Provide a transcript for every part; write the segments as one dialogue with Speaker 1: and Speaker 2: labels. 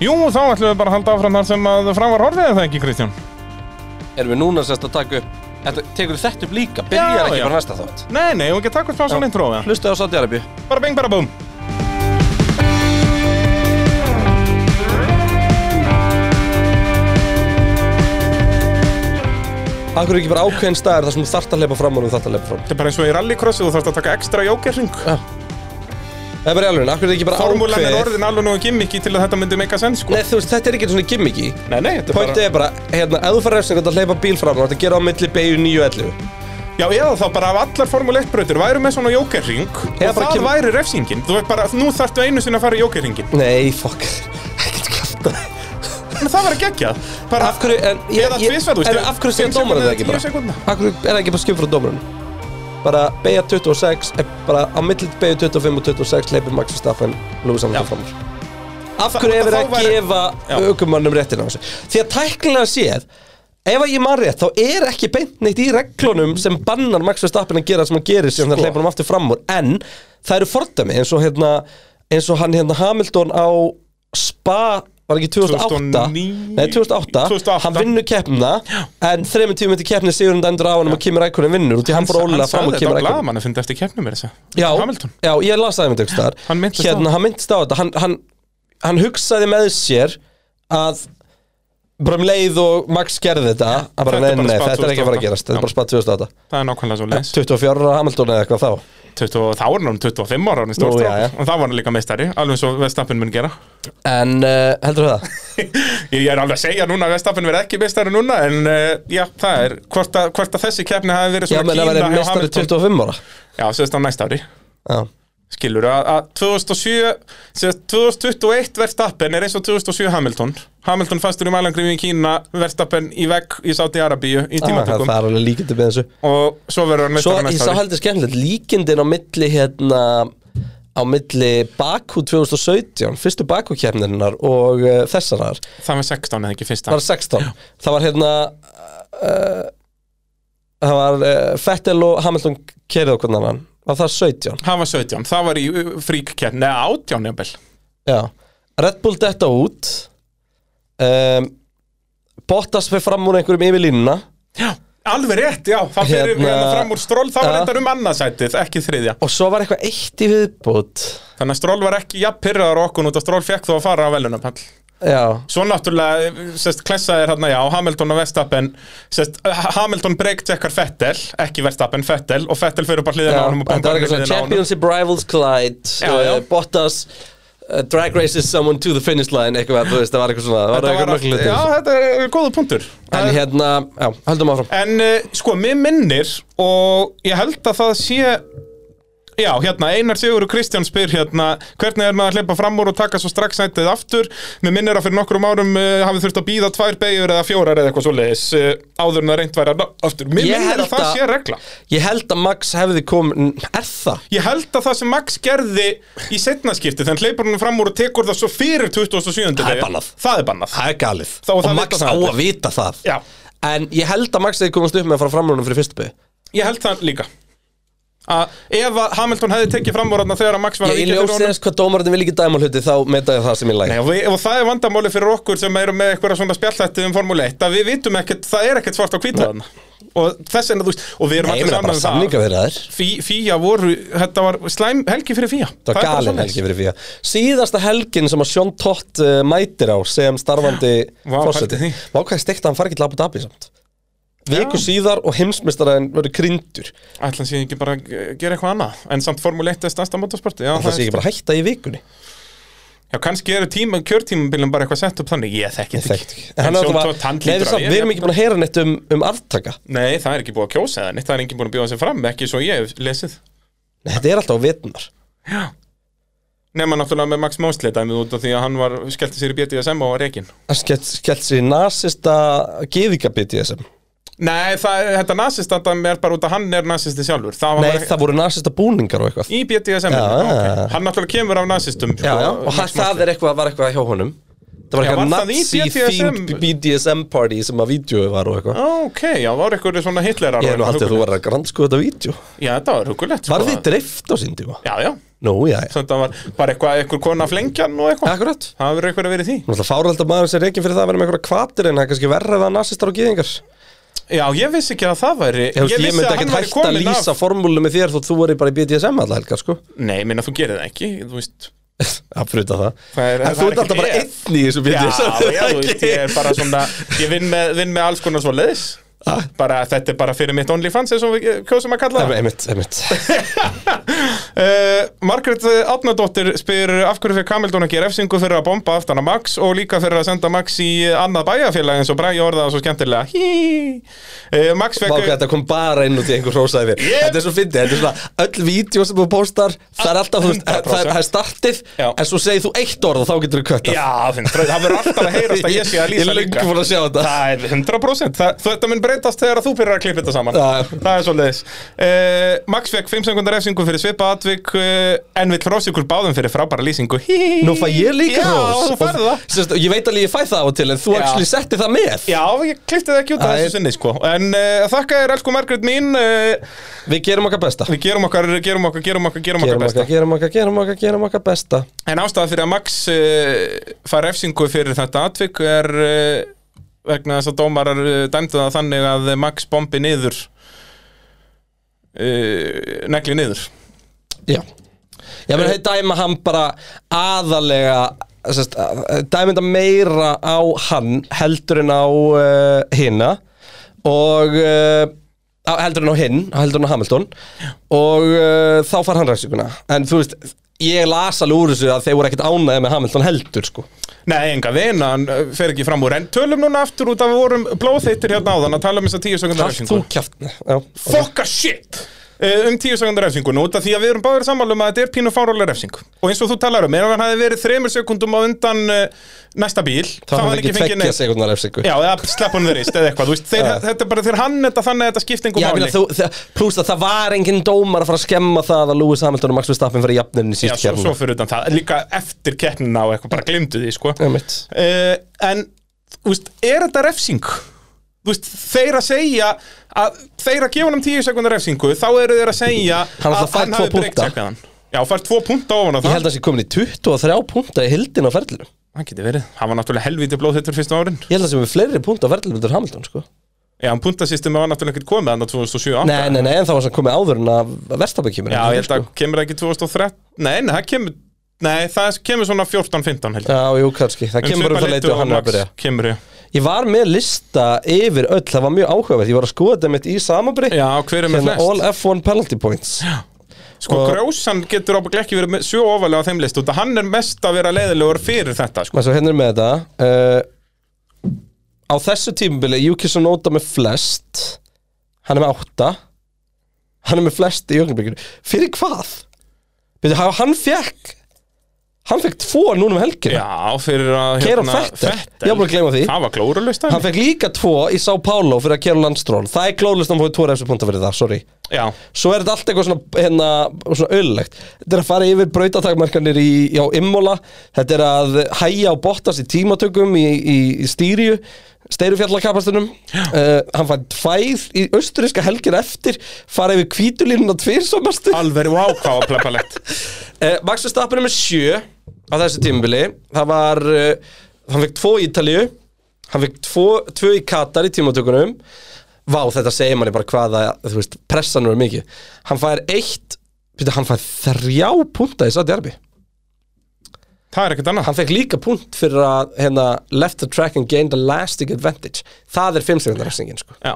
Speaker 1: Jú, þá ætlum við bara að halda áfram þar sem að frá var horfið er það ekki, Kristján?
Speaker 2: Erum við núna sérst að taka upp Þetta, tekur þetta upp líka, byrjar
Speaker 1: Já,
Speaker 2: ekki
Speaker 1: já.
Speaker 2: bara næsta þátt
Speaker 1: Nei, nei, og ekki að taka upp smá svona intro, eða?
Speaker 2: Hlustaðu á Saudi Arabíu
Speaker 1: Bara bing, bara búm.
Speaker 2: Akkur er ekki bara ákveðin staðar þar sem þú þart að hleypa fram og þú þart að hleypa fram
Speaker 1: Þetta er bara eins og í rallycrossi, þú þarfst að taka ekstra jókerring.
Speaker 2: Það er bara í alveg, akkur er ekki bara
Speaker 1: Formúlan er
Speaker 2: ákveðið
Speaker 1: orðin alveg nú gimmiki til að þetta myndi meika sens, sko.
Speaker 2: Nei, þú veist, þetta er ekki svona gimmiki
Speaker 1: Nei, nei, þetta er
Speaker 2: Pointið er bara, hérna, ef þú fær refsingu að hleypa bíl fram og þetta gera á milli beigju 9 og 11
Speaker 1: Já, eða þá bara af allar Formule 1 brautir væru með svona jókerring og
Speaker 2: Eða
Speaker 1: það
Speaker 2: bara kemur-
Speaker 1: væri refsingin. Þú veit bara, nú þarftu einu sinni að fara í jókerringin.
Speaker 2: Nei, fokk, ekkert kjátt
Speaker 1: En það var að gegja. Bara,
Speaker 2: Af hverju, en ég,
Speaker 1: Eða
Speaker 2: ég,
Speaker 1: tvisvar, þú veist,
Speaker 2: en af hverju segja
Speaker 1: fimm
Speaker 2: dómarinn
Speaker 1: sekúndur eða tíu
Speaker 2: það ekki bara?
Speaker 1: sekúndna?
Speaker 2: Af hverju er það ekki bara skjöf frá dómarinn? Bara beigja 26, er eh, bara á millit beigja 25 og 26 leipir Max Verstappen Lewis Hamilton
Speaker 1: Já.
Speaker 2: fram úr. Af hverju er
Speaker 1: þá
Speaker 2: verið að
Speaker 1: væri- Já.
Speaker 2: gefa aukumannum réttin á þessu? Því að tæknilega séð, ef að ég man rétt, þá er ekki beint neitt í reglunum sem bannar Max Verstappen að gera það sem hann gerir síðan það
Speaker 1: Sko.
Speaker 2: leipur hann aftur fram úr. En það eru fordæmi eins og, hérna, eins og hann hérna Hamilton á Spa var ekki 2008
Speaker 1: 2009?
Speaker 2: Nei, 2008,
Speaker 1: 2008.
Speaker 2: hann vinnur keppnina en þremur tíum eftir keppni sigur hann endur á hann og Kimi Rækonin vinnur út í hann fór ólega fram og Kimi
Speaker 1: Hann sagði þetta á
Speaker 2: Rækonin
Speaker 1: blaðamann að finna eftir keppnum er þessi.
Speaker 2: já,
Speaker 1: Hamilton.
Speaker 2: já, ég lasaði mér tekst þar
Speaker 1: Hann minntist á
Speaker 2: hérna,
Speaker 1: það.
Speaker 2: hann myndist á þetta hann, hann, hann hugsaði með sér að bara um leið og Max gerði þetta að bara,
Speaker 1: þetta er bara
Speaker 2: nei, nei, nei,
Speaker 1: spa
Speaker 2: þetta er ekki að fara
Speaker 1: 2008.
Speaker 2: að gerast þetta
Speaker 1: Já.
Speaker 2: er bara spatt 2008
Speaker 1: Það er nákvæmlega svo leins.
Speaker 2: 24 ára Hamilton eða eitthvað þá
Speaker 1: 20, þá er hann orðinn 25 ára hann í
Speaker 2: Nú, já, já.
Speaker 1: stórstráð og þá var hann líka meistari, alveg eins og Vestappen mun gera
Speaker 2: en uh, heldur þú það?
Speaker 1: ég er alveg að segja núna að Vestappen verði ekki meistari núna en uh, já, það er hvort að, hvort að þessi keppni hafi verið
Speaker 2: já,
Speaker 1: svona
Speaker 2: menn að vera
Speaker 1: hjá
Speaker 2: mestari
Speaker 1: Hamilton.
Speaker 2: 25 ára
Speaker 1: já, sérst á næsta ári
Speaker 2: já,
Speaker 1: skilur að, að 2007 sérst 2021 Verstappen er eins og 2007 Hamilton Hamilton fastur í mælangrifi í Kína Verstappen í vegg í Saudi Arabíu í
Speaker 2: ah, það
Speaker 1: tímatökum
Speaker 2: það er alveg líkindi með þessu
Speaker 1: og svo verður hann
Speaker 2: Svo
Speaker 1: meistari
Speaker 2: ég
Speaker 1: næsta
Speaker 2: sá
Speaker 1: ári
Speaker 2: heldur skemmtilegt líkindin á milli hérna á milli Bakú 2017 fyrstu Bakú kemnirinnar og uh, þessarar,
Speaker 1: það var 16 eða ekki
Speaker 2: það
Speaker 1: fyrsta
Speaker 2: var 16 það var hérna uh, það var uh, Fettel og Hamilton kerið okkur annan var það 17,
Speaker 1: það var 17, það var í uh, fríkkeppni eða 18 jafnvel
Speaker 2: já Red Bull detta út um, Bottas fyrir fram úr einhverjum yfir línuna
Speaker 1: Já, alveg rétt, já, það fyrir
Speaker 2: Hérna-
Speaker 1: hérna, fram úr stról, það var
Speaker 2: Ja.
Speaker 1: reyndar um annarsætið, ekki þriðja.
Speaker 2: og svo var eitthvað eitt í viðbútt
Speaker 1: Þannig að stról var ekki jafn pyrraðar okkur út að stról fekk þó að fara á velunapall.
Speaker 2: já,
Speaker 1: Svo náttúrulega, sérst, klessaðir hérna, já, Hamilton og Verstappen, sérst, eh, Hamilton breyktekkar Fettel, ekki Verstappen, Fettel, og Fettel fyrir bara hliðina á
Speaker 2: Já,
Speaker 1: honum og
Speaker 2: Þetta
Speaker 1: bombar
Speaker 2: var eitthvað
Speaker 1: hliðina
Speaker 2: svona
Speaker 1: á honum.
Speaker 2: Championship Rivals Collide
Speaker 1: Já,
Speaker 2: uh,
Speaker 1: já.
Speaker 2: Bottas uh, Drag races someone to the finish line eitthvað, þú veist, það var eitthvað svona það var
Speaker 1: Þetta
Speaker 2: eitthvað
Speaker 1: var allt,
Speaker 2: nögglega
Speaker 1: já,
Speaker 2: til
Speaker 1: þetta er góðu punktur.
Speaker 2: En hérna, já, höldum áfram
Speaker 1: En uh, sko, mér minnir og ég held að það sé Já, hérna, Einar Sigur og Kristján spyr hérna, hvernig er maður að hleypa fram úr og taka svo strax sætið aftur? Mér minnir að fyrir nokkrum árum uh, hafið þurft að býða tvær beigur eða fjórar eða eitthvað svoleiðis uh, áður en að reynd væri að ná aftur. Mér
Speaker 2: Ég
Speaker 1: minnir
Speaker 2: held
Speaker 1: að það
Speaker 2: að-
Speaker 1: sé regla.
Speaker 2: Ég held að Max hefði komið Er það?
Speaker 1: Ég held að það sem Max gerði í setnaskipti, þannig hleypur hann fram úr og tekur það svo fyrir 2007.
Speaker 2: Það er
Speaker 1: beyju.
Speaker 2: bannað.
Speaker 1: Það er bannað.
Speaker 2: Það er galið
Speaker 1: Þá-
Speaker 2: Og
Speaker 1: það
Speaker 2: Max
Speaker 1: vita
Speaker 2: á
Speaker 1: það
Speaker 2: að
Speaker 1: allir.
Speaker 2: vita það
Speaker 1: Já.
Speaker 2: En ég held að Max hefði komast upp með að fara framrúnum fyrir fyrstu bygg
Speaker 1: Ég held það líka. Að ef að Hamilton hefði tekið fram úr þarna þegar að Max var að
Speaker 2: Ég
Speaker 1: víkja fyrir
Speaker 2: ljóst
Speaker 1: honum-
Speaker 2: þess hvað dómarinn vil ekki dæma hluti þá meta ég það sem ég
Speaker 1: Nei,
Speaker 2: læg
Speaker 1: og, við, og það er vandamáli fyrir okkur sem erum með eitthvað svona spjallhætti um Formule 1 að við vitum ekkert, það er ekkert svart á hvítu þarna og þess en þú veist, og við erum
Speaker 2: Nei, ég meina bara
Speaker 1: allir saman um
Speaker 2: samlinga
Speaker 1: það
Speaker 2: verið þær
Speaker 1: Fí, Fía voru, þetta var slæm helgi fyrir Fía
Speaker 2: Það var galin helgi fyrir fíja Síðasta helgin sem að Sjón Tott uh, mætir á sem starfandi
Speaker 1: Vá,
Speaker 2: fórseti
Speaker 1: pældi því.
Speaker 2: Vá hvað er steikt að hann fari ekki til Abu Dhabi samt Viku síðar og heimsmeistaræðin verður grindur
Speaker 1: Ætlan sé ekki bara að gera eitthvað annað en samt Formule 1 er stærsta motorsporti já,
Speaker 2: Það sé
Speaker 1: er-
Speaker 2: ekki bara að hætta í vikunni
Speaker 1: já, kannski eru tíma, kjörtímabilum bara eitthvað sett upp þannig ég þekki
Speaker 2: Ég
Speaker 1: þetta
Speaker 2: þekkt
Speaker 1: ekki
Speaker 2: En hann er
Speaker 1: Sjón
Speaker 2: alltaf
Speaker 1: Tott,
Speaker 2: að
Speaker 1: hann
Speaker 2: Nei, við,
Speaker 1: hlýtur að
Speaker 2: samt, við erum ekki búin að heyra neitt um, um aftaka
Speaker 1: Nei, það er ekki búið að kjósa það neitt, það er ekki búin að bjóða sér fram ekki svo ég hef lesið
Speaker 2: Nei, Þetta er alltaf á vetnar
Speaker 1: Nefna náttúrulega með Max Mosley dæmið út af því að hann var, skellti sér í BDSM á reikin
Speaker 2: Hann skellt skell sér í nasista geðingabiti þessum
Speaker 1: Nei, það, þetta nasistandam er bara út að hann er nasisti sjálfur Það var
Speaker 2: Nei,
Speaker 1: bara
Speaker 2: það voru nasista búningar og eitthvað
Speaker 1: í BDSM
Speaker 2: Já,
Speaker 1: já,
Speaker 2: já, já.
Speaker 1: Hann náttúrulega kemur af nasistum sko.
Speaker 2: Já, já, og hann, það er eitthvað, var eitthvað hjá honum Það var
Speaker 1: Já,
Speaker 2: eitthvað
Speaker 1: var það í
Speaker 2: nazi-themed
Speaker 1: BDSM?
Speaker 2: BDSM party sem að vídeo var og eitthvað
Speaker 1: Ok, já, það var eitthvað svona hitlerar
Speaker 2: Ég er nú haldið að þú var að grannsku þetta vídeo
Speaker 1: Já, þetta var hugulegt sko.
Speaker 2: Var þið dreift á sín tíma?
Speaker 1: Já, já,
Speaker 2: Nú, já, já,
Speaker 1: þannig að það var bara eitthvað, eitthvað kona flengjan og eitthvað
Speaker 2: akkurat
Speaker 1: Það verður eitthvað að vera í því
Speaker 2: Náttúrulega fáröld að maður sem reygin fyrir það að vera með einhverja kvatir en það er kannski verra að það nasistar og gyðingar Ég,
Speaker 1: Já, ég vissi ekki að það væri
Speaker 2: ég, veist, ég
Speaker 1: vissi
Speaker 2: myndi
Speaker 1: að hann
Speaker 2: ekkert
Speaker 1: væri
Speaker 2: hægt að
Speaker 1: kominn
Speaker 2: lýsa formúlu með þér þó þú verið bara í BDSM alla helgar sko
Speaker 1: Nei, ég minna, þú gerir það ekki, þú veist
Speaker 2: að fruta það
Speaker 1: Það er-
Speaker 2: En
Speaker 1: það
Speaker 2: þú
Speaker 1: er
Speaker 2: ert
Speaker 1: ekki
Speaker 2: alltaf bara
Speaker 1: ég.
Speaker 2: einn í þessu
Speaker 1: Já,
Speaker 2: BDSM
Speaker 1: já, þú veist, ég er bara svona Ég vinn með, vinn með alls konar svo leiðis
Speaker 2: Ah.
Speaker 1: bara, Þetta er bara fyrir mitt OnlyFans eins og við eh, kjósum að kalla það
Speaker 2: Einmitt, einmitt
Speaker 1: uh, Margrét Átnadóttir spyr af hverju fyrir Kamildón ekki refsingu fyrir að bomba aftan að Max og líka fyrir að senda Max í annað bæjarfélag eins og Bragi orðaða svo skemmtilega Hí uh, Max
Speaker 2: Vá,
Speaker 1: fekk
Speaker 2: hvað þetta kom bara inn út í einhver hrósaði þér
Speaker 1: Yep.
Speaker 2: Þetta er svo fyndið, þetta er svona öll vídeo sem þú postar Það er alltaf, þú veist, það er, það er startið
Speaker 1: Já.
Speaker 2: En svo segir þú eitt orð og þá getur þú köttað
Speaker 1: Já, finn, það verður alltaf að heyrast að ég sé að
Speaker 2: Ég
Speaker 1: lýsa
Speaker 2: er lengi
Speaker 1: líka
Speaker 2: fór að sjá þetta
Speaker 1: Það er 100% Þa, Þetta mun breytast þegar að þú byrjar að klippa þetta saman
Speaker 2: Já.
Speaker 1: Það er svolítið uh, Max fekk 5 sekundar refsingu fyrir svipa atvik uh, En vill frósi ykkur báðum fyrir frábæra lýsingu Hí, hí, hí.
Speaker 2: Nú fæ ég líka
Speaker 1: Já,
Speaker 2: hrós.
Speaker 1: þú færð
Speaker 2: Og-
Speaker 1: það
Speaker 2: sérst, Ég veit alveg ég fæ það á til En þú
Speaker 1: Já.
Speaker 2: actually setti það með
Speaker 1: Já, ég klippti það ekki út af
Speaker 2: Æ.
Speaker 1: þessu sinni sko En uh, þakka þér elsku Margrét mín uh,
Speaker 2: Við gerum okkar besta
Speaker 1: Við gerum okkar, gerum okkar, gerum okkar, gerum okkar
Speaker 2: Gerum
Speaker 1: besta
Speaker 2: okkar, gerum okkar, gerum okkar, gerum okkar besta
Speaker 1: En ástæða fyrir að Max uh, fær refsingu fyrir þetta atvik er uh, vegna þess að dómarar uh, dæmdu það þannig að Max bombi niður uh, negli niður
Speaker 2: Já Ég
Speaker 1: Eh,
Speaker 2: meina, þeir dæma hann bara aðalega sérst, dæma þetta meira á hann heldur en á uh, hinna og uh, á- heldur en á hinn, heldur en á Hamilton og uh, þá far hann ræsinguna en þú veist, ég las alveg úr þessu að þeir voru ekkert ánægði með Hamilton heldur sko
Speaker 1: Nei, enga vin, hann uh, fer ekki fram úr En tölum núna aftur út af við vorum blóðheittir hérna áðan að tala um þess að tíu sekundar
Speaker 2: Allt þú
Speaker 1: refsingu
Speaker 2: kjátt Já,
Speaker 1: Fokka shit! Uh, um tíu sekundar refsingu nú, út af því að við erum báður sammála um að þetta er pínu fárálega refsing og eins og þú talar um, ef hann hefði verið þremur sekundum á undan uh, næsta bíl
Speaker 2: þá hann ekki
Speaker 1: fengið
Speaker 2: tveggja
Speaker 1: neitt-
Speaker 2: sekundar refsingu
Speaker 1: Já, eða slepp honum þeirist eða eitthvað, þú veist, þeir, þetta er bara þeir hann þetta þannig að þetta skipti engum
Speaker 2: Já, ég meina,
Speaker 1: máli
Speaker 2: þú, það, plus að það var enginn dómar að fara að skemma það að Lewis Hamilton og Max Verstappen fyrir jafnirinn í
Speaker 1: Já,
Speaker 2: síst
Speaker 1: svo,
Speaker 2: kjærna
Speaker 1: svo fyrir utan það, líka eftir keppnina og eitthvað, bara glimtu því, sko uh,
Speaker 2: mitt
Speaker 1: En, þú veist, er þetta refsing? Þú veist, þeir að segja að þeir að gefa honum 10 sekundar refsingu þá eru þeir að segja
Speaker 2: Hann alltaf
Speaker 1: að
Speaker 2: fær tvo
Speaker 1: hafi breykt
Speaker 2: punkta.
Speaker 1: sekveðan. Já, fær tvo punta ofan á
Speaker 2: Ég
Speaker 1: það
Speaker 2: held að það sé komin í 23 punta í hildin á ferlinu Ég
Speaker 1: Hann geti verið, hann var náttúrulega helvítið blóð þetta fyrstu árin
Speaker 2: held að það sé með fleiri punta á ferlinu betur Hamilton sko
Speaker 1: Já, hann puntasýstum var náttúrulega ekkert komið hann 2007
Speaker 2: Nei, nei, nei, en það var sem komið áður en að Verstappen kemur
Speaker 1: Já,
Speaker 2: inn,
Speaker 1: ég held að
Speaker 2: sko.
Speaker 1: kemur það ekki 2013 Nei, nei, það kemur Nei, það kemur svona 14-15 held ég.
Speaker 2: Já, jú, kannski, það kemur um það
Speaker 1: svipað
Speaker 2: leiti og hann er
Speaker 1: Max
Speaker 2: að byrja
Speaker 1: Kemur, já.
Speaker 2: Ég var með lista yfir öll, það var mjög áhugavert Ég var að skoða þetta mitt í samabri
Speaker 1: já, hver er með
Speaker 2: Hérna
Speaker 1: flest?
Speaker 2: all F1 penalty points
Speaker 1: Sko,
Speaker 2: og-
Speaker 1: Grósan getur ábygglega ekki verið með- sjö ofalega á þeim list út að hann er mest að vera leiðilegur fyrir þetta, sko
Speaker 2: Næ, svo hérna er með þetta uh, Á þessu tímubili Júkis og Nóta með flest Hann er með átta Hann er með flest í jögnbygginu Fyrir hvað? Byrju, hann- hann fekk Hann fekk tvo núna um helgina
Speaker 1: Já, fyrir að hérna,
Speaker 2: Keiran Fettel, ég var búin að gleyma því
Speaker 1: Það var glóralust
Speaker 2: Hann fekk líka tvo í São Paulo fyrir að kera landstról Það er glóðlust hann fóði tvo refsu punta fyrir það, sorry
Speaker 1: Já,
Speaker 2: Svo er þetta allt eitthvað svona, hérna, svona öllegt Þetta er að fara yfir brautatakmarkanir í, á Immola Þetta er að hæja og bóttast í tímatökum í, í, í stýriu Steyrufjallakapastunum uh, Hann fann tvær í austuríska helgir eftir Fara yfir kvítulínuna tvirsomastu uh,
Speaker 1: alveg vákáða pleppalegt
Speaker 2: Eh, Max Verstappen er með sjö á þessu tímabili Það var, uh, hann fekk tvo í Ítalíu Hann fekk tvo, tvö í Katar í tímatökunum Vá, þetta segir manni bara hvaða, þú veist, pressan verður mikið. Hann fær eitt, betur, hann fær þrjá punta í Saudi Arabi.
Speaker 1: Það er ekkert annað
Speaker 2: Hann fekk líka punt fyrir að, hérna, left the track and gained a lasting advantage. Það er fimmstegundar sko.
Speaker 1: Já,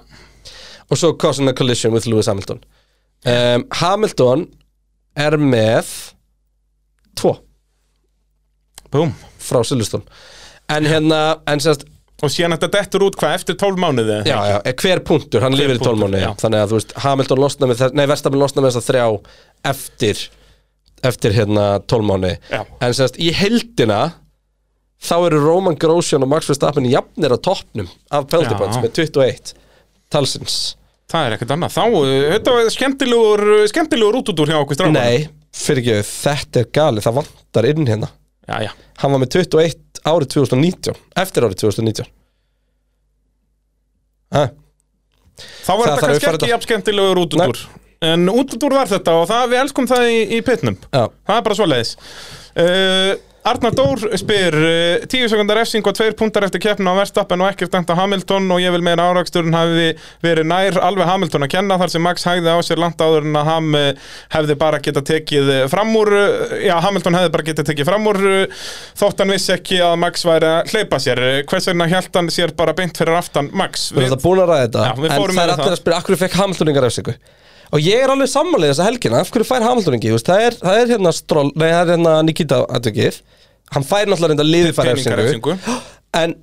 Speaker 2: Og svo causing a collision with Lewis Hamilton. Um, Hamilton er með tvo
Speaker 1: búm
Speaker 2: frá Silveston. En hérna, en sérst,
Speaker 1: Og síðan þetta dettur út hvað, eftir 12 mánuði
Speaker 2: já, já, hver punktur, hann lifir í
Speaker 1: punktur,
Speaker 2: tólmánu,
Speaker 1: já.
Speaker 2: þannig að þú veist, Hamilton losna með þess, nei, Verstappen losna með þess að þrjá eftir, eftir hérna tólmánu,
Speaker 1: Já.
Speaker 2: en semst í heldina, þá eru Roman Grosjean og Max Verstappen jafnir á toppnum af
Speaker 1: Já.
Speaker 2: Peltibands með 21 talsins,
Speaker 1: Það er ekkert annað Þá, uh, þetta var skemmtilegur, eh, skemmtilegur út hjá okkur stráðan
Speaker 2: nei fyrir ekki, þetta er galið, það vantar inn hérna,
Speaker 1: Já, já
Speaker 2: hann var með 21 árið 2019 eftir árið 2019 ha,
Speaker 1: Þá var þetta
Speaker 2: Það þarf að
Speaker 1: kannski
Speaker 2: uppfæra
Speaker 1: ekki
Speaker 2: þetta.
Speaker 1: jafn skemmtilegur útudúr En útudúr var þetta og það, við elskum það í, í pitnum
Speaker 2: já,
Speaker 1: Það er bara svoleiðis uh, Arnar Dór spyr uh, 10 sekundar refsing og 2 puntar eftir keppna á Verstappen og ekkert dæmt á Hamilton og ég vil meina áraksturinn hafi verið nær alveg Hamilton að kenna þar sem Max hægði á sér langt áður en að Ham eh, hefði bara geta tekið eh, fram úr eh, já, Hamilton hefði bara geta tekið fram úr eh, þótt hann vissi ekki að Max væri að hleypa sér Eh, hvers vegna hjælt hann sér bara beint fyrir aftan Max
Speaker 2: við erum það búin að ræða þetta
Speaker 1: Já, við
Speaker 2: en
Speaker 1: fórum
Speaker 2: það er
Speaker 1: yfir
Speaker 2: allir
Speaker 1: það.
Speaker 2: að spyrja, af hverju fekk Hamilton engar refsingu og ég er alveg sammálega þessa helgina, af hverju fær Hamilton engi það er, það er hérna, Stroll, nei, það er hérna Nikita atvikið, hann fær náttúrulega reynda liði fær
Speaker 1: Peningar
Speaker 2: refsingu
Speaker 1: refsingu.
Speaker 2: en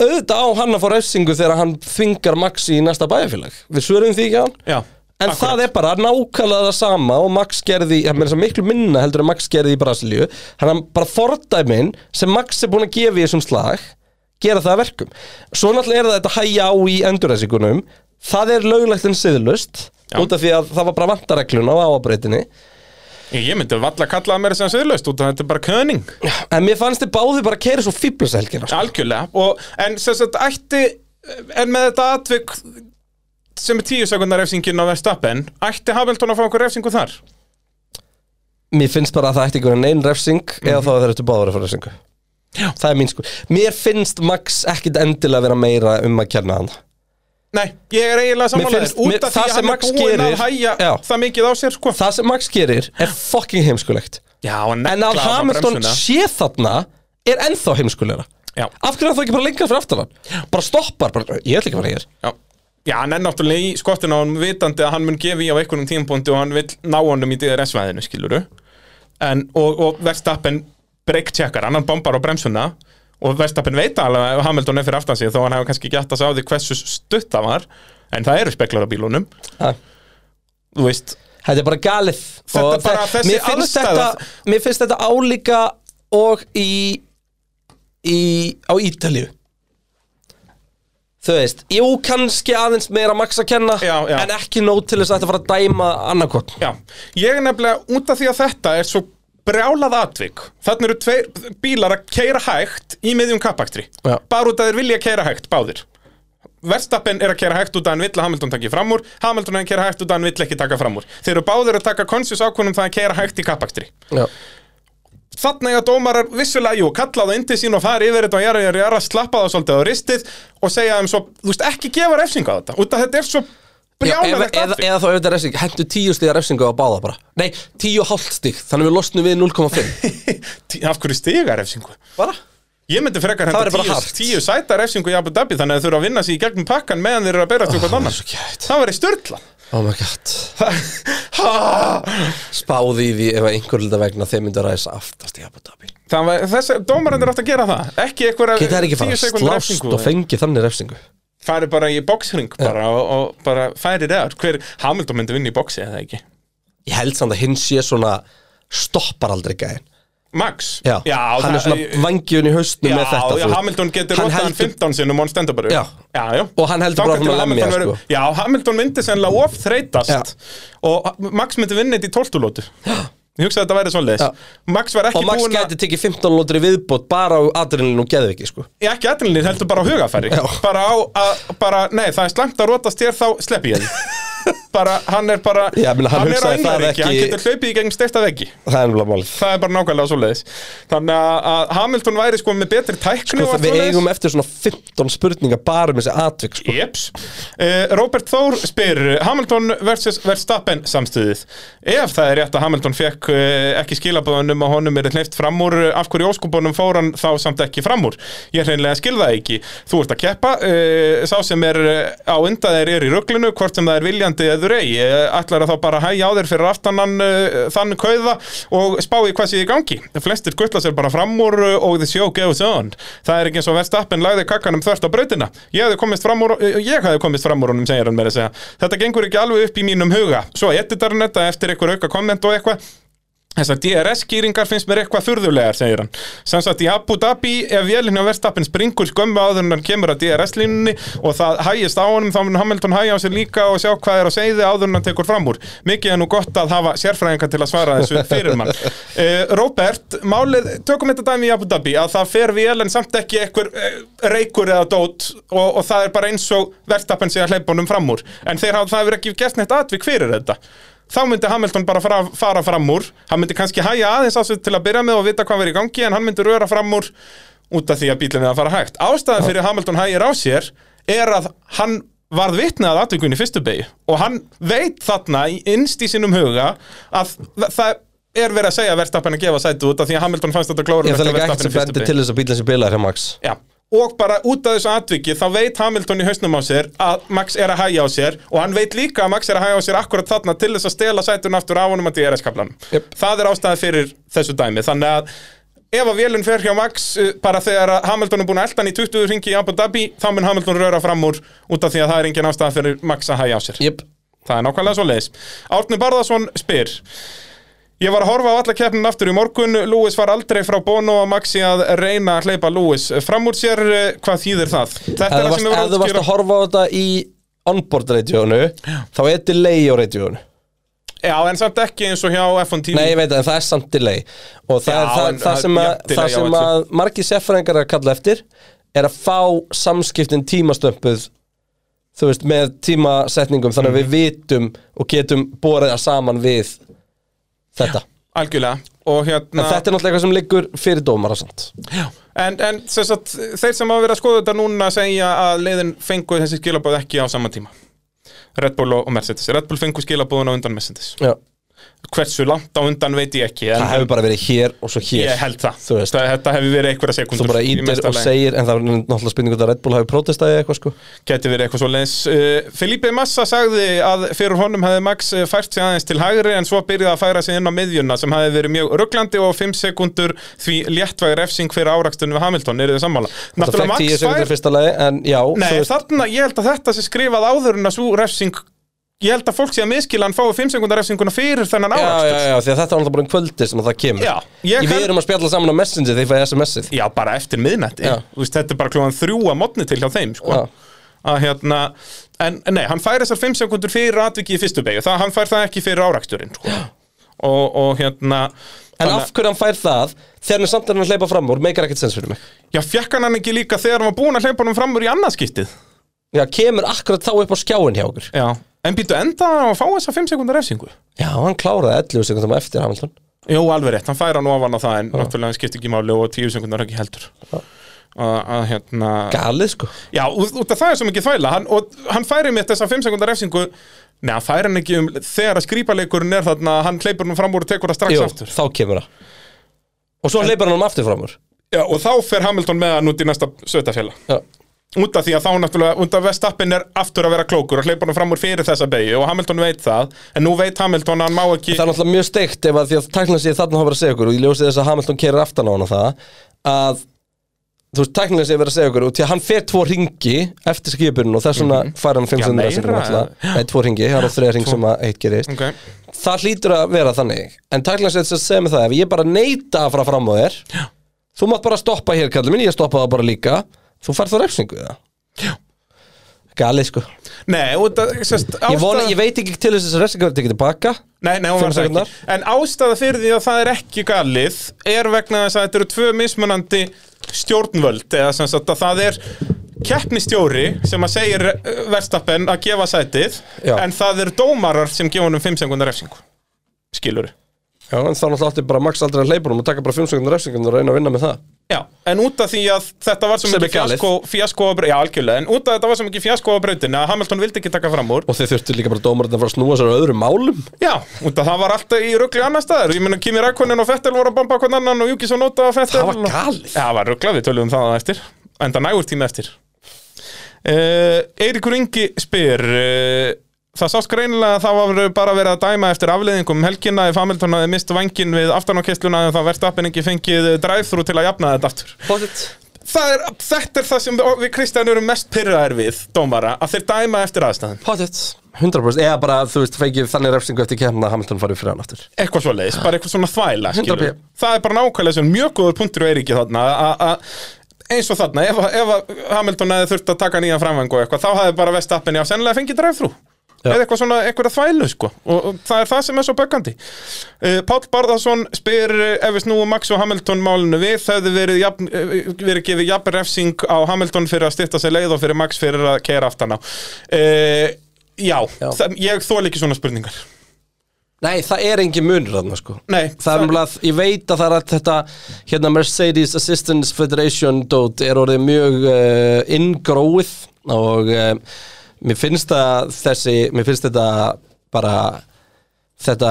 Speaker 2: auðvitað á hann að fá refsingu þegar hann þvingar Max í næsta bæjarfélag við svörum því ekki á hann
Speaker 1: Já,
Speaker 2: En
Speaker 1: akkurat.
Speaker 2: það er bara nákvæmlega það sama og Max gerði, það meira svo miklu minna heldur en Max gerði í Brasilíu Þannig að bara fordæmin sem Max er búin að gefa í þessum slag gera það að verkum Svo náttúrulega er það þetta hæja á í endurreysingunum Það er löglegt en siðlust
Speaker 1: Já.
Speaker 2: út af því að það var bara vantareglun á áabreitinni
Speaker 1: Ég myndi valla að kalla það meira sem siðlaust út að þetta er bara köning
Speaker 2: En mér fannst þið báði bara að keira svo fíblasa helgina sko.
Speaker 1: Algjörlega, og, en sem sagt ætti, en með þetta atvik sem er tíu sekundar refsingin á Verstappen, ætti Hamilton að fá einhver refsingu þar?
Speaker 2: Mér finnst bara að það ætti einhvern einn refsing eða þá að þeir eru báður að fara refsingu
Speaker 1: Mhm. Já.
Speaker 2: Það er mín sko Mér finnst Max ekkit endilega vera meira um að kenna hann
Speaker 1: Nei, ég er eiginlega
Speaker 2: Mér
Speaker 1: sammálaðir,
Speaker 2: finnst- mér-
Speaker 1: út af því
Speaker 2: það
Speaker 1: að
Speaker 2: sem
Speaker 1: hann er
Speaker 2: Max
Speaker 1: búinn að
Speaker 2: gerir-
Speaker 1: hæja
Speaker 2: Já.
Speaker 1: það mikið á sér, sko.
Speaker 2: það sem Max gerir er fucking heimskulegt
Speaker 1: Já, en,
Speaker 2: en að Hamilton sé þarna er ennþá heimskulegra
Speaker 1: Já.
Speaker 2: af hverju er það ekki bara lengra fyrir aftan hann bara stoppar, bara, ég ætla ekki að fara hér
Speaker 1: Já. Já, hann er náttúrulega í skottinu og hann vitandi að hann mun gefa í á einhvernum tímpóndi og hann vil ná honum í DRS-væðinu, skiluru. En, og, og Verstappen break-checkar, hann hann bombar á bremsuna og Verstappen veit alveg að Hamilton er fyrir aftan sig þó hann hefur kannski gætt að sá því hversu stutt það var en það eru speklar á bílunum,
Speaker 2: Ha,
Speaker 1: þú veist.
Speaker 2: þetta er bara galið
Speaker 1: Þetta
Speaker 2: Og
Speaker 1: bara
Speaker 2: það-
Speaker 1: þessi
Speaker 2: mér, finnst þetta,
Speaker 1: aðstæða-
Speaker 2: mér finnst þetta álíka og í, í á Ítalíu þú veist, jú kannski aðeins meira Max að kenna
Speaker 1: Já, já.
Speaker 2: en ekki nót til þess að þetta fara að dæma annarkotn
Speaker 1: Já, ég er nefnilega út af því að þetta er svo brjálað atvik Þannig eru tveir bílar að keira hægt í miðjum kappaktri
Speaker 2: Já.
Speaker 1: Bara út að þeir vilja keira hægt, báðir Verstappen er að keira hægt út að hann vill að Hamilton taki fram úr Hamilton er að keira hægt út að hann vill ekki taka fram úr Þeir eru báðir að taka konsjus ákvörnum það að keira hægt í kappaktri
Speaker 2: já,
Speaker 1: Þannig að dómarar vissulega, jú, kalla það indi sín og fara yfir þetta og jara, jara, jara, slappa það svolítið á ristið og segja þeim svo, þú veist, ekki gefa refsinga á þetta út að þetta er svo
Speaker 2: Já, eða,
Speaker 1: brjálaðið
Speaker 2: eða, eða þá auðvitað refsing, hendur tíu stiga refsingu á báða bara Nei, tíu og hálft stig, þannig við losnum við 0,5
Speaker 1: Af hverju stiga refsingu?
Speaker 2: Bara?
Speaker 1: Ég myndi frekar
Speaker 2: væri
Speaker 1: henda
Speaker 2: bara
Speaker 1: tíu,
Speaker 2: hart.
Speaker 1: tíu sæta refsingu í Abu Dhabi þannig að þau eru að vinna sér í gegnum pakkan meðan þeir eru að berast eitthvað annan
Speaker 2: svo gætt.
Speaker 1: Það væri störtla
Speaker 2: Oh my god Spáði í því ef að einhver lita vegna þeim myndu að ræsa aftast í Abu Dhabi
Speaker 1: Þessi dómarinn er átt að gera það Ekki einhverja
Speaker 2: Geta þær ekki fara að
Speaker 1: sekúndna
Speaker 2: slást og fengi þannig refsingu
Speaker 1: Færi bara í boxring bara, og, og bara færi það Hver Hamilton myndi vinna í boxi eða ekki
Speaker 2: Ég held samt að hinn sé svona stoppar aldrei gæðin
Speaker 1: Max
Speaker 2: Já,
Speaker 1: já
Speaker 2: hann er
Speaker 1: það-
Speaker 2: svona vangjun í haustnum
Speaker 1: Já,
Speaker 2: með þetta
Speaker 1: já
Speaker 2: þú veist.
Speaker 1: Hamilton getur
Speaker 2: Hann
Speaker 1: rotað hann
Speaker 2: heldur-
Speaker 1: 15 sinnum og hann stendur bara upp.
Speaker 2: Já.
Speaker 1: já, já.
Speaker 2: Og hann heldur
Speaker 1: Þangað
Speaker 2: bara áfram
Speaker 1: til
Speaker 2: að lemja,
Speaker 1: Hamilton verður-
Speaker 2: sko.
Speaker 1: Já, Hamilton myndi sennilega of þreytast og Max myndi vinna þetta í 12 lótu Ég hugsaði að þetta væri svoleiðis
Speaker 2: Já.
Speaker 1: Max var ekki
Speaker 2: Og Max
Speaker 1: búinn að
Speaker 2: gæti tekið 15 lótri viðbót bara á adrenalinu og geðviki sko
Speaker 1: Já, ekki aðrinlið, heldur bara á hugafæri
Speaker 2: Já.
Speaker 1: Bara á að, bara, nei, það er slæmt að rótast þér þá slepp ég því Bara, hann er bara,
Speaker 2: Já, ég meina,
Speaker 1: er
Speaker 2: hann
Speaker 1: á
Speaker 2: hugsaði það
Speaker 1: englaríki, hann
Speaker 2: ekki-
Speaker 1: getur hlaupið í gegnum steifta veggi
Speaker 2: Það er nefnilega málið
Speaker 1: Það er bara nákvæmlega svoleiðis Þannig að- að Hamilton væri sko með betri tækni og
Speaker 2: Sko,
Speaker 1: allt
Speaker 2: Við
Speaker 1: svoleiðis.
Speaker 2: eigum eftir svona 15 spurningar bara um þessi atvik sko
Speaker 1: Jeps. Uh, Robert Þór spyr Hamilton versus Verstappen samstöðið. Ef það er rétt að Hamilton fekk uh, ekki skilabóðanum og honum er hleyft fram úr, uh, af hverju óskupunum fór hann þá samt ekki fram úr? Ég hreinlega skil það ekki. Þú ert að keppa, uh, sá sem er uh, á undan þeir er í rugglinu, hvort sem það er viljandi eður ei. Uh, ætlar að þá bara hægja á þeir fyrir aftan hann uh, þann kauða og spá í hvað sé í gangi. Flestir guttla sér bara fram úr uh, og the show goes on. Það er ekki eins og Verstappen lagði kakkanum þvert á brautina. Ég hefði komist fram úr, uh, ég hefði komist fram úr honum, segir hann meira að segja. Þetta gengur ekki alveg upp í mínum huga. Svo editarinn þetta eftir einhver auka komment og eitthvað. Þessar DRS-skýringar finnst mér eitthvað furðulegar, segir hann. Sem sagt, í Abu Dhabi, ef vélinn á verðstappin springur skömmu áður en hann kemur að DRS-línunni og það hægist á honum, þá mun Hamilton hægja á sér líka og sjá hvað er á seiði áður en hann tekur fram úr. Mikið er nú gott að hafa sérfræðinga til að svara þessu fyrir mann. Uh, Robert, málið, tökum þetta dæmi í Abu Dhabi, að það fer vélinn samt ekki eitthvað reykur eða dót og, og það er bara eins og verðstappin sé að hleypa honum fram úr. En þeir hafa það hefur ekki gert neitt atvik fyrir þetta þá myndi Hamilton bara fara, fara fram úr hann myndi kannski hæja aðeins á sig til að byrja með og vita hvað verið í gangi en hann myndi röra fram úr út af því að bílinn er að fara hægt ástæðan fyrir Hamilton hægir á sér er að hann varð vitnað aðtökunni í fyrstu beigju og hann veit þarna í- innst í sínum huga að þa- það er verið að segja verðstappin að gefa sæti út af því að Hamilton fannst þetta glóður
Speaker 2: Ég ætla líka ekkert sem bendi til þess að bílinn sem bilaði hjá Max
Speaker 1: Já, og bara út af þessu atviki þá veit Hamilton í hausnum á sér að Max er að hægja á sér og hann veit líka að Max er að hægja á sér akkurat þarna til þess að stela sætun aftur á honum að DRS-kaplanum.
Speaker 2: Jep.
Speaker 1: Það er ástæði fyrir þessu dæmi, þannig að Ef að vélun fer hjá Max uh, bara þegar að Hamilton er búin að elda hann í 20 ringi í Abu Dhabi þá mun Hamilton röra fram úr út af því að það er engin ástæða fyrir Max að hægja á sér.
Speaker 2: Jep
Speaker 1: Það er nákvæmlega svo leiðis. Árni Barðarsson spyr Ég var að horfa á alla keppnin aftur í morgun Lewis var aldrei frá Bono og Maxi að reyna að hleypa Lewis fram úr sér eh, hvað þýðir það? Þetta
Speaker 2: Ef
Speaker 1: er það
Speaker 2: þú varst,
Speaker 1: sem ég var að
Speaker 2: ef þú varst að
Speaker 1: útskýra
Speaker 2: horfa á þetta í onboard radioinu þá er delay á radioinu
Speaker 1: Já, en samt ekki eins og hjá F1 TV
Speaker 2: Nei, ég veit að það er samt delay og það
Speaker 1: Já,
Speaker 2: er það,
Speaker 1: en
Speaker 2: það
Speaker 1: það-
Speaker 2: sem, að,
Speaker 1: jafn delay
Speaker 2: það
Speaker 1: á
Speaker 2: sem
Speaker 1: öllu.
Speaker 2: að margir sérfræðingar er að kalla eftir er að fá samskiptin tímastömpuð þú veist, með tímasetningum þannig
Speaker 1: Mhm.
Speaker 2: að við vitum og getum borið að saman við þetta
Speaker 1: Algjörlega Og
Speaker 2: En
Speaker 1: hérna
Speaker 2: þetta er náttúrulega eitthvað sem liggur fyrir dómara samt.
Speaker 1: En, en sem sagt, þeir sem hafa verið að skoða þetta núna segja að leiðin fengu þessi skilabóð ekki á sama tíma Red Bull og og Mercedes Red Bull fengu skilabóðun á undan Mercedes
Speaker 2: Já.
Speaker 1: Hversu langt á undan veit ég ekki en,
Speaker 2: Það hefur bara verið hér og svo hér.
Speaker 1: Ég held það,
Speaker 2: Þú veist.
Speaker 1: Þa, þetta hefur verið einhverja sekundur
Speaker 2: Svo bara ítir og segir, en það er náttúrulega spurningu að Red Bull hafi protestaði eitthvað sko.
Speaker 1: Gæti verið eitthvað svo leins uh, Filipe Massa sagði að fyrir honum hefði Max eh, fært sig aðeins til hægri en svo byrjaði að færa sig inn á miðjuna sem hefði verið mjög rugglandi og 5 sekundur því léttvæg refsing fyrir árakstunum við Hamilton eru þið sammála
Speaker 2: Það fekk 10 sekundur í fyrsta lagi, en já.
Speaker 1: Nei,
Speaker 2: þú veist,
Speaker 1: þarna, ég held að þetta sé skrifað áður en að svo refsing Ég held að fólk sé að miskila hann fái 5 sekundar refsinguna fyrir þennan
Speaker 2: já,
Speaker 1: árakstur
Speaker 2: já, já, því að þetta er náttúrulega bara um kvöldi sem að það kemur.
Speaker 1: sko. Já, ég
Speaker 2: ég
Speaker 1: kann-
Speaker 2: Við erum að spjalla saman á Messenger þegar ég fæði SMS-ið.
Speaker 1: Já, bara eftir miðnætti
Speaker 2: Já.
Speaker 1: Þú veist, Þetta er bara klúan þrjú að modni til hjá þeim sko.
Speaker 2: Já.
Speaker 1: að hérna en en nei, hann fær þessar 5 sekundur fyrir atviki í fyrstu beigju, það hann fær það ekki fyrir áraksturinn sko. og, og hérna
Speaker 2: En
Speaker 1: þannig að-
Speaker 2: af hverju hann fær það, þegar hann samt er hann að hleypa fram úr, meikar ekkert sens fyrir mig.
Speaker 1: Já, fekk hann hann ekki líka þegar hann var búin að hleypa hann fram úr í annarskiptið
Speaker 2: Já, kemur akkurat þá upp á skjáin hjá okkur.
Speaker 1: Já, en býtu enda hann á að fá þessar 5 sekundar refsingu
Speaker 2: Já, hann kláraði 11 sekundum eftir Hamilton.
Speaker 1: Jú, alveg rétt, hann fær hann ofan á það en náttúrulega hann skipti ekki máli og 10 sekundar ekki heldur að að, hérna
Speaker 2: Galið, sko.
Speaker 1: Já, út út af það er svo mikið þvæla hann, og hann færi mitt þessa 5 sekundar refsingu Nei, hann færi hann ekki um þegar að skrýpaleikurinn er þarna, hann hleypur hann fram úr og tekur það strax
Speaker 2: Jú,
Speaker 1: aftur
Speaker 2: þá kemur það. Og svo hleypar hann um aftur fram úr.
Speaker 1: Já, og þá fer Hamilton með hann út í næsta sveitafjöla
Speaker 2: Já.
Speaker 1: út af því að þá náttúrulega, út af Vestappin er aftur að vera klókur og hleypa hann fram úr fyrir þessa beigju og Hamilton veit það, en nú veit Hamilton að hann má ekki
Speaker 2: Það er náttúrulega mjög steikt ef að því að tæknilega sé þarna hafa verið að segja okkur og ég ljósi þess að Hamilton kerir aftan á hana það að þú veist tæknilega sé verið að segja okkur og því að hann fer tvo ringi eftir skipurinn og þess vegna fær hann 500
Speaker 1: meira,
Speaker 2: reysingum
Speaker 1: Mhm. já.
Speaker 2: alltaf Nei, tvo ringi, það er á þreja ring sem að eitt gerist
Speaker 1: Ok.
Speaker 2: Það hlýtur að vera þannig en tæknilega sé þess að segja mig það ef ég bara neita að fara fram á þér já. þú mátt bara stoppa hér kallum minn, ég stoppa það bara líka þú fær þá refsingu það Galið sko
Speaker 1: Nei, út af, sérst,
Speaker 2: ég, vona,
Speaker 1: ástæða-
Speaker 2: ég veit ekki til þess að refsingu verið tekið tilbaka
Speaker 1: Nei, nei, hún
Speaker 2: Fimm
Speaker 1: var það
Speaker 2: sekúndnar.
Speaker 1: ekki En ástæða fyrir því að það er ekki galið er vegna þess að þetta eru tvö mismunandi stjórnvöld eða sem sagt að það er keppnistjóri sem að segir verðstappen að gefa sætið
Speaker 2: Já.
Speaker 1: en það eru dómarar sem gefa honum 5 sekundar refsingu skilur
Speaker 2: Já, en þá náttúrulega átti bara Max aldrei að hleypa honum og taka bara 5 sekundar refsingum og reyna að vinna með það.
Speaker 1: Já, en út af því að þetta var svo
Speaker 2: Sem er
Speaker 1: mikið
Speaker 2: galið.
Speaker 1: fjasko, fjasko á breytin Já, algjörlega, en út af þetta var svo mikið fjasko á breytin að Hamilton vildi ekki taka fram úr
Speaker 2: Og þeir þurftu líka bara dómarinn að fara að snúa sér á öðrum málum.
Speaker 1: Já, út af það var alltaf í ruggli annar staðar Ég meina Kimi Rækonin og Fettel voru að bamba hvern annan og Júki svo nota að Fettel
Speaker 2: Það var galið.
Speaker 1: Já, það var rugglað, við töluðum það að eftir Enda nægur tími eftir uh, Eiríkur Ingi spyr uh, Það sást greinilega að það var bara verið að dæma eftir afleiðingum um helgina ef Hamilton hafði mist vangin við aftanokestluna en það verðt appin ekki fengið drive-thru til að jafna þetta aftur
Speaker 2: Pottit.
Speaker 1: það er, Þetta er það sem við, við Kristján erum mest pyrraðir við, dómara, að þeir dæma eftir aðstæðum
Speaker 2: Pottit. 100% eða bara, þú veist, fengið þannig refsingu eftir kemna að Hamilton farið fyrir hann aftur
Speaker 1: eitthvað svo leiðis, bara eitthvað svona þvæla skilur.
Speaker 2: 100p.
Speaker 1: það er bara nákvæmlega sem mjög góður punktur og er ekki þarna að- að- eins og þarna, ef, að- ef að Hamilton hefði þurft að taka nýjan framvang og eitthvað, þá hefði bara Vestappen já, sennilega fengið drive-thru
Speaker 2: Já.
Speaker 1: eða eitthvað svona, eitthvað þvælu sko og, og það er það sem er svo böggandi uh, Páll Barðarsson spyr uh, ef við snúum Max og Hamilton málinu við hefði verið, jafn, uh, verið gefið jafn refsing á Hamilton fyrir að styrta sér leið og fyrir Max fyrir að keira aftan á uh, Já,
Speaker 2: Já.
Speaker 1: Það, ég þól ekki svona spurningar
Speaker 2: Nei, það er engin munur þarna sko
Speaker 1: Nei,
Speaker 2: Það er umlað, ég veit að það er að þetta hérna Mercedes Assistance Federation dót er orðið mjög uh, ingróið og uh, mér finnst það þessi, mér finnst þetta bara þetta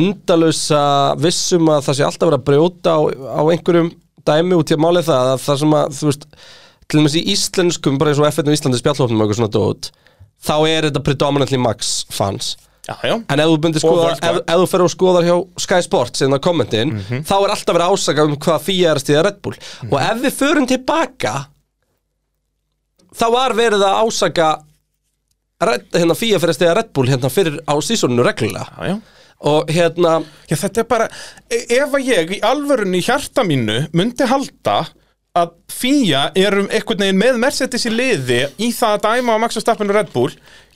Speaker 2: endalösa vissum að það sé alltaf verið að brjóta á, á einhverjum dæmi út í að máli það að það sem að, þú veist, til dæmis í íslenskum bara eins og F1 og Íslandi spjallhófnum og eitthvað svona dót þá er þetta predominantly Max fans
Speaker 1: Já, já
Speaker 2: En ef þú myndir skoða,
Speaker 1: Fox
Speaker 2: ef,
Speaker 1: Sports.
Speaker 2: ef þú fer og skoðar hjá Sky Sports innan kommentin, þá er alltaf verið ásaka um hvað fíja er að stíða Red Bull og ef við förum tilbaka þá var verið að ásaka Red, hérna fíja fyrir að stíða Red Bull hérna fyrir á sísoninu reglulega
Speaker 1: Já, já
Speaker 2: og hérna,
Speaker 1: Já, þetta er bara, e- ef að ég í alvörunni í hjarta mínu myndi halda að fíja erum einhvern veginn með Mercedes í liði í það að dæma á Max Verstappen og Red Bull,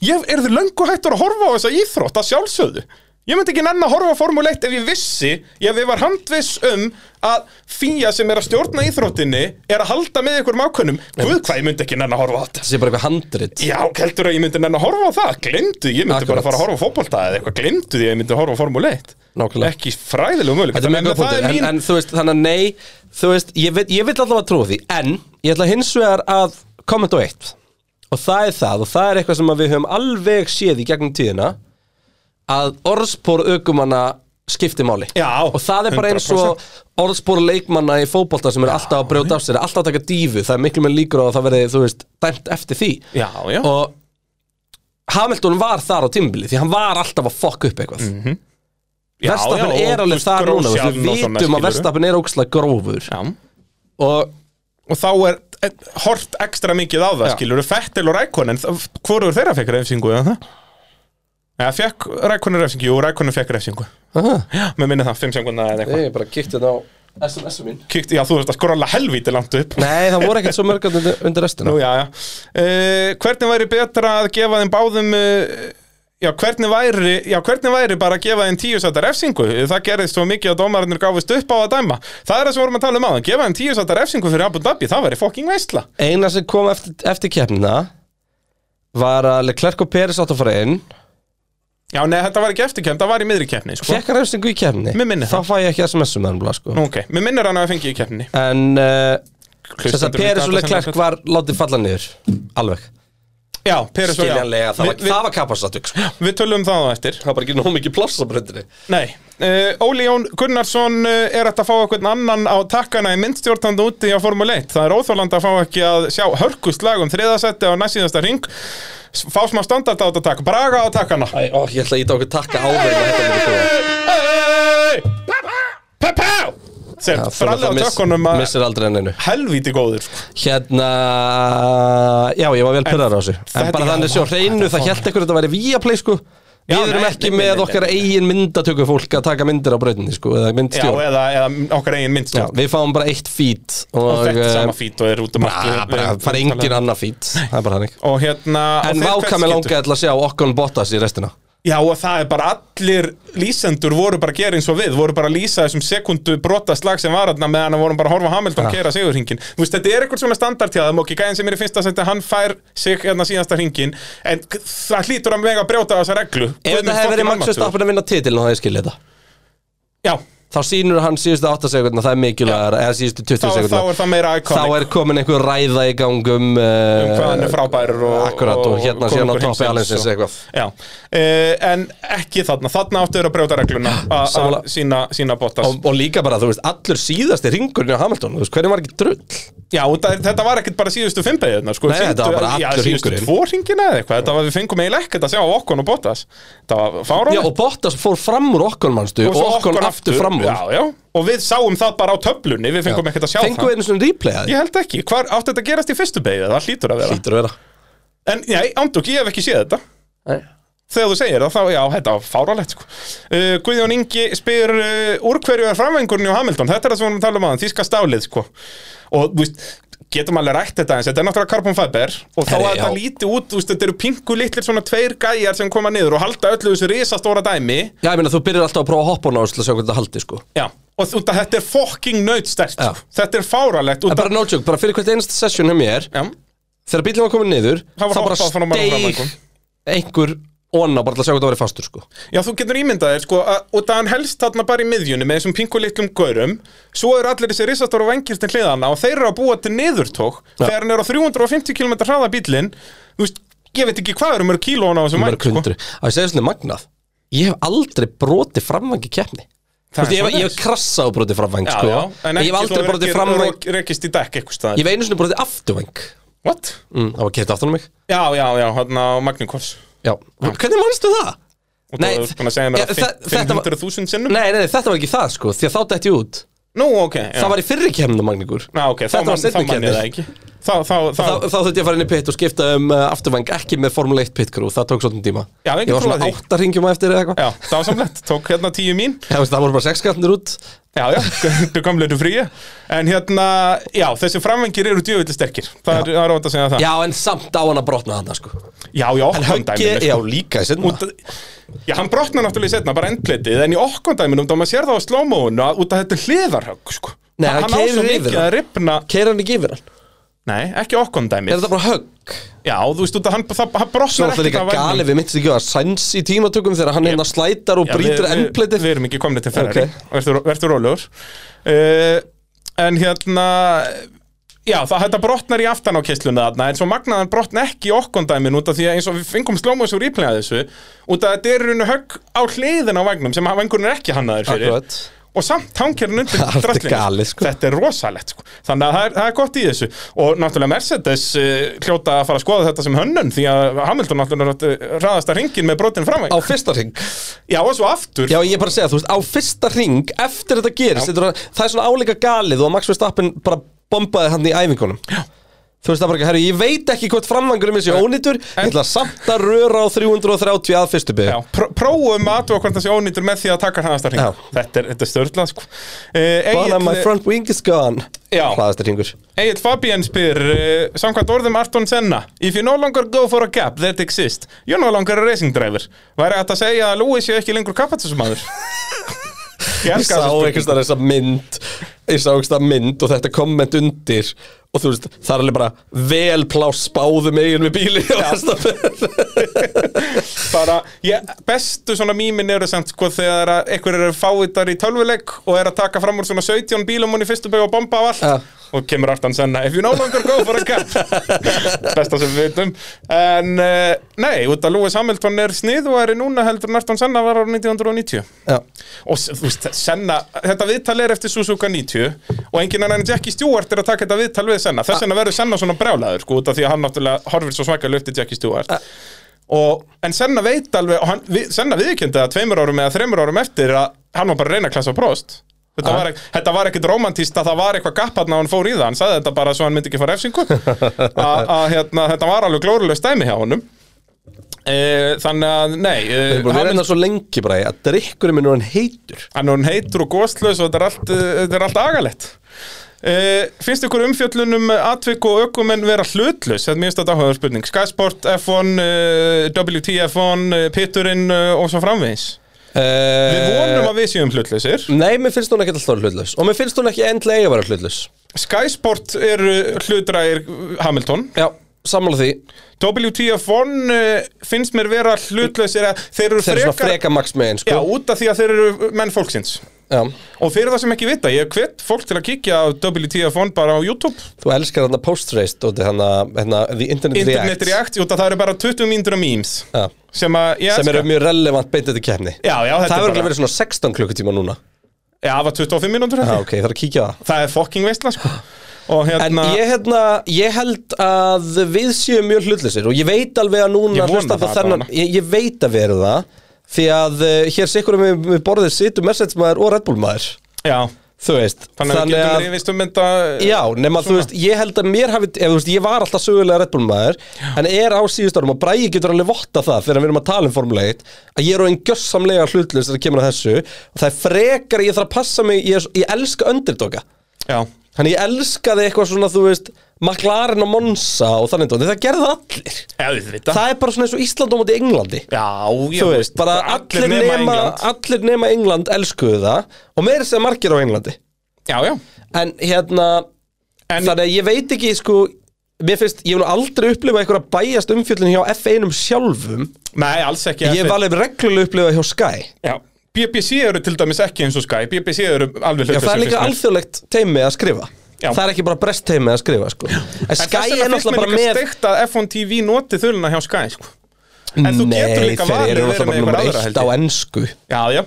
Speaker 1: ég er þið löngu hættur að horfa á þessa íþrótt að sjálfsögðu. Ég myndi ekki nenn að horfa á Formule 1 ef ég vissi, ef ég var handviss um að fíja sem er að stjórna íþróttinni er að halda með einhverjum ákvönum. Guð hvað ég myndi ekki nenn að horfa á þetta.
Speaker 2: það sé bara eitthvað handrit
Speaker 1: Já, heldur að ég myndi nenn að horfa á það? Glimtu, ég myndi bara
Speaker 2: Akkurat.
Speaker 1: að fara að horfa á fótbolta eða eitthvað. Glimtu því að ég myndi að horfa á Formule 1
Speaker 2: nákvæmlega
Speaker 1: ekki fræðilegu möguleika
Speaker 2: Þetta er mjög
Speaker 1: Þannig
Speaker 2: góð
Speaker 1: að það
Speaker 2: punktur,
Speaker 1: er
Speaker 2: en,
Speaker 1: mín-
Speaker 2: en þú veist, þannig að nei, þú veist, ég, vil- ég vil allavega trúa því, en ég ætla hins vegar að kommenta á eitt og það er það, og það er eitthvað sem að við höfum alveg séð í gegnum tíðina að orðspor aukumanna skiptir máli
Speaker 1: Já,
Speaker 2: og það er bara eins og orðspor leikmanna í fótbolta sem eru alltaf að brjóta af sér, alltaf að taka dífu, það er miklu með líkur á að það verði, þú veist, dæmt eftir því
Speaker 1: Já, já,
Speaker 2: og Hamilton var þar á tímbili því hann var alltaf að fokk upp eitthvað
Speaker 1: já,
Speaker 2: Verstappen
Speaker 1: já,
Speaker 2: er
Speaker 1: og
Speaker 2: alveg
Speaker 1: þú
Speaker 2: þar núna
Speaker 1: grósjan
Speaker 2: veist,
Speaker 1: og svona,
Speaker 2: Við vitum að
Speaker 1: skilurðu.
Speaker 2: Verstappen er ókslega grófur
Speaker 1: Já.
Speaker 2: Og
Speaker 1: og þá er et, hort ekstra mikið á það
Speaker 2: Já.
Speaker 1: skilur, Fettil og Rækonen hvorur þeirra fekk refsingu eða það? Já, fekk Rækonen refsingu, jú, Rækonen fekk refsingu
Speaker 2: Aha.
Speaker 1: Já, með minni það, 5 sekundna eða eitthvað
Speaker 2: Ég er bara kikt þetta á SMS-u mín
Speaker 1: Kíkt, já, þú veist að skrolla helvíti langt upp
Speaker 2: Nei, það voru ekkert svo mörg þarna undir, undir restina
Speaker 1: Nú, já, já. Uh, hvernig væri betra að gefa þeim báðum uh, já, hvernig væri, já, hvernig væri bara að gefa þeim tíu sættar refsingu það gerðist svo mikið að dómarinnur gáfist upp á að dæma það er það sem vorum að tala um aðan gefa þeim tíu sættar refsingu fyrir Abu Dhabi, það væri fokking veistla
Speaker 2: Eina sem kom eftir, eftir keppnina Var að Leclerc og Peris átt að fara inn
Speaker 1: já, nei, þetta var ekki eftirkemd, það var í miðri keppni sko.
Speaker 2: Fekk hann refsingu í keppni
Speaker 1: Mér minnir
Speaker 2: Þá fæ ég ekki SMS-u með hann blá sko
Speaker 1: Nú, ok, mér minnir hann að fengi í keppninni
Speaker 2: En uh, þess að
Speaker 1: Hlustendur
Speaker 2: Peris
Speaker 1: vita
Speaker 2: og
Speaker 1: þetta
Speaker 2: Leclerc
Speaker 1: sennilega.
Speaker 2: var látið falla niður Alveg
Speaker 1: já, Peres og já
Speaker 2: Skiljanlega, það var,
Speaker 1: Við- við-
Speaker 2: það var kapasatug sko.
Speaker 1: Við tölum það á eftir
Speaker 2: Það var bara ekki nóg mikið pláss á breyndinni
Speaker 1: Nei, uh, Óli Jón Gunnarsson uh, er hægt að fá eitthvað annan á takkana í myndstjórnandi úti á Formule 1 Það er óþólandi að fá ekki að sjá hörkust lag um þriðasetti á næstsíðasta ring S- Fá smá standart á þetta takk, braga á takkana
Speaker 2: Æ, ó, ég ætla að íta okkur takka áverðum að þetta myndi koma
Speaker 1: Pepá Sem
Speaker 2: Já,
Speaker 1: fralli á
Speaker 2: það miss-
Speaker 1: tökkunum að
Speaker 2: Missir aldrei enn einu
Speaker 1: helvíti góður sko.
Speaker 2: Hérna, já ég var vel pyrrar á þessu En
Speaker 1: þetta-
Speaker 2: bara
Speaker 1: já,
Speaker 2: þannig séu
Speaker 1: vá,
Speaker 2: hreinu, það held ekkur þetta væri Viaplay sko
Speaker 1: Já,
Speaker 2: Við erum
Speaker 1: nei, nei,
Speaker 2: ekki
Speaker 1: nei,
Speaker 2: með
Speaker 1: nei,
Speaker 2: okkar
Speaker 1: nei.
Speaker 2: eigin myndatöku fólk að taka myndir á brautinni sko Eða
Speaker 1: Já,
Speaker 2: myndstjórn
Speaker 1: eða, eða okkar eigin
Speaker 2: Já,
Speaker 1: myndstjórn
Speaker 2: Við fáum bara eitt feed Og,
Speaker 1: Og þetta
Speaker 2: eh,
Speaker 1: sama fít og er út um allt
Speaker 2: bara-
Speaker 1: við-
Speaker 2: bara-
Speaker 1: við-
Speaker 2: Það er
Speaker 1: við-
Speaker 2: engin annað feed Það er bara hannig
Speaker 1: um- Og hérna og
Speaker 2: En
Speaker 1: þeir hvert
Speaker 2: váka með
Speaker 1: skipti.
Speaker 2: langaði til að sjá Okkon Bottas í restina
Speaker 1: Já og það er bara allir lýsendur voru bara að gera eins og við voru bara að lýsa þessum sekundu brota slag sem var þarna meðan að vorum bara að horfa á Hamilton
Speaker 2: Ja.
Speaker 1: ja. keira sigurhingin Þú veist þetta er eitthvað svona standart hjá þeim og ekki gæðin sem er í fyrsta seti hann fær sig hérna síðasta hringin en k- það hlýtur að mega að brjóta þessa reglu
Speaker 2: Ef þetta hefði verið Max Verstappen að vinna titilin þá hefði skilja þetta
Speaker 1: Já,
Speaker 2: Þá sýnur hann síðustu 8 sekundna, það er mikilvægara Eða síðustu 20
Speaker 1: þá, þá
Speaker 2: sekundna
Speaker 1: er það meira
Speaker 2: þá
Speaker 1: iconic
Speaker 2: er komin einhver ræða í gangum uh,
Speaker 1: Um hvað hann er frábærir og,
Speaker 2: akkurat, og hérna sé hann á
Speaker 1: konungur
Speaker 2: toppi
Speaker 1: heimsins
Speaker 2: alheimsins
Speaker 1: og-
Speaker 2: eitthvað.
Speaker 1: Já, eh, en ekki þarna, þarna áttu þeir að brjóta regluna að- að
Speaker 2: Sammála.
Speaker 1: sína, sína botas
Speaker 2: og, og líka bara, þú veist, allur síðasti ringurinn á Hamilton, þú veist, hvernig var ekki drull
Speaker 1: Já, og það, þetta var ekkert bara síðustu fimmbeginna sko.
Speaker 2: Nei, þetta var bara
Speaker 1: já,
Speaker 2: allur
Speaker 1: síðustu
Speaker 2: hringurinn.
Speaker 1: tvo hringina eða eitthvað Þetta var við fengum eiginlega ekkert að sjá okkon og Bottas Það var fáránlegt
Speaker 2: já, og Bottas fór fram úr okkon, mannstu og,
Speaker 1: svo
Speaker 2: okkon aftur fram úr
Speaker 1: Já, já, og við sáum það bara á töflunni Við fengum ekkert að sjá
Speaker 2: fengum við einu svona replay að
Speaker 1: það
Speaker 2: því
Speaker 1: Ég held ekki, hvar átti þetta að gerast í fyrstu beigð Það hlýtur að vera
Speaker 2: hlýtur að vera
Speaker 1: En, nei, ánduk, ég hef ekki séð þetta
Speaker 2: Nei.
Speaker 1: þegar þú segir það, þá, já, þetta var fáralegt sko. uh, Guðjón Ingi spyr uh, úr hverju er framvengurinn hjá Hamilton þetta er það sem við erum að tala um aðan, þíska stálið sko. og þú veist, getum alveg rætt þetta eins þetta er náttúrulega carbon fiber og þá
Speaker 2: Herri,
Speaker 1: að þetta
Speaker 2: já.
Speaker 1: líti út, þú veist, þetta eru pinku litlir svona tveir gæjar sem koma niður og halda öllu þessu risastóra dæmi
Speaker 2: Já, ég meina, þú byrjar alltaf að prófa að hoppa á náðu til að sjá hvernig þetta haldi, sko.
Speaker 1: já. og þú- út af þetta er fucking nautstert sko.
Speaker 2: Já.
Speaker 1: þetta er fáralegt
Speaker 2: En
Speaker 1: út af,
Speaker 2: bara no joke, bara fyrir hvert einasta session hjá mér,
Speaker 1: já,
Speaker 2: þegar bílinn var komin niður,
Speaker 1: Það var
Speaker 2: þá bara
Speaker 1: hoppað frá manni
Speaker 2: steig
Speaker 1: framvegum.
Speaker 2: einhver onna bara til að sjá hvernig það væri fastur, sko.
Speaker 1: Já, þú getur ímyndað þér, sko, að, og það hann helst þarna bara í miðjunni með þessum pinku litlum gaurum, svo eru allir þessi risastóru vengir til hliðana og þeir eru að búa til niðurtók þegar hann er á 350 km hraða bílinn, þú veist, ég veit ekki hvað eru mörg kílóna á þessum
Speaker 2: Mörg
Speaker 1: væng, sko.
Speaker 2: hundru. Á, ég segi svona magnað, ég hef aldrei brotið framvangi keppni. Þú
Speaker 1: Það
Speaker 2: veist,
Speaker 1: er
Speaker 2: ég hef- ég
Speaker 1: svoleiðis.
Speaker 2: hef krassað og brotið framvang, sko.
Speaker 1: en
Speaker 2: ég hef
Speaker 1: ekki
Speaker 2: aldrei
Speaker 1: þú
Speaker 2: brotið
Speaker 1: rekir-
Speaker 2: framvang,
Speaker 1: rek- rekist í dekk eitthvað staðar.
Speaker 2: ég hef einu sinni brotið afturvang.
Speaker 1: What?
Speaker 2: Mm, það var kert aftan á mig.
Speaker 1: Já, já, já, hann á Magnikovs.
Speaker 2: Já. Hvernig mannstu það?
Speaker 1: Og þú
Speaker 2: Nei,
Speaker 1: hefur búin að segja mér
Speaker 2: ja,
Speaker 1: að
Speaker 2: þa- þetta var-
Speaker 1: 500.000 sinnum.
Speaker 2: Nei, nei, nei, þetta var ekki það, sko, því að þá dætti ég út.
Speaker 1: Nú, ok, já.
Speaker 2: Það var í fyrri kemna, Magníkur.
Speaker 1: Já, ok, þá
Speaker 2: Þetta var
Speaker 1: man- þá
Speaker 2: seinni
Speaker 1: man ég
Speaker 2: keppnin.
Speaker 1: það ekki. Þá, þá, þá,
Speaker 2: þá, þá þurfti ég að fara inn í pit og skipta um uh, afturvæng ekki með Formule 1 pit crew, það tók svolítið tíma
Speaker 1: Já, engin
Speaker 2: Ég var
Speaker 1: trúa
Speaker 2: svona
Speaker 1: því.
Speaker 2: átta ringjum á eftir eða eitthvað
Speaker 1: já, dásamlegt, tók hérna tíu mín.
Speaker 2: Já, veist, það voru bara sex skattnir út
Speaker 1: Já, já, þau komlu þetta fríi En hérna, já, þessi framvengir eru djöfulli sterkir Það er- það er ótt að segja það
Speaker 2: Já, en samt á hann að brotna hann sko.
Speaker 1: já, já okkondæminu
Speaker 2: já, líka í sinna
Speaker 1: Já, hann brotnar náttúrulega setna, bara endplitið En í okkondæminu, þá maður sér það á slómóun Út af þetta er hliðarhögg, sko
Speaker 2: Nei,
Speaker 1: Hann, hann
Speaker 2: hann
Speaker 1: á svo
Speaker 2: keyrir yfir
Speaker 1: mikið
Speaker 2: það.
Speaker 1: að ripna
Speaker 2: Keir hann ekki yfir hann?
Speaker 1: Nei, ekki
Speaker 2: Er
Speaker 1: okkondæmið
Speaker 2: þetta bara högg?
Speaker 1: Já, þú veist, út af hann, það, hann
Speaker 2: Svo
Speaker 1: brotnar
Speaker 2: er það líka
Speaker 1: ekkert af
Speaker 2: gali,
Speaker 1: vængnum.
Speaker 2: við mittist ekki á að sæns í tímatökum þegar hann hérna slætar og
Speaker 1: Já, við-
Speaker 2: brýtur
Speaker 1: við-
Speaker 2: endplitið
Speaker 1: Við erum ekki komni til Ferrari,
Speaker 2: Ok.
Speaker 1: verður, verður rólegur uh, En hérna Já, það þetta brotnar í aftan á keislunni þarna En svo magnaðan brotna ekki í okkondæmin Út af því að eins og við fengum slómaðs úr íplega þessu Út af að þetta er runu högg á hliðin á vagnum Sem vangurinn er ekki hannaður fyrir
Speaker 2: Akkurat
Speaker 1: og samt hangkerinn undir
Speaker 2: Það er
Speaker 1: draslinu.
Speaker 2: galið, sko.
Speaker 1: þetta er rosalegt sko. þannig að það er, það er gott í þessu og náttúrulega Mercedes uh, hljóta að fara að skoða þetta sem hönnun því að Hamilton náttúrulega ræðast að ringin með brotin framvæg
Speaker 2: Á fyrsta ring
Speaker 1: já og svo aftur
Speaker 2: Já, ég er bara að segja, þú veist, á fyrsta ring eftir þetta gerist, þetta er, það er svona álíka galið og Max Verstappen bara bombaði hann í æfingunum Já. Þú veist það bara ekki, herru, ég veit ekki hvort framvangurum er sér ónýtur, ég ætla samt að röra á 330 að fyrstu bygg
Speaker 1: Já, pr prófum að athuga hvort það sé ónýtur með því að taka hraðasta
Speaker 2: Já.
Speaker 1: hring þetta er, þetta er störla sko. uh,
Speaker 2: Bara my
Speaker 1: Egil,
Speaker 2: front wing is gone
Speaker 1: Já.
Speaker 2: Hlaðast er ringur
Speaker 1: Egil Fabian spyr uh, samkvæmt orðum Arton Senna If you no longer go for a gap that exists you're no longer a racing driver væri hægt að segja að Lewis sé ekki lengur kapatismadur ég
Speaker 2: Ég
Speaker 1: elska
Speaker 2: sá
Speaker 1: þessa spurningu.
Speaker 2: einhvers þar þessa mynd Ég sá einhvers þar mynd og þetta komment undir Og þú veist, það er alveg bara vel pláss báðum eigin við bíli Já,
Speaker 1: bara, ég, bestu svona mýmin eru samt sko þegar að einhver eru fávitar í tölvuleik og er að taka fram úr svona 17 bílum hún í fyrstu bæg og bomba á allt
Speaker 2: Ja.
Speaker 1: og kemur aftan senna if you no longer go for a gap besta sem við veitum en uh, nei, út að Lewis Hamilton er snið og er í núna heldur en aftan senna var á 1990
Speaker 2: Já.
Speaker 1: og s- þú veist, Senna, þetta viðtal er eftir Suzuka 90 og enginn annan en Jackie Stewart er að taka þetta viðtal við Senna þess vegna verður Senna svona brjálaður sko, út af því að hann náttúrulega horfir svo svakalega upp til Jackie Stewart og, en Senna veit alveg og hann, við, Senna viðkjöndi að tveimur árum eða þreimur árum eftir að hann var bara að reyna að klassa prost Þetta
Speaker 2: Ah.
Speaker 1: var, ek- þetta var ekkit romantíst að það var eitthvað gapparn að hann fór í það, hann sagði þetta bara svo hann myndi ekki fara efsingu að hérna, þetta var alveg glórulega stæmi hjá honum e, þannig að, nei eh,
Speaker 2: Við erum búin að vera hérna svo lengi bara að drikkurinn minn er hann heitur
Speaker 1: Hann er hún heitur og góðslaus og þetta er allt, eh, þetta er allt agalett. Uh, finnst ykkur umfjöllunum atvik og ökumenn vera hlutlaus? Þetta er mjög státt áhugaður spurning. Sky Sport, F1, uh, WTF1, uh, Pitturinn uh, og svo framvegis. Við
Speaker 2: E-
Speaker 1: vonum að við séum hlutlausir.
Speaker 2: Eh, Nei, mér finnst hún ekki alltaf hlutlaus Og mér finnst hún ekki endlega eiga að vera hlutlaus
Speaker 1: Sky Sport er hlutræðir Hamilton.
Speaker 2: Já, sammála því
Speaker 1: WTF1 uh, finnst mér vera hlutlausir að þeir eru
Speaker 2: Þeir eru svona
Speaker 1: frekar...
Speaker 2: freka maks með einn,
Speaker 1: Já,
Speaker 2: sko
Speaker 1: út af því að þeir eru menn fólksins.
Speaker 2: Já.
Speaker 1: Og fyrir það sem ekki vita, ég hvet fólk til að kíkja á WTF1 bara á YouTube.
Speaker 2: Þú elskar hann að post-race Dóti, hann að hérna, The Internet,
Speaker 1: Internet
Speaker 2: React
Speaker 1: React, jú, það eru bara 20 mínútur af memes
Speaker 2: Já.
Speaker 1: sem að, ég
Speaker 2: Sem
Speaker 1: elska.
Speaker 2: eru mjög relevant beint þetta kemni
Speaker 1: já, já, þetta
Speaker 2: Það
Speaker 1: er
Speaker 2: verður
Speaker 1: bara,
Speaker 2: verið svona 16 klukkutíma núna
Speaker 1: já, það var 25 mínútur
Speaker 2: Já,
Speaker 1: held ég.
Speaker 2: ok, það er að kíkja á það
Speaker 1: það er fucking veistla, sko og
Speaker 2: En
Speaker 1: hérna,
Speaker 2: ég, hérna, ég held að við séum mjög hlutlausir og ég veit alveg að núna
Speaker 1: Ég vona
Speaker 2: hlustandi á
Speaker 1: það
Speaker 2: þennan,
Speaker 1: bara.
Speaker 2: ég, ég veit að við eh, erum það því að uh, hér sikkurum við, við borðið situm Mercedes maður og Red Bull maður
Speaker 1: já
Speaker 2: þú veist
Speaker 1: Þannig að við getum reyfist um þetta
Speaker 2: Já, nema að þú veist, ég held að mér hafi ef, þú veist, ég var alltaf sögulega Red Bull maður en er á síðust árum og Bræði getur alveg votta það þegar við erum að tala um Formule 1 að ég er á einn gjössamlega hlutlust þegar kemur að þessu og það er frekar að ég þarf að passa mig ég, er, ég elska undirdoka
Speaker 1: Já,
Speaker 2: þannig ég elskaði eitthvað svona, þú veist McLaren og Monza og þannig dót, en það gerði það allir
Speaker 1: auðvitað
Speaker 2: það er bara svona eins og Ísland á móti Englandi
Speaker 1: Já, já
Speaker 2: þú veist, bara allir, nema,
Speaker 1: England.
Speaker 2: allir nema England elskuðu það og meira sem margir á Englandi
Speaker 1: Já, já
Speaker 2: en hérna
Speaker 1: En-
Speaker 2: þannig að ég veit ekki sko mér finnst, ég hef nú aldrei upplifað einhverja bæjast umfjöllin hjá F1-um sjálfum
Speaker 1: Nei, alls ekki
Speaker 2: ég hef alveg reglulega upplifað hjá Sky
Speaker 1: Já, BBC eru til dæmis ekki eins og Sky BBC eru alveg
Speaker 2: Já,
Speaker 1: hlutlösa
Speaker 2: það er líka alþjóðlegt teimi að skrifa
Speaker 1: Já.
Speaker 2: það er ekki bara brest teimi að skrifa sko. en Sky er náttúrulega bara með
Speaker 1: steikt að F1 TV noti þuluna hjá Sky sko. En þú getur
Speaker 2: nei,
Speaker 1: líka
Speaker 2: þeir
Speaker 1: valið verið
Speaker 2: eru
Speaker 1: með
Speaker 2: náttúrulega
Speaker 1: einhver
Speaker 2: bara
Speaker 1: aðra,
Speaker 2: nummer
Speaker 1: held
Speaker 2: eitt á
Speaker 1: ég.
Speaker 2: ennsku
Speaker 1: Já, já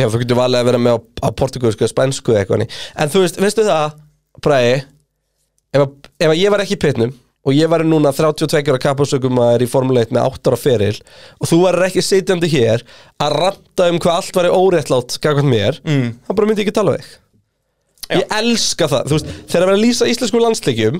Speaker 2: Já, þú getur valið að vera með á, á portugalsku eða spænsku eða eitthvað ný. En þú veist, veistu það, Bræði ef, að- ef að ég var ekki í pitnum og ég var núna 32 ára kapasökum að er í Formule 1 með 8 ára feril og þú varir ekki sitjandi hér að ranta um hvað allt væri óréttlátt kakvæmt mér, mm. það bara myndi ég ekki tala við þig
Speaker 1: Já.
Speaker 2: Ég elska það, þú veist, þegar að vera að lýsa íslensku landsleikjum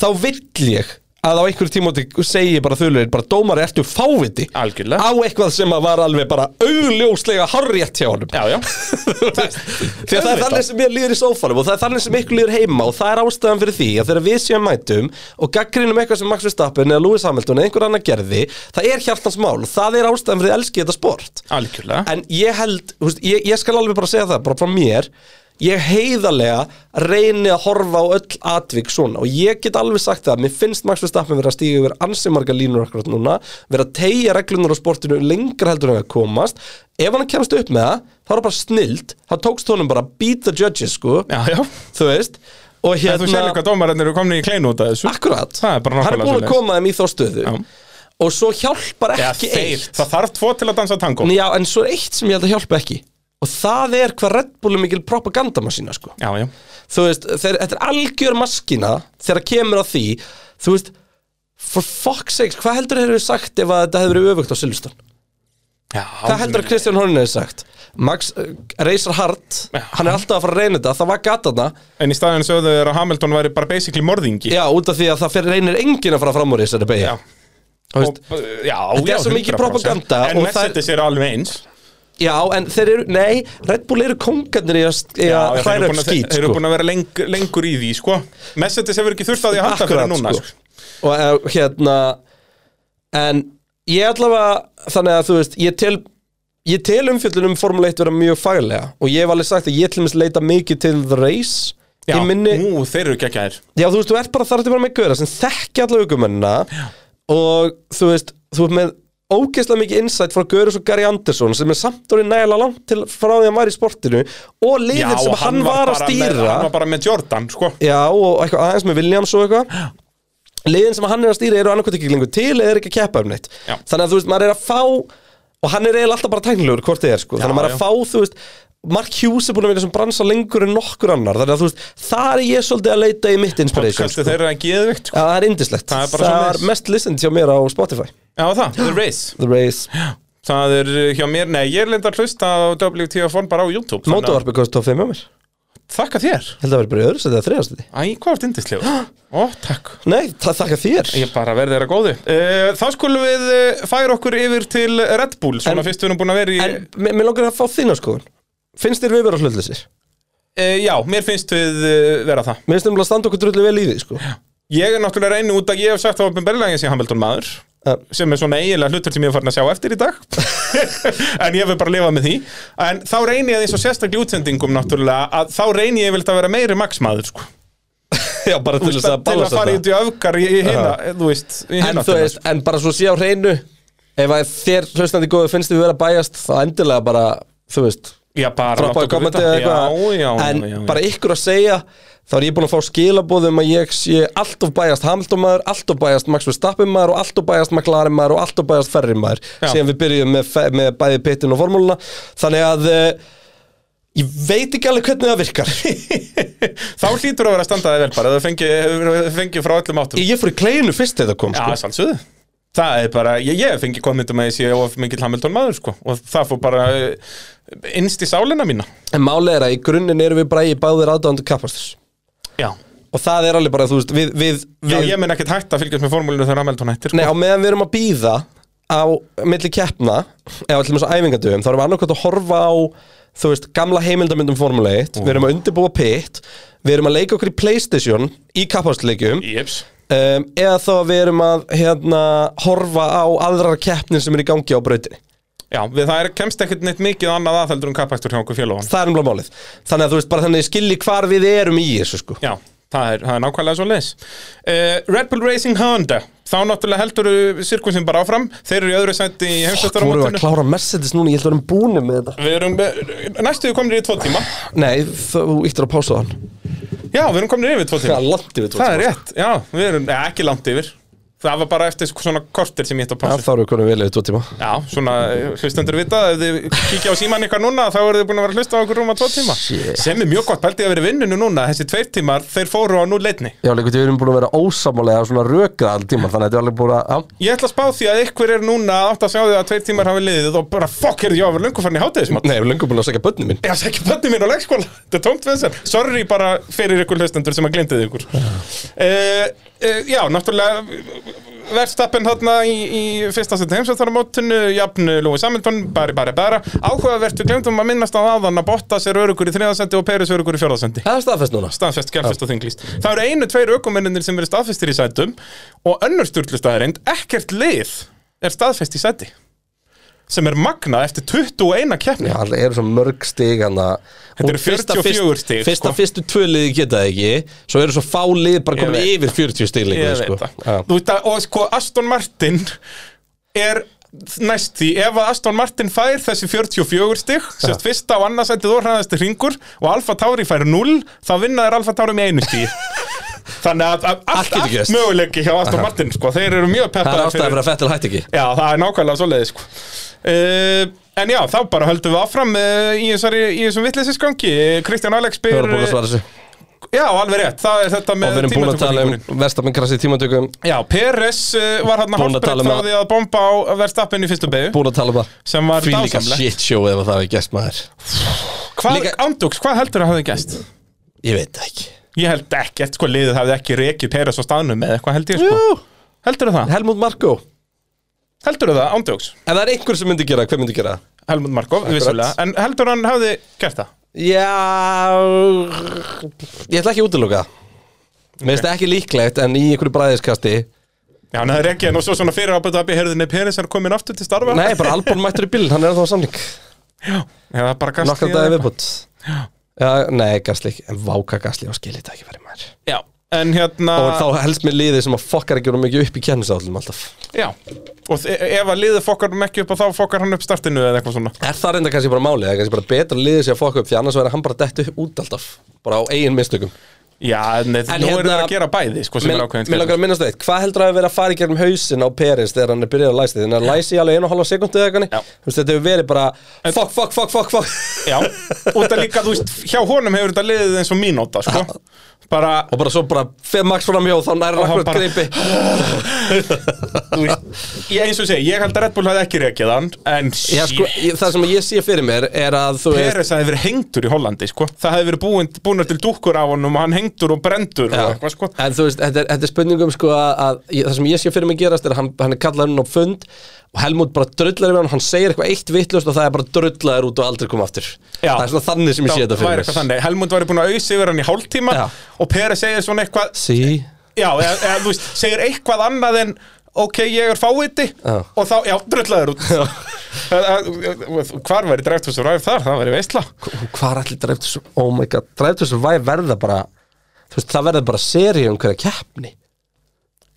Speaker 2: þá vill ég að á einhverju tímóti segi bara þulurinn bara dómari ertu fáviti
Speaker 1: Algjörlega.
Speaker 2: á eitthvað sem að var alveg bara augljóslega harrétt hjá honum
Speaker 1: Já, já
Speaker 2: Því að það er
Speaker 1: Auðvitað.
Speaker 2: þannig sem mér líður í sófanum og það er þannig sem ykkur líður heima og það er ástæðan fyrir því að þegar við séum mætum og gaggrinum eitthvað sem Max Verstappen eða Lewis Hamilton eða einhver annar gerði það er hjartans mál og það er ástæðan fyrir að elski þetta sport
Speaker 1: Algjörlega
Speaker 2: En ég held, þú veist, ég, ég skal alveg bara segja það bara frá mér ég heiðarlega reyni að horfa á öll atvik svona og ég get alveg sagt það að mér finnst Max Verstappen vera að stíga yfir ansi margar línur akkurat núna vera að tegja reglunar á sportinu lengra heldur en að komast ef hann kemst upp með það, þá er það bara snilt þá tókst honum bara beat the judges sko,
Speaker 1: Já, já
Speaker 2: þú veist og
Speaker 1: En þú sér
Speaker 2: hérna,
Speaker 1: líka að dómararnir eru komin í kleinu út af þessu
Speaker 2: akkurat
Speaker 1: Það er bara
Speaker 2: hann er
Speaker 1: nákvæmlega
Speaker 2: búin
Speaker 1: svoleiðis.
Speaker 2: að koma þeim í þá stöðu
Speaker 1: Já.
Speaker 2: og svo hjálpar
Speaker 1: Já,
Speaker 2: ekki
Speaker 1: þeir Það þarf tvo til að dansa tango
Speaker 2: En Já, en svo er eitt sem ég held að hjálpa ekki Og það er hvað Red Bull er mikil propagandamaskína sko.
Speaker 1: Já, já
Speaker 2: Þú veist, þeir, þetta er algjör maskína Þegar kemur að því Þú veist, for fuck's sake Hvað heldur þeir eru sagt ef að þetta hefur verið öfugt á Silveston? Hvað heldur að Kristján Hornin hefur sagt? Max uh, reysar hart
Speaker 1: Já.
Speaker 2: Hann er alltaf að fara að reyna þetta Það var gatana
Speaker 1: En í staðin sögðu þeir að Hamilton væri bara basically morðingi
Speaker 2: Já, út af því að það fer, reynir enginn að fara fram úr í þessari beigja
Speaker 1: Já Og, já,
Speaker 2: Þetta er
Speaker 1: já,
Speaker 2: svo mikið
Speaker 1: 100%.
Speaker 2: propaganda
Speaker 1: En
Speaker 2: og það er-
Speaker 1: Mercedes eru alveg eins
Speaker 2: Já, en þeir eru, nei, Red Bull eru kongarnir í að, í
Speaker 1: Já,
Speaker 2: að
Speaker 1: já, þeir eru
Speaker 2: hræra upp
Speaker 1: búin að-
Speaker 2: skýt
Speaker 1: Þeir
Speaker 2: sko.
Speaker 1: eru búin að vera leng, lengur í því, sko Mercedes hefur ekki þurft að því að halda fyrir
Speaker 2: Akkurat,
Speaker 1: núna sko.
Speaker 2: sko. Og eh, hérna En ég allavega Þannig að þú veist, ég tel Ég tel umfjöllunum Formule 1 vera mjög faglega Og ég hef alveg sagt að ég til mér leita mikið til The Race
Speaker 1: Já, Mm.
Speaker 2: Í minni
Speaker 1: nú, þeir eru geggjaðir
Speaker 2: Já, þú veist, þú ert bara þar til bara með gauðra sem þekki alla aukumennina og þú veist, þú ert með ógeðslega mikið insight frá Görus og Gary Anderson sem er samt orðið nægilega langt til frá því að maður í sportinu og liðin sem
Speaker 1: og
Speaker 2: hann, var að
Speaker 1: bara
Speaker 2: stýra
Speaker 1: með, Hann var bara með Jordan, sko
Speaker 2: Já, og eitthvað aðeins með Williams og eitthvað Liðin sem hann er að stýra eru annarkvæmt ekki lengur til eða er ekki að keppa um neitt
Speaker 1: Já.
Speaker 2: Þannig að þú veist, maður er að fá og hann er eiginlega alltaf bara tæknilegur hvort þið er sko. Þannig að maður er
Speaker 1: já.
Speaker 2: að fá, þú veist Mark Hughes er búin að vera sem bransa lengur en nokkur annar Þannig að þú veist, þar er ég svolítið að leita í mitt inspiration
Speaker 1: Podcastu
Speaker 2: sko.
Speaker 1: þeirra er geðvikt, sko
Speaker 2: Já, það er indislegt
Speaker 1: Það er bara svoleiðis.
Speaker 2: mest listened hjá mér á Spotify
Speaker 1: Já, það, The Race
Speaker 2: The Race,
Speaker 1: Það er uh, hjá mér, nei, ég er lenda að hlusta á WTF1 bara á YouTube þannig að-
Speaker 2: Motorvarpi kosti top 5 hjá mér Held
Speaker 1: Þakka þér
Speaker 2: að vera bara í öðru setið að þriðast þetta
Speaker 1: Æ, hvað er dindislega? Ó, takk
Speaker 2: Nei, þa- þakka þér
Speaker 1: Ég bara verði þeirra góðu uh, Þá skulum við uh, færa okkur yfir til Red Bull Svona
Speaker 2: En-
Speaker 1: fyrst við erum búin að vera í
Speaker 2: En mér mér langar að fá þína skoðun Finnst þér við vera hlutlýsir?
Speaker 1: uh, Já, mér finnst við uh, vera það
Speaker 2: Mér finnst nefnilega að standa okkur drullu vel í því sko.
Speaker 1: Ég er náttúrulega reyni út að ég hef sagt það opinberlega að ég sé Hamilton maður
Speaker 2: Já.
Speaker 1: sem er svona eiginlega hlutur sem ég er farin að sjá eftir í dag en ég vil bara lifa með því en þá reyni ég eins og sérstaklega í útsendingum náttúrulega að þá reyni ég vilt að vera meiri Max maður sko
Speaker 2: Já, bara til þess
Speaker 1: til
Speaker 2: að
Speaker 1: að
Speaker 2: ballast
Speaker 1: fara í
Speaker 2: þetta
Speaker 1: því öfgar í, í hina, eh, þú veist, í
Speaker 2: En
Speaker 1: hina
Speaker 2: þú veist, en bara svo sé á hreinu Ef að þér hlustandi góðu finnst þið við vera bæjast Þá endilega bara, þú veist
Speaker 1: já, bara
Speaker 2: Droppa
Speaker 1: láta
Speaker 2: og
Speaker 1: okkur
Speaker 2: kommenti
Speaker 1: vita.
Speaker 2: eða eitthvað
Speaker 1: já, já,
Speaker 2: En
Speaker 1: já, já.
Speaker 2: bara ykkur að segja Þá er ég búin að fá skilabóðum að ég sé allt of bæjast Hamilton maður, allt of bæjast Max Verstappen maður og allt of bæjast McLaren maður og allt of bæjast Ferri maður
Speaker 1: Já.
Speaker 2: síðan við byrjum með, fe- með bæði pittin og formúluna Þannig að eh, ég veit ekki alveg hvernig það virkar
Speaker 1: þá hlýtur að vera að standa þig vel bara það fengi, fengi frá öllum áttum
Speaker 2: Ég fór í kleinu fyrst þegar það kom
Speaker 1: já,
Speaker 2: sko.
Speaker 1: sannsöðu það er bara, ég, ég fengi kommentum að ég sé of mingill Hamilton maður sko og það fór bara eh, innst í sálina mína
Speaker 2: En málið er að í grunninn erum við bara í báðir aðdándu kappasturs
Speaker 1: Já,
Speaker 2: Og það er alveg bara, þú veist, við, við,
Speaker 1: Já
Speaker 2: við
Speaker 1: ég mun ekkert hægt að fylgjast með formúlinu þegar Hamilton hættir sko.
Speaker 2: Nei, á meðan við erum að býða á milli keppna eða allir með svo æfingadöfum, þá erum við annarkvæmt að horfa á þú veist, gamla heimildamöndum Formule 1 við erum að undirbúa pitt við erum að leika okkur í Playstation í kapphásleikjum
Speaker 1: Jéps
Speaker 2: um, eða þá við erum að hérna, horfa á aðrar keppnir sem eru í gangi á brautinni
Speaker 1: Já, við, það er, kemst ekkert neitt mikið annað aðheldur um kappakstur hjá okkur félagum
Speaker 2: það er umlað málið þannig að þú veist, bara þannig að ég skilji hvar við erum í þessu sko.
Speaker 1: Já, það er, það er nákvæmlega svo leis Red Bull Racing Honda Þá náttúrulega heldur sirkusinn bara áfram Þeir eru í öðru sætti í
Speaker 2: Þú voru að
Speaker 1: heimsvættaramótinu
Speaker 2: klára Mercedes núna, ég held að við erum búnir með þetta
Speaker 1: Við erum eh, næstu komin í tvo tíma
Speaker 2: Nei, þú íttir að pása þann
Speaker 1: Já, við erum komin yfir tvo tíma
Speaker 2: Það er langt yfir tvo
Speaker 1: Það er
Speaker 2: tíma,
Speaker 1: rétt,
Speaker 2: sko.
Speaker 1: já, við erum ja, ekki langt yfir Það var bara eftir svona kortir sem ég ætti að
Speaker 2: Já,
Speaker 1: passa
Speaker 2: þá erum við konum vel yfir tvo tíma
Speaker 1: Já, svona, eh, hlustendur vita Ef þið kíkja á síman ykkar núna þá eru þið búin að vera að hlusta á okkur rúma tvo tíma
Speaker 2: Shit.
Speaker 1: Sem er mjög gott, pældi ég að vera í vinnunum núna Þessi tveir tímar, þeir fóru á núleitni
Speaker 2: Já, líka við erum búin að vera ósamálega svona rökrað all tíma, þannig að þetta er alveg búin að
Speaker 1: Ég ætla að spá því að ykkur er núna átt að sjá því að tveir tímar hafi liðið og bara fokk er því að vera löngu farin í hátíðismat
Speaker 2: Nei, við erum lengur búin að segja bönni mín
Speaker 1: Ég hans ekki bönni mín á leikskóla, þetta er tómt við þessar Sorry bara fyrir ykkur hlustendur sem að glindið ykkur uh, uh, Já, náttúrulega Verstappen þarna í, í fyrsta setja heimsvættaramótinu Jafn Lúi Samilton, bari bari bara Áhugavert, við glemdum að minnast á aðan að Bottas er örugur í þriðasendi og Peris örugur í fjórðasendi
Speaker 2: Það er staðfest núna
Speaker 1: staðfest, gerfest og þinglýst Það eru einu, tveir ökumenninir sem eru staðfestir í sætum og önnur stjórnlustæðarind ekkert lið er staðfest í sæti sem er magna eftir 21 keppni
Speaker 2: Já, það eru svona mörg stig hann að
Speaker 1: Þetta eru 44 stig, sko.
Speaker 2: Fyrsta, fyrstu tvö liði geta það ekki Svo eru svo fá lið bara komin
Speaker 1: Ég
Speaker 2: yfir 40 stig líka
Speaker 1: Ég
Speaker 2: sko.
Speaker 1: veit það
Speaker 2: Já.
Speaker 1: Þú veit að, og sko, Aston Martin er næst því ef að Aston Martin fær þessi 44 stig sérst fyrsta og annarsætið og hraðasti hringur og Alfa Tauri fær 0 þá vinna þeir Alfa Tauri með einu stíð Þannig að, að
Speaker 2: Allt
Speaker 1: allt,
Speaker 2: getur
Speaker 1: allt
Speaker 2: gerst.
Speaker 1: möguleiki hjá Aston Martin sko. þeir eru mjög
Speaker 2: Það er
Speaker 1: peppaðir
Speaker 2: ástæðan fyrir að Fettil hætti ekki
Speaker 1: Já, það er nákvæmlega svoleiði sko. uh, En já, þá bara höldum við áfram uh, í, þessari, í þessum vitleisisgangi Kristján Alex
Speaker 2: Við
Speaker 1: spyr
Speaker 2: erum eh, búin að svara þessu
Speaker 1: Já, alveg rétt, það er þetta
Speaker 2: Og
Speaker 1: með
Speaker 2: við erum búin að tala um
Speaker 1: tímatökuþvingunina.
Speaker 2: Verstamenn krassi tímatökum
Speaker 1: Já, Peres uh, var hann að
Speaker 2: Búin að
Speaker 1: hálfbreytt
Speaker 2: tala um
Speaker 1: frá
Speaker 2: að-
Speaker 1: því að bomba á Verstappen í fyrstu beigju
Speaker 2: Búin að tala um það
Speaker 1: sem var
Speaker 2: Því líka
Speaker 1: dásamlegt
Speaker 2: shit show ef að það er gæst maður
Speaker 1: Hvað,
Speaker 2: Líka-
Speaker 1: Andúks, hvað heldur að hafði gæst?
Speaker 2: Ég veit það ekki
Speaker 1: Ég held ekki, eftir sko liðið hafði ekki rekið Peres á staðnum eða eitthvað held ég sko
Speaker 2: Jú,
Speaker 1: Heldur það?
Speaker 2: Helmut Marko
Speaker 1: Heldur það, Andúks?
Speaker 2: Ef það er einhver sem myndi gera, hver myndi gera það?
Speaker 1: Helmut Markov, vissulega En heldur hann hafði gert það?
Speaker 2: Já Ég ætla ekki að útiloka okay. Mér finnst það ekki líklegt en í einhverju bræðiskasti
Speaker 1: Já, hann hafði rekið hann og svo svona fyrir ábæta að byrja Nei, Peres er komin aftur til starfa
Speaker 2: Nei, bara Albon mættur í bíl, hann er ennþá á samling
Speaker 1: Já, það er bara gast
Speaker 2: Nokkar dagi viðbútt Já, nei, gasli ekki, en váka gasli á skilið þetta ekki verið maður
Speaker 1: Já, en hérna
Speaker 2: Og þá helst mér liðið sem að fokkar ekki verið mikið upp í kennisállum alltaf
Speaker 1: Já, og þe- ef að liðið fokkar um ekki upp og þá fokkar hann upp startinu eða eitthvað svona
Speaker 2: Er það reynda kannski bara málið, það er kannski bara betra liðið sér að fokka upp Því annars verður hann bara dettu út alltaf, bara á eigin mistökum
Speaker 1: Já, en, en
Speaker 2: En
Speaker 1: nú eru
Speaker 2: hérna-
Speaker 1: þeir að gera bæði, sko, sem
Speaker 2: Mér
Speaker 1: er ákveðin
Speaker 2: mér langar að minnast það eitt, hvað heldur að hafa verið að fara í gegnum hausin á Peris þegar hann er byrjað að læsa því? Þannig að læsa í alveg einu og halva sekundu eða
Speaker 1: Já.
Speaker 2: eitthvað Þú veist, þetta hefur verið bara Fuck, fuck, fuck, fuck, fuck
Speaker 1: Já, út að líka, þú veist, hjá honum hefur þetta liðið eins og mínóta, sko Bara,
Speaker 2: Og bara svo bara fer Max fram hjá og þá næri
Speaker 1: hann
Speaker 2: hann akkurat
Speaker 1: bara- Ah,
Speaker 2: greipi
Speaker 1: þú veist, ég, eins og segi, ég held að Red Bull hafði ekki rekið hann En,
Speaker 2: Já, sko,
Speaker 1: shit,
Speaker 2: ég, það sem ég sé fyrir mér er að þú veist
Speaker 1: Peres hafði verið hengdur í Hollandi, sko Það hafði verið búin, búnar til dúkkur af honum og hann hengdur og brendur og
Speaker 2: Já.
Speaker 1: eitthvað, sko
Speaker 2: En þú veist, þetta er, þetta er spurningum sko að, að ég- það sem ég sé fyrir mig gerast er að hann, hann er kallaður inn á fund og Helmut bara drullar við hann, hann segir eitthvað eitt vittlust og það er bara drullaður út og aldrei koma aftur
Speaker 1: Já.
Speaker 2: Það er svona þannig sem ég sé
Speaker 1: Það
Speaker 2: þetta
Speaker 1: væri
Speaker 2: fyrir
Speaker 1: eitthvað
Speaker 2: mér
Speaker 1: þannig, Helmund væri búin að auðs yfir hann í hálftíma
Speaker 2: Já.
Speaker 1: og Peres segir svona eitthvað
Speaker 2: Sí,
Speaker 1: Já, eða, eða þú veist, segir eitthvað annað en ok, ég er fáviti
Speaker 2: Já.
Speaker 1: og þá, já, drullaður út Það- það- Hvar væri dræft þessu ræf þar? Það væri veistla
Speaker 2: hvað er allir Drive to Survive oh my god, Drive to Survive verða bara þú veist, það verða bara seri um hverja keppni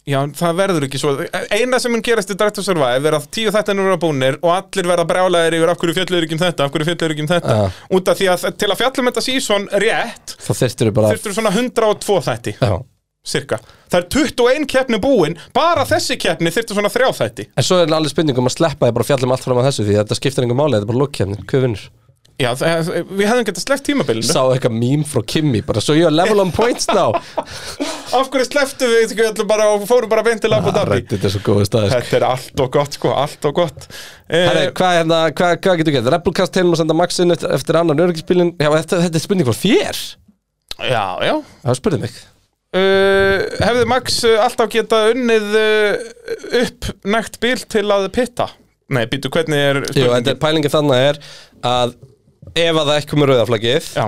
Speaker 1: Já, en það verður ekki svo Eina sem mun gerast í Dræft og Survive er að tíu þættin eru að búnir og allir verða brjálæðir yfir af hverju fjallur ekki um þetta, af hverju fjallur ekki um þetta
Speaker 2: Já.
Speaker 1: út af því að til að fjallum þetta sísón rétt
Speaker 2: þá þyrftir við bara
Speaker 1: þurftur svona 102 þætti,
Speaker 2: Já.
Speaker 1: cirka Það er 21 keppni búin, bara þessi keppni þurftur svona þrjá þætti
Speaker 2: um en svo er allir spurningum að sleppa ég bara fjallum allt fram að þessu því að þetta skiptir engum máli, þetta er bara lokkefni, hvað vinnur?
Speaker 1: Já, það- við hefðum getað sleppt tímabilinu
Speaker 2: Sá eitthvað mím frá Kimi bara So you're level on points now
Speaker 1: Af hverju slepptum við ekki öllu bara og fórum bara beint til Abu
Speaker 2: Ah,
Speaker 1: Dhabi
Speaker 2: Reddit er svo góð staðis
Speaker 1: Þetta er allt og gott sko, allt og gott
Speaker 2: Herri,
Speaker 1: eh,
Speaker 2: hvað, er hérna, hvað, hvað getur gett? Rebelcast til og senda Maxin eftir, eftir annan öryggisbílin Já, þetta, þetta er spurning frá þér
Speaker 1: Já, já
Speaker 2: Það spurði mig
Speaker 1: uh, Hefði Max uh, alltaf getað unnið uh, upp nægt bíl til að pitta? Nei, býtu, hvernig er
Speaker 2: Jú,
Speaker 1: spurningin?
Speaker 2: þetta er pælingi þannig er að ef að það ekki komur rauðaflagið
Speaker 1: Já,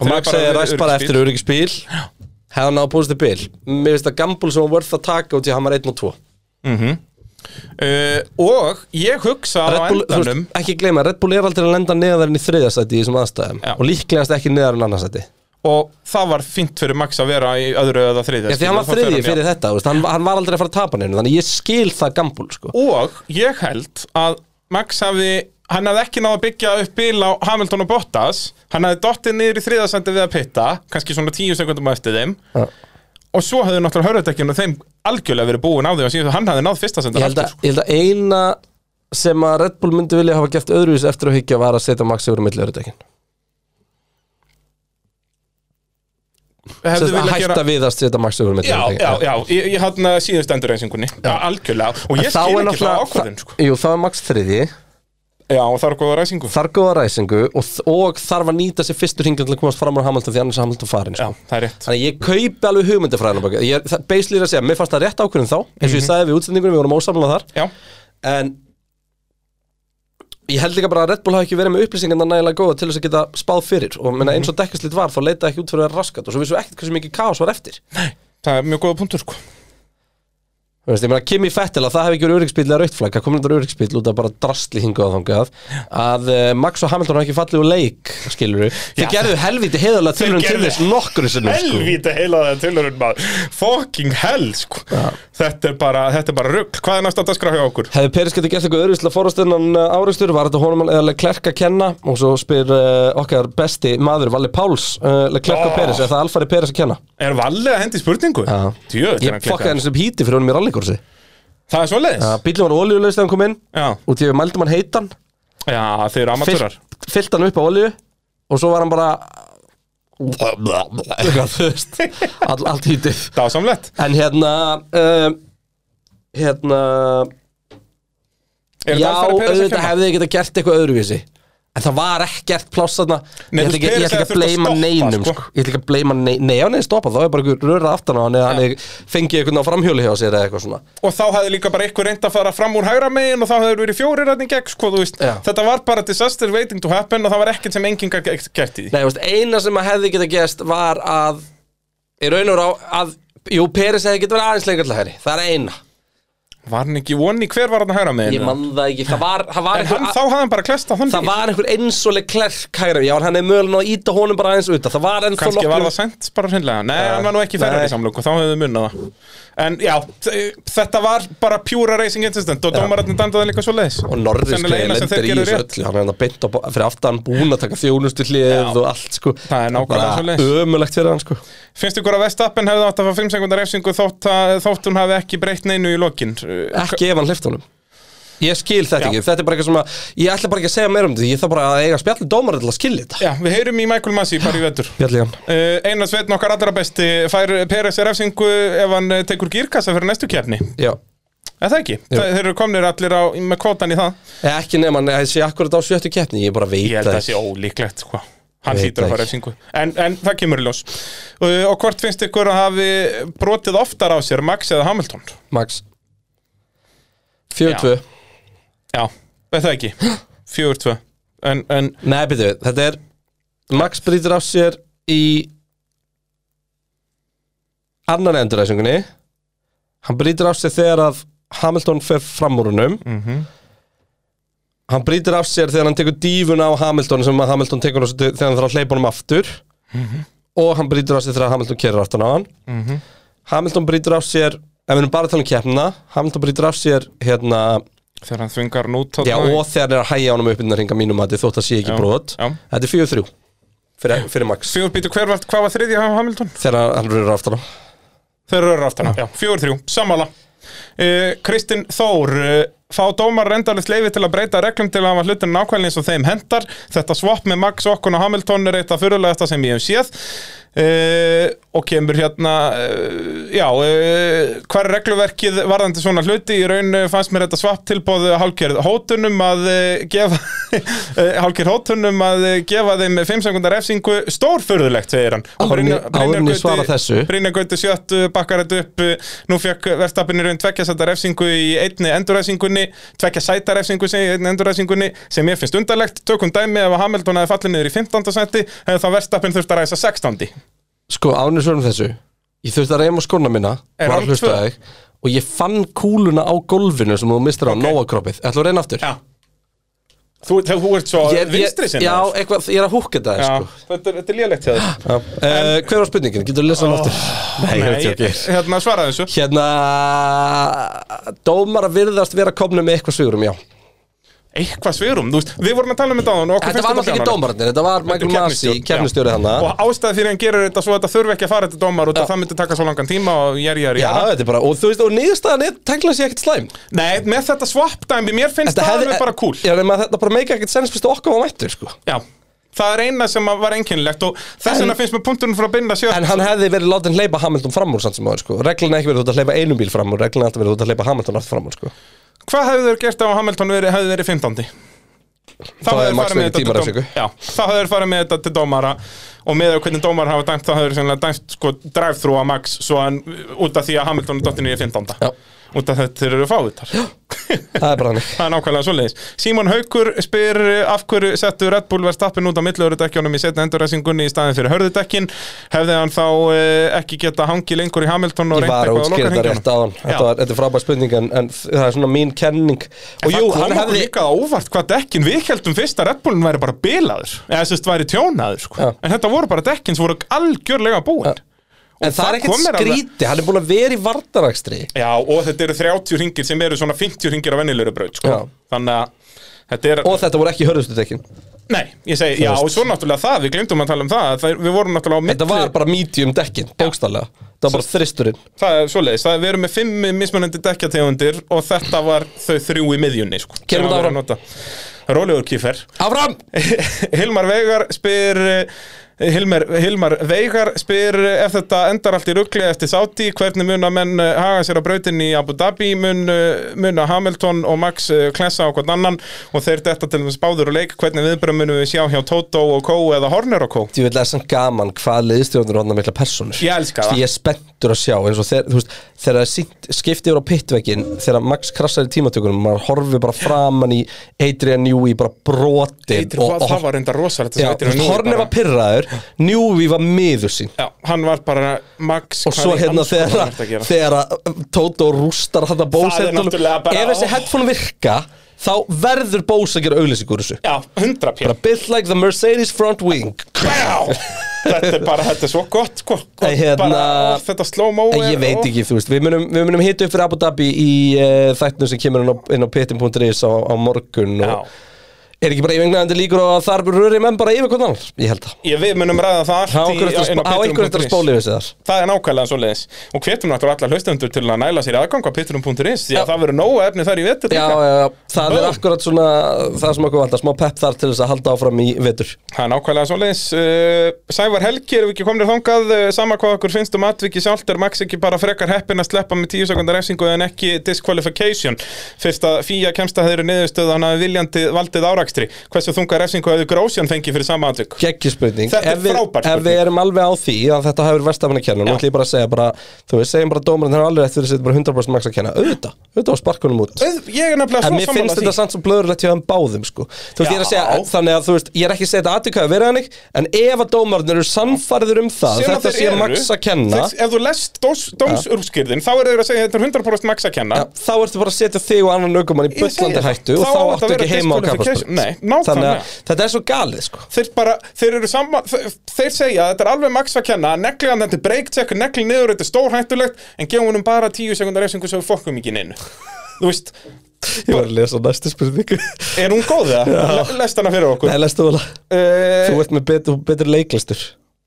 Speaker 2: og
Speaker 1: Þeir eru bara
Speaker 2: Max segir
Speaker 1: við
Speaker 2: ræst bara
Speaker 1: öryggisbíl.
Speaker 2: eftir öryggisbíl hefði hann á búinstu bíl Mér finnst það gambul sem var vörð að taka út í að hann var 1 og 2
Speaker 1: uh, og ég hugsa
Speaker 2: Red
Speaker 1: á
Speaker 2: Bull, þú
Speaker 1: endanum
Speaker 2: veist, ekki gleyma, Red Bull er aldrei að lenda neðar en í þriðastæti í þessum aðstæðum
Speaker 1: Já.
Speaker 2: og líklegast ekki neðar en annarsæti Já,
Speaker 1: og það var fínt fyrir Max að vera í öðru eða þriðja
Speaker 2: því
Speaker 1: skilur,
Speaker 2: hann var
Speaker 1: þá fer
Speaker 2: þriði
Speaker 1: hann í
Speaker 2: fyrir þetta, þú veist, hann, hann var aldrei að fara að tapa neinu þannig ég skil það gambul, sko
Speaker 1: og ég held að Max hafði hann hafði ekki náð að byggja upp bíl á Hamilton og Bottas hann hafði dottið niður í þriðasendi við að pitta kannski svona tíu sekundum á eftir þeim
Speaker 2: Já.
Speaker 1: og svo hafði náttúrulega hörðutekjun og þeim algjörlega verið búin á því að síðan hann hafði náð fyrsta sko. sendin
Speaker 2: Ég held, að, ég held að eina sem að Red Bull myndi vilja hafa gert öðruvis eftir að higgja var að setja Max yfir á milli örudekin
Speaker 1: hefði
Speaker 2: að
Speaker 1: viljað
Speaker 2: hætta
Speaker 1: gera
Speaker 2: við að setja Max yfir á milli
Speaker 1: Já,
Speaker 2: örudekin
Speaker 1: já, já, ég, ég hann eh, síðust endurreysingunni Algjörlega, og ég
Speaker 2: Þá
Speaker 1: skil
Speaker 2: er
Speaker 1: ekki það
Speaker 2: náttúrulega-
Speaker 1: ákvörðin sko.
Speaker 2: Jú, það er Max þriði,
Speaker 1: Já, og það er góða reysingu
Speaker 2: þarf góða ræsingu og, og þarf að nýta sér fyrstur hingin til að komast fram úr Hamilton því annars er Hamilton farin
Speaker 1: Já,
Speaker 2: sko.
Speaker 1: það er rétt
Speaker 2: Þannig að ég kaupi alveg hugmyndafræðina baki Ég er beislýr að segja, mér fannst það rétt ákvörðin þá eins og ég sagði við útsendingunum, við vorum ósamlega þar
Speaker 1: Já,
Speaker 2: en ég held líka bara að Red Bull hafi ekki verið með upplýsingarna nægilega góða til þess að geta spáð fyrir og menna, eins og dekkaslit var þá leitaði ekki út fyrir að vera raskat og svo vissu ekkert hversu mikið kaos var eftir
Speaker 1: það er mjög góða punktur sko.
Speaker 2: Þú veist, ég meina, Kimi Fettil að það hefði ekki verið öryggsbíl eða rautflag, það komið þetta öryggsbíl út af bara drastli hingað og þangað að uh, Max og Hamilton hafa ekki fallið úr leik skilur við, þeir gerðu helviti heiðalega tilhörn til
Speaker 1: gerðu
Speaker 2: þess nokkru sinni sko.
Speaker 1: helvíti heila það tilhörun maður fucking hell sko þetta er bara, þetta er bara rugg hvað er næst að daskra hjá okkur
Speaker 2: Hefði Peris getið gert eitthvað öðruvíslega fórastunnan áreikstur, eh, var þetta honum eða Leclerc að kenna og svo spyr uh, okkar besti maður, Valli Páls, uh, Leclerc og
Speaker 1: Oh.
Speaker 2: Peris, er það Alfari Peris að kenna?
Speaker 1: er valið að hendi spurningu
Speaker 2: Já.
Speaker 1: Djöfull er
Speaker 2: Ég
Speaker 1: hann
Speaker 2: fokkaði
Speaker 1: klikkaður.
Speaker 2: henni sem híti fyrir honum í rallykursi.
Speaker 1: það er svo leiðis
Speaker 2: Uh, bílum var olíulegs þegar hann kom inn
Speaker 1: já.
Speaker 2: og því við mældum hann heitan,
Speaker 1: já, þeir eru amatúrar
Speaker 2: fyllt hann upp á olíu og svo var hann bara eitthvað, þú veist, all, allt hítið.
Speaker 1: dásamlegt
Speaker 2: En hérna, uh, hérna,
Speaker 1: er þetta alfæri Peres
Speaker 2: Já,
Speaker 1: að
Speaker 2: auðvitað
Speaker 1: kenna?
Speaker 2: hefði þið geta gert eitthvað öðruvísi En það var ekkert pláss þarna Ég
Speaker 1: Nei,
Speaker 2: ætla
Speaker 1: þú
Speaker 2: ekki ég ætla
Speaker 1: spyrir
Speaker 2: ekki
Speaker 1: þegar þurfti að
Speaker 2: að bleima
Speaker 1: stoppa,
Speaker 2: neinum
Speaker 1: sko.
Speaker 2: sko. Ég ætla ekki að bleima neinum Nei, já, nei, stoppa, þá er bara einhver röra aftan á hann Eða hann er- fengi eitthvað á framhjóli hjá sér eða eitthvað svona
Speaker 1: og þá hefði líka bara einhver reynd að fara fram úr hægra megin og þá hefði verið fjórir hann í gegn sko, þú veist.
Speaker 2: Já.
Speaker 1: þetta var bara disaster waiting to happen og það var ekkert sem enginn gat gert í því
Speaker 2: Nei, þú veist, eina sem að hefði geta gest var að Í raun og rá að Jú, Peris hefði geta verið aðeins lengur til hæri Það er eina
Speaker 1: var hann ekki vonni hver var hann hægra
Speaker 2: Ég
Speaker 1: megin
Speaker 2: man það ekki Það var, það var
Speaker 1: en hann,
Speaker 2: einhver
Speaker 1: þá hafði hann bara klesta hann
Speaker 2: Það var einhver eins og klerk hægra Já, en hann er mögulega að íta honum bara aðeins út Það var ennþá
Speaker 1: Kanski var
Speaker 2: nokkrum-
Speaker 1: það sent bara hreinlega Nei,
Speaker 2: Ja.
Speaker 1: hann var nú ekki í ferrari
Speaker 2: Nei.
Speaker 1: samlöku, þá hefðu munnað það En já, þ- þetta var bara pjúra racing incident og dómararnir dandaði líka svo leiðis
Speaker 2: og Norris
Speaker 1: Sennilega eina sem þeir
Speaker 2: lendir í
Speaker 1: gerðu
Speaker 2: þessu
Speaker 1: rétt
Speaker 2: öllu hann er hann beint á, fyrir aftan búin að taka þjónustu hlið og allt sko
Speaker 1: Það er nákvæmlega svoleiðis.
Speaker 2: ömulegt fyrir hann sko
Speaker 1: Finnst ykkur að Vestappen hefði átt að fá 5 sekundar refsingu þótt, að- þótt hún hafi ekki breytt neinu í lokin
Speaker 2: ekki ef hann hlifta honum ég skil þetta
Speaker 1: Já.
Speaker 2: ekki, þetta er bara eitthvað sem að ég ætla bara ekki að segja meira um þetta, ég þarf bara að eiga spjallið dómar til að skilja þetta
Speaker 1: Já, við heyrum í Michael Massey bara í vetur
Speaker 2: spjallið hann
Speaker 1: Uh, Einar Sveitn okkar allra besti fær PRS refsingu ef hann eh, tekur gírkassa fyrir næstu kefni
Speaker 2: Já.
Speaker 1: Er það ekki? Þa, þeir eru komnir allir á, með kvotan í það
Speaker 2: Eh, ekki nema hann ég sé akkurat á sjöttu keppni, ég bara veit
Speaker 1: Ég held að
Speaker 2: það
Speaker 1: það sé
Speaker 2: ekki.
Speaker 1: ólíklegt sko. Hann
Speaker 2: Veit
Speaker 1: hlýtur að
Speaker 2: það
Speaker 1: fara
Speaker 2: ekki.
Speaker 1: refsingu en, en það kemur í ljós uh, Og hvort finnst ykkur að hafi brotið oftar á sér Max eða Hamilton?
Speaker 2: Max 42
Speaker 1: Já, veit það ekki 4-2 en, en
Speaker 2: Nei, byrju, þetta er Max brýtur af sér í annar enduræsingunni hann brýtur af sér þegar að Hamilton fer fram úr húnum hann brýtur af sér þegar hann tekur dífuna á Hamilton sem að Hamilton tekur á sig til- þegar hann þarf að hleypa honum aftur og hann brýtur af sér þegar Hamilton kerir aftan á hann Hamilton brýtur af sér ef við erum bara að tala um keppna Hamilton brýtur af sér hérna
Speaker 1: þegar hann þvingar hann út
Speaker 2: Já, og þegar hann er að hæja honum upp innan hringa mínum að þið þótt að sé ekki
Speaker 1: Já,
Speaker 2: brot
Speaker 1: já.
Speaker 2: Þetta er 4-3 fyrir, fyrir Max
Speaker 1: Fjögur býtu hver var, hvað var þriðja á Hamilton?
Speaker 2: Þegar hann rörur aftan á
Speaker 1: Þeir eru aftan á, já, 4-3, sammála uh, Kristinn Eh, Þór uh, Fá dómar reyndarlegt leifi til að breyta reglum til að hafa hlutin nákvæmlega eins og þeim hendar Þetta swap með Max Okkon og Hamilton er eitt af fyrirlegasta sem ég hef séð uh, Og kemur hérna, uh, já, uh, hvar er regluverkið varðandi svona hluti Í raun eh, fannst mér þetta swap tilbóð hálkjörð hótunum að eh, gefa Hálkjörð hótunum að eh, gefa þeim 5 sekundar refsingu stórfurðulegt, segir hann Og
Speaker 2: Áður en
Speaker 1: Brynjar-
Speaker 2: ég-
Speaker 1: Brynjar
Speaker 2: áður en ég
Speaker 1: Gauti-
Speaker 2: svara þessu.
Speaker 1: Brynjar Gauti sjött bakkar þetta upp uh, Nú fekk verðstapinir um tvekja sæta refsingu í einni endurræsingunni Tvekja sæta refsingu segi, ég, í einni endurræsingunni Sem ég finnst undarlegt Tökum dæmi ef að Hamilton hefði fallið niður í 15. sæti Hefði þá verðstapin þurft að ræsa 16.
Speaker 2: Sko, ánir svörum þessu Ég þurfti að reyma skona mína
Speaker 1: Er
Speaker 2: var að
Speaker 1: hann
Speaker 2: hlusta
Speaker 1: tvö?
Speaker 2: á þig, Og ég fann kúluna á gólfinu sem þú mistir á okay. Nóakroppið Ætla að reyna aftur
Speaker 1: Já Þú, þú, þú ert svo
Speaker 2: Ég- ég-
Speaker 1: vinstri sinna
Speaker 2: Já, eitthvað, ég er að húkka þetta
Speaker 1: Já,
Speaker 2: sko.
Speaker 1: þetta, er- þetta er lélegt hjá þér
Speaker 2: uh, Hver var spurningin? Getur þú lesað hann aftur?
Speaker 1: Oh,
Speaker 2: Nei, ég er ekki okkur
Speaker 1: hérna svaraði þessu
Speaker 2: Hérna, dómar að virðast vera komnum með eitthvað svigurum, já
Speaker 1: Eitthvað svirum, þú veist, við vorum að tala um þetta áðan og okkur
Speaker 2: Þetta
Speaker 1: finnst
Speaker 2: var náttúrulega ekki
Speaker 1: bjánalegt.
Speaker 2: dómararnir, þetta var Michael Masi, kefnistjóri hann Já,
Speaker 1: Og ástæði fyrir hann gerir þetta svo að þetta þurfi ekki að fara þetta dómar út að það myndi taka svo langan tíma og jæri, jæri, jæri.
Speaker 2: þetta er bara, og þú veist, og niðurstaðan er tengla sér ekkert slæm
Speaker 1: Nei, með þetta swap dæmi, mér finnst það hefði, alveg bara cool.
Speaker 2: Já, nema að þetta bara meika ekkert sens fyrst okkar var mættur, sko
Speaker 1: Já. Það er eina sem að var einkennilegt og þess
Speaker 2: En-
Speaker 1: vegna finnst mér punkturinn frá að binda
Speaker 2: En
Speaker 1: sjött.
Speaker 2: hann hefði verið látið að hleypa Hamilton fram úr samt sem áður sko Reglina ekki verið út að hleypa einum bíl fram úr Reglina alltaf verið út að hleypa Hamilton alltaf fram úr sko
Speaker 1: Hvað hefði þeir gert ef að Hamilton verið, hefði verið 15. Þá hefðu
Speaker 2: Þá hefði
Speaker 1: þeir farið
Speaker 2: Max
Speaker 1: með
Speaker 2: fengið
Speaker 1: þetta til
Speaker 2: tímarefsingu.
Speaker 1: dóm- Já, þá hefðu þeir farið með þetta til dómara og með að hvernig dómar hafa dæmt þá hefur sennilega dæmt sko drive-thru að Max svo hann út af því að Hamilton er dottinni í 15.
Speaker 2: Já.
Speaker 1: Út af þetta eru fávitar. Já.
Speaker 2: Það er bara hannig
Speaker 1: Það er nákvæmlega svoleiðis. Símon Haukur spyr eh, af hverju settu Red Bull verðstappin út á milliðurdekkjónum í setna endurræsingunni í staðin fyrir hörðudekkin. Hefði hann þá eh, ekki geta hangið lengur í Hamilton og
Speaker 2: Ég
Speaker 1: reynt
Speaker 2: var
Speaker 1: eitthvað
Speaker 2: að
Speaker 1: á
Speaker 2: útskýra þetta rétt á
Speaker 1: lokarhengjónum?
Speaker 2: hann Þetta var- þetta er frábær spurning en, en það er svona mín kenning
Speaker 1: það
Speaker 2: Og jú, hann
Speaker 1: kom okkur
Speaker 2: hefði
Speaker 1: líka á óvart hvað dekkin við heldum fyrst að Red Bullin væri bara bilaður eða sérst væri tjónaður sko.
Speaker 2: Já.
Speaker 1: en þetta voru bara dekkin sem voru algjörlega búin
Speaker 2: En það er ekkert
Speaker 1: kom mér alveg-
Speaker 2: skríti, hann er búin að vera í vardarakstri
Speaker 1: Já, og þetta eru 30 ringir sem eru svona 50 ringir á venjulegri braut sko.
Speaker 2: Já.
Speaker 1: þannig að þetta er
Speaker 2: Og þetta voru ekki hörðustu tekin
Speaker 1: Nei, ég segi, já,
Speaker 2: veist.
Speaker 1: og svo náttúrulega það, við glemdum að tala um það, að það við vorum náttúrulega á milli,
Speaker 2: Þetta var bara medium dekkin, bókstallega Það var bara þristurinn
Speaker 1: það er svoleiðis, það er- við erum með fimm mismunandi dekkjategundir og þetta var þau þrjú í miðjunni, sko. sem
Speaker 2: Gerum þetta
Speaker 1: að vera að
Speaker 2: áfram.
Speaker 1: nota. Rólegur kýfer.
Speaker 2: Áfram!
Speaker 1: Hilmar Veigar spyr... eh, Hilmar, Hilmar Veigar spyr eh, ef þetta endar allt í ruggli eftir Sáti hvernig mun að menn eh, haga sér á brautinni í Abu Dhabi mun, eh, mun að Hamilton og Max eh, klessa á hvern annan og þeir detta til þess báður og leik hvernig viðbröð munum við sjá hjá Toto og Kó eða Horner og Kó
Speaker 2: Því vil það er samt gaman hvað liðstjórnir hann að mikla personur
Speaker 1: Ég elska
Speaker 2: Þú veist,
Speaker 1: það.
Speaker 2: Ég er spenntur að sjá eins og þegar, þú veist, þegar það er sýnt skipti yfir á pittvekkin þegar Max krassar í tímatökunum maður horfir bara framan í Adrian Newey bara brotin
Speaker 1: Eitri, og, það var reyndar rosalegt
Speaker 2: Já, þú veist, Horner var pyrraður Newey var miður sín
Speaker 1: Já, hann var bara Max
Speaker 2: og svo hérna þegar að-
Speaker 1: þegar
Speaker 2: þegar að Toto rústar hann að
Speaker 1: Það
Speaker 2: Bose
Speaker 1: er
Speaker 2: headphoneum.
Speaker 1: náttúrulega bara-
Speaker 2: ef þessi headphone virka þá verður Bose að gera auglýsingur þessu
Speaker 1: Já, 100
Speaker 2: bara
Speaker 1: pjör
Speaker 2: built like the Mercedes front wing
Speaker 1: Þetta er bara, þetta er svo gott sko,
Speaker 2: Nei, hérna-
Speaker 1: bara, ó, Þetta slow-mo
Speaker 2: En ég
Speaker 1: er-
Speaker 2: veit
Speaker 1: ó.
Speaker 2: ekki, þú veist, við munum, við munum hita upp fyrir Abu Dhabi í uh, þættinu sem kemur inn á, inn á pitin.is á, á morgun
Speaker 1: Já,
Speaker 2: og er ekki bara yfirgnæðandi líkur og þar röri menn bara yfir hvernig annar, ég held það
Speaker 1: ég við munum ræða það allt
Speaker 2: Á
Speaker 1: í-
Speaker 2: einhverju eftir
Speaker 1: inn
Speaker 2: að spá- á einhverju eftir að
Speaker 1: pitrum.is.
Speaker 2: spóli við sér þar
Speaker 1: Það er nákvæmlega svo leiðis Og hvetum náttúrulega alla hlustendur til að næla sér í aðgang á pitrum.is Því
Speaker 2: Já.
Speaker 1: að það verður nógu efni þar í vetur
Speaker 2: Já,
Speaker 1: líka.
Speaker 2: já, já, það er
Speaker 1: Boom.
Speaker 2: akkurat svona það sem okkur vantar, smá pepp þar til þess að halda áfram í vetur
Speaker 1: Það er nákvæmlega svoleiðis uh, Sævar Helgi, erum við ekki komnir þangað uh, sama hvað okkur finnst um atviki sjálft er Max ekki bara frekar heppin að sleppa með 10 sekundar refsingu en ekki disqualification fyrst að fíja kemst að þeirri niðurstöð að hann hafi viljandi valdið árakstri hversu þunga refsingu hefði Grósjan fengið fyrir sama atvik
Speaker 2: Gekki spurning
Speaker 1: Þetta er
Speaker 2: Ef við-
Speaker 1: frábær
Speaker 2: Ef við
Speaker 1: spurning.
Speaker 2: erum alveg á því að þetta hefur verið verstafan að kenna Nú
Speaker 1: Já.
Speaker 2: ætlum ég bara að segja bara Þú veist, segjum bara dómarinn Það er alveg eftir að setja bara 100% max að kenna Auðvitað, auðvitað á sparkunum út
Speaker 1: Auð- Ég er nefnilega
Speaker 2: En
Speaker 1: svo
Speaker 2: mér finnst
Speaker 1: sammála
Speaker 2: þetta
Speaker 1: því
Speaker 2: samt svo blöðurlegt hjá þeim báðum sko. Þú veist, ég er að segja,
Speaker 1: Já.
Speaker 2: þannig að þú veist, ég er ekki að segja þetta aðtökaði verið hannig En ef að dómarnir eru samfærður um það
Speaker 1: Sem að
Speaker 2: Þetta
Speaker 1: þeir
Speaker 2: sé
Speaker 1: eru,
Speaker 2: Max að kenna
Speaker 1: þess- Ef þú lest dómsurskýrðin þá eru þeir að segja þetta er 100% Max að kenna
Speaker 2: já, Þá ertu bara að setja þig og annan aukumann í
Speaker 1: Ég segi
Speaker 2: bullandi
Speaker 1: það.
Speaker 2: hættu
Speaker 1: Þá
Speaker 2: Og þá
Speaker 1: á þetta að
Speaker 2: áttu
Speaker 1: vera
Speaker 2: ekki heima á
Speaker 1: disqualification.
Speaker 2: kapastur
Speaker 1: Nei, nákvæmlega.
Speaker 2: Þannig að þetta er svo galið sko.
Speaker 1: þeir bara, þeir eru saman þeir, þeir segja að þetta er alveg max að kenna negli hann þetta er breakcheck, negli niður, þetta er stórhættulegt en gefum húnum bara 10 sekundar refsingu svo við fokkum ekki neinu þú veist,
Speaker 2: Ég var að lesa næstu spurningu Nei,
Speaker 1: er hún góð það? lest hana fyrir okkur
Speaker 2: lestu þú alveg
Speaker 1: uh,
Speaker 2: Þú ert með betur, betur leiklistur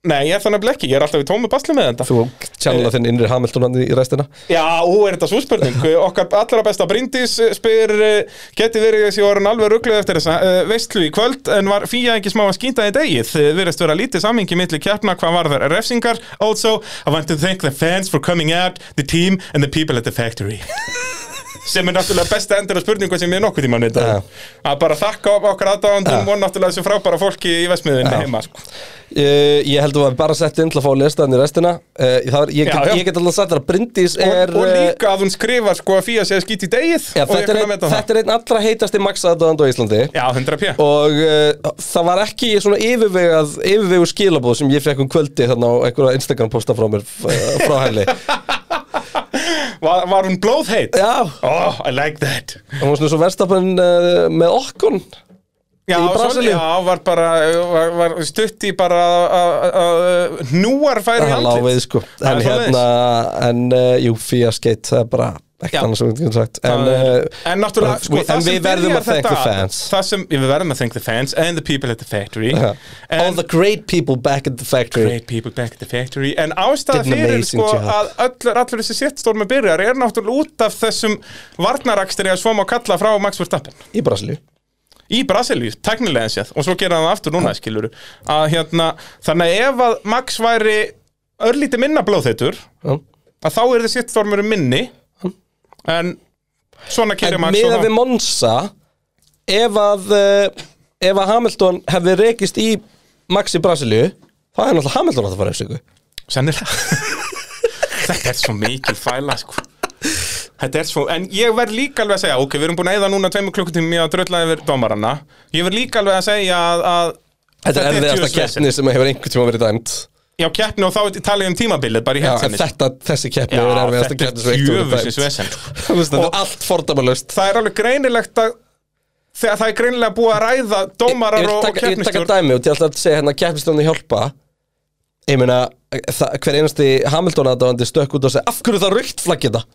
Speaker 1: Nei, ég er þannig ekki, ég er alltaf í tómu basli með þetta
Speaker 2: Þú
Speaker 1: Eh.
Speaker 2: tjánlega þinn innri Hamilton hann í í restina
Speaker 1: Já, ú, er þetta svo spurning Okkar allra besta Bryndís eh, spyr eh, Geti verið þessi orðin alveg ruggluð eftir þessa eh, veislu í kvöld En var fíja ekki smá að skýnta í degið Eh, Virðist vera lítið samhengi milli keppna Hvað var þar refsingar Also, I want to thank the fans for coming out The team and the people at the factory sem er náttúrulega besta endur á spurningu sem ég nokkuð tíma nýta
Speaker 2: Já.
Speaker 1: að bara þakka okkar aðdáðandum og náttúrulega þessu frábæra fólki í Vestmiðinni
Speaker 2: Já.
Speaker 1: heima sko.
Speaker 2: Uh, ég held að við hafi bara sett inn til að fá að lesa hann í restina uh, ég, var, ég,
Speaker 1: Já,
Speaker 2: get,
Speaker 1: já.
Speaker 2: ég get alltaf sagt þér að Bryndís er
Speaker 1: og, og
Speaker 2: eh,
Speaker 1: líka að hún skrifar sko að fíja segja skýt í degið
Speaker 2: já,
Speaker 1: og ég
Speaker 2: þetta, er
Speaker 1: kann að
Speaker 2: ein,
Speaker 1: meta það
Speaker 2: þetta er einn allra heitasti maxaðdóðand á Íslandi
Speaker 1: Já, 100p
Speaker 2: og uh, það var ekki svona yfirvegað yfirvegu skilabóð sem ég fekk um kvöldi þannig á einhverja Instagram posta frá mér uh, frá henni
Speaker 1: Var, var hún blóðheit?
Speaker 2: já,
Speaker 1: Oh, I like that
Speaker 2: hún var svona svo verstafan uh, með okkon
Speaker 1: Já,
Speaker 2: Í Brasilíu?
Speaker 1: svo- Já, var bara var, var stutt í bara að- að að hnúar færi í
Speaker 2: það lá við
Speaker 1: andlit
Speaker 2: sko
Speaker 1: Það
Speaker 2: en
Speaker 1: er svoleiðis.
Speaker 2: hérna, en uh, jú, fíja skeitt það er bara ekkert
Speaker 1: Já.
Speaker 2: annars sem við getum sagt en,
Speaker 1: En,
Speaker 2: uh,
Speaker 1: en náttúrulega,
Speaker 2: bara-
Speaker 1: sko,
Speaker 2: we-
Speaker 1: það
Speaker 2: en
Speaker 1: sem
Speaker 2: við verðum
Speaker 1: byrjar
Speaker 2: að thank
Speaker 1: þetta
Speaker 2: the
Speaker 1: að-
Speaker 2: fans.
Speaker 1: Það sem, við verðum að thank the fans and the people at the factory
Speaker 2: Já. all
Speaker 1: and
Speaker 2: the great people back at the factory
Speaker 1: great people back at the factory en ástæða
Speaker 2: Did an
Speaker 1: fyrir
Speaker 2: amazing
Speaker 1: sko
Speaker 2: job.
Speaker 1: að allur, allur þessi séttstormi byrjar er náttúrulega út af þessum varnarakstri að svo má kalla frá Max Verstappen
Speaker 2: í Brasilíu
Speaker 1: í Brasilíu, teknilega séð og svo gera hann það aftur núna, skilur að hérna, þannig að ef að Max væri örlítið minna blóðheitur
Speaker 2: Já.
Speaker 1: að þá er þið sittstormur minni en svona
Speaker 2: en
Speaker 1: kýri Max og
Speaker 2: meðan
Speaker 1: þá-
Speaker 2: við Monsa ef að uh, ef að Hamilton hefði rekist í Max í Brasilíu þá hefði náttúrulega Hamilton átt að fara eftir ykkur
Speaker 1: sennilega þetta er svo mikil fæla sko Þetta er svo, en ég verð líka alveg að segja, ok, við erum búin að eyða núna tveimur klukkutími að drölla yfir dómaranna. Ég verð líka alveg að segja að, að
Speaker 2: Þetta er erfiðasta
Speaker 1: djöfulsvesen.
Speaker 2: keppni sem hefur einhvern tíma verið dæmt
Speaker 1: Já, keppni og þá tala ég um tímabilið bara í
Speaker 2: Já,
Speaker 1: helsini.
Speaker 2: en þetta, þessi keppni er erfiðasta keppni sem einhvern tíma verið dæmt
Speaker 1: vesen. sko.
Speaker 2: Þú veist, Þetta
Speaker 1: Og-
Speaker 2: er allt fordamalust
Speaker 1: það er alveg greinilegt að þegar það er greinilega búið að ræða
Speaker 2: Ég
Speaker 1: dómarar
Speaker 2: vil
Speaker 1: og, og
Speaker 2: taka- ég vil taka
Speaker 1: keppnistjórn
Speaker 2: dæmi og til alltaf að segja hérna keppnistjónu hjálpa Ég meina, það- hver einasti Hamilton aðdáðandi stökk út og segja Af hverju er það rukt flaggið það?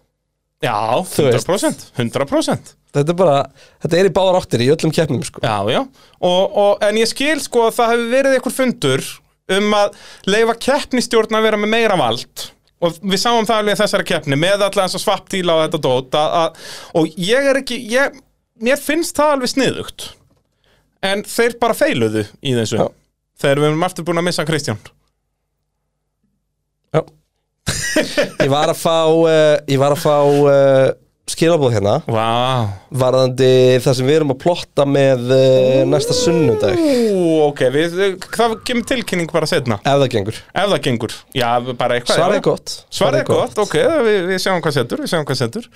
Speaker 1: Já,
Speaker 2: veist.
Speaker 1: 100%, 100%.
Speaker 2: Þetta er bara, þetta er í báðar áttir í öllum keppnum sko
Speaker 1: Já, já og, og, En ég skil sko að það hefur verið einhver fundur um að leifa keppnistjórn að vera með meira vald og við sáum það alveg í þessari keppni með allan þess að svapptíla og þetta dót að, að, og ég er ekki ég, mér finnst það alveg sniðugt en þeir bara feiluðu í þessu
Speaker 2: Já.
Speaker 1: þegar við erum aftur búin að missa Kristján
Speaker 2: Já Ég var að fá, uh, ég var að fá uh, skilabóð hérna
Speaker 1: Vá wow.
Speaker 2: Varðandi það sem við erum að plotta með uh, næsta sunnudag Ef
Speaker 1: Ú, ok, við, það kemur tilkynning bara setna
Speaker 2: það gengur
Speaker 1: Ef það gengur, já, bara eitthvað já.
Speaker 2: Svarið er gott
Speaker 1: Svarið er gott, ok, við, við sjáum hvað setur, við sjáum hvað setur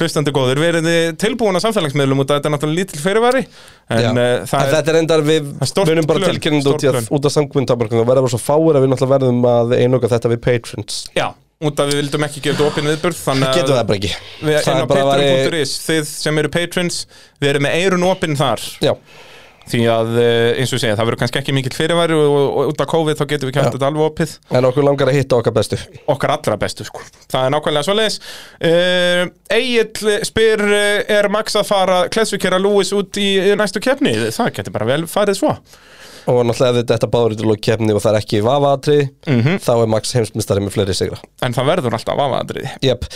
Speaker 1: Hlustandi góður, við erum tilbúin að samfélagsmiðlum út að þetta er náttúrulega lítil fyrirværi
Speaker 2: Já.
Speaker 1: En uh,
Speaker 2: En
Speaker 1: það er,
Speaker 2: þetta er endar við
Speaker 1: er stórt
Speaker 2: munum bara
Speaker 1: plön,
Speaker 2: tilkynna þetta út í
Speaker 1: stórt
Speaker 2: að- út af samkvöndtamarkunum og verða bara svo fáir að við náttúrulega verðum að einoka þetta við patrons
Speaker 1: já, út að við vildum ekki gefa þetta opinn viðburð Þannig
Speaker 2: Getum við það bara ekki
Speaker 1: við
Speaker 2: Það
Speaker 1: inn á
Speaker 2: er bara væri-
Speaker 1: patreon.is, þið sem eru patrons, við erum með eirun opinn þar
Speaker 2: Já,
Speaker 1: Því að, eh, eins og ég segja, það verður kannski ekki mikill fyrirværi og, og, og út af COVID þá getum við kæft þetta alveg opið
Speaker 2: en okkur langar að hitta okkar bestu
Speaker 1: okkar allra bestu sko. það er nákvæmlega svoleiðis uh, Egil spyr eh, er Max að fara klessukera Lewis út í eh, næstu keppni, það getur bara vel farið svo
Speaker 2: Og náttúrulega ef þetta báður í til lók keppni og það er ekki vafaatri mm
Speaker 1: Mhm.
Speaker 2: Þá er Max heimsmyndstari með fleiri sigra
Speaker 1: en það verður alltaf afaðandrið
Speaker 2: Jep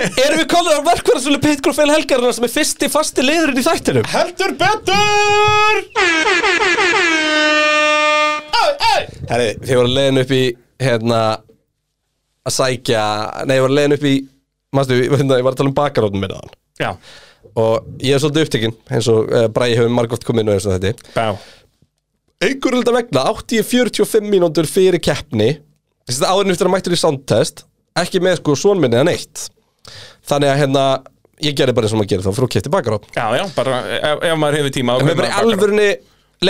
Speaker 2: Erum við kollur á verkvarðarsölu Pitgrúf El Helgarinnar sem er fyrsti fasti liðurinn í þættinum?
Speaker 1: heldur betur Æ, æ!
Speaker 2: Herri, þið voru leiðin upp í hérna að sækja Nei, ég voru leiðin upp í Mastu, hérna, ég var að tala um bakarótnum með þaðan
Speaker 1: já,
Speaker 2: Og ég er svolítið upptekinn eins og uh, Bræði hefur margótt komið inn og eins og þetta
Speaker 1: bá
Speaker 2: einhverjum hluta vegna átti ég 45 mínútur fyrir keppni þess að áðurinn eftir að mættur í soundtest ekki með sko svonminni eða neitt þannig að hérna ég gerði bara eins og maður gerir þá frú kipti bakaróp
Speaker 1: já, já, bara eh, ef, ef maður hefur tíma þá
Speaker 2: en
Speaker 1: kaupir
Speaker 2: mér bara í
Speaker 1: maður bakara.
Speaker 2: alvörunni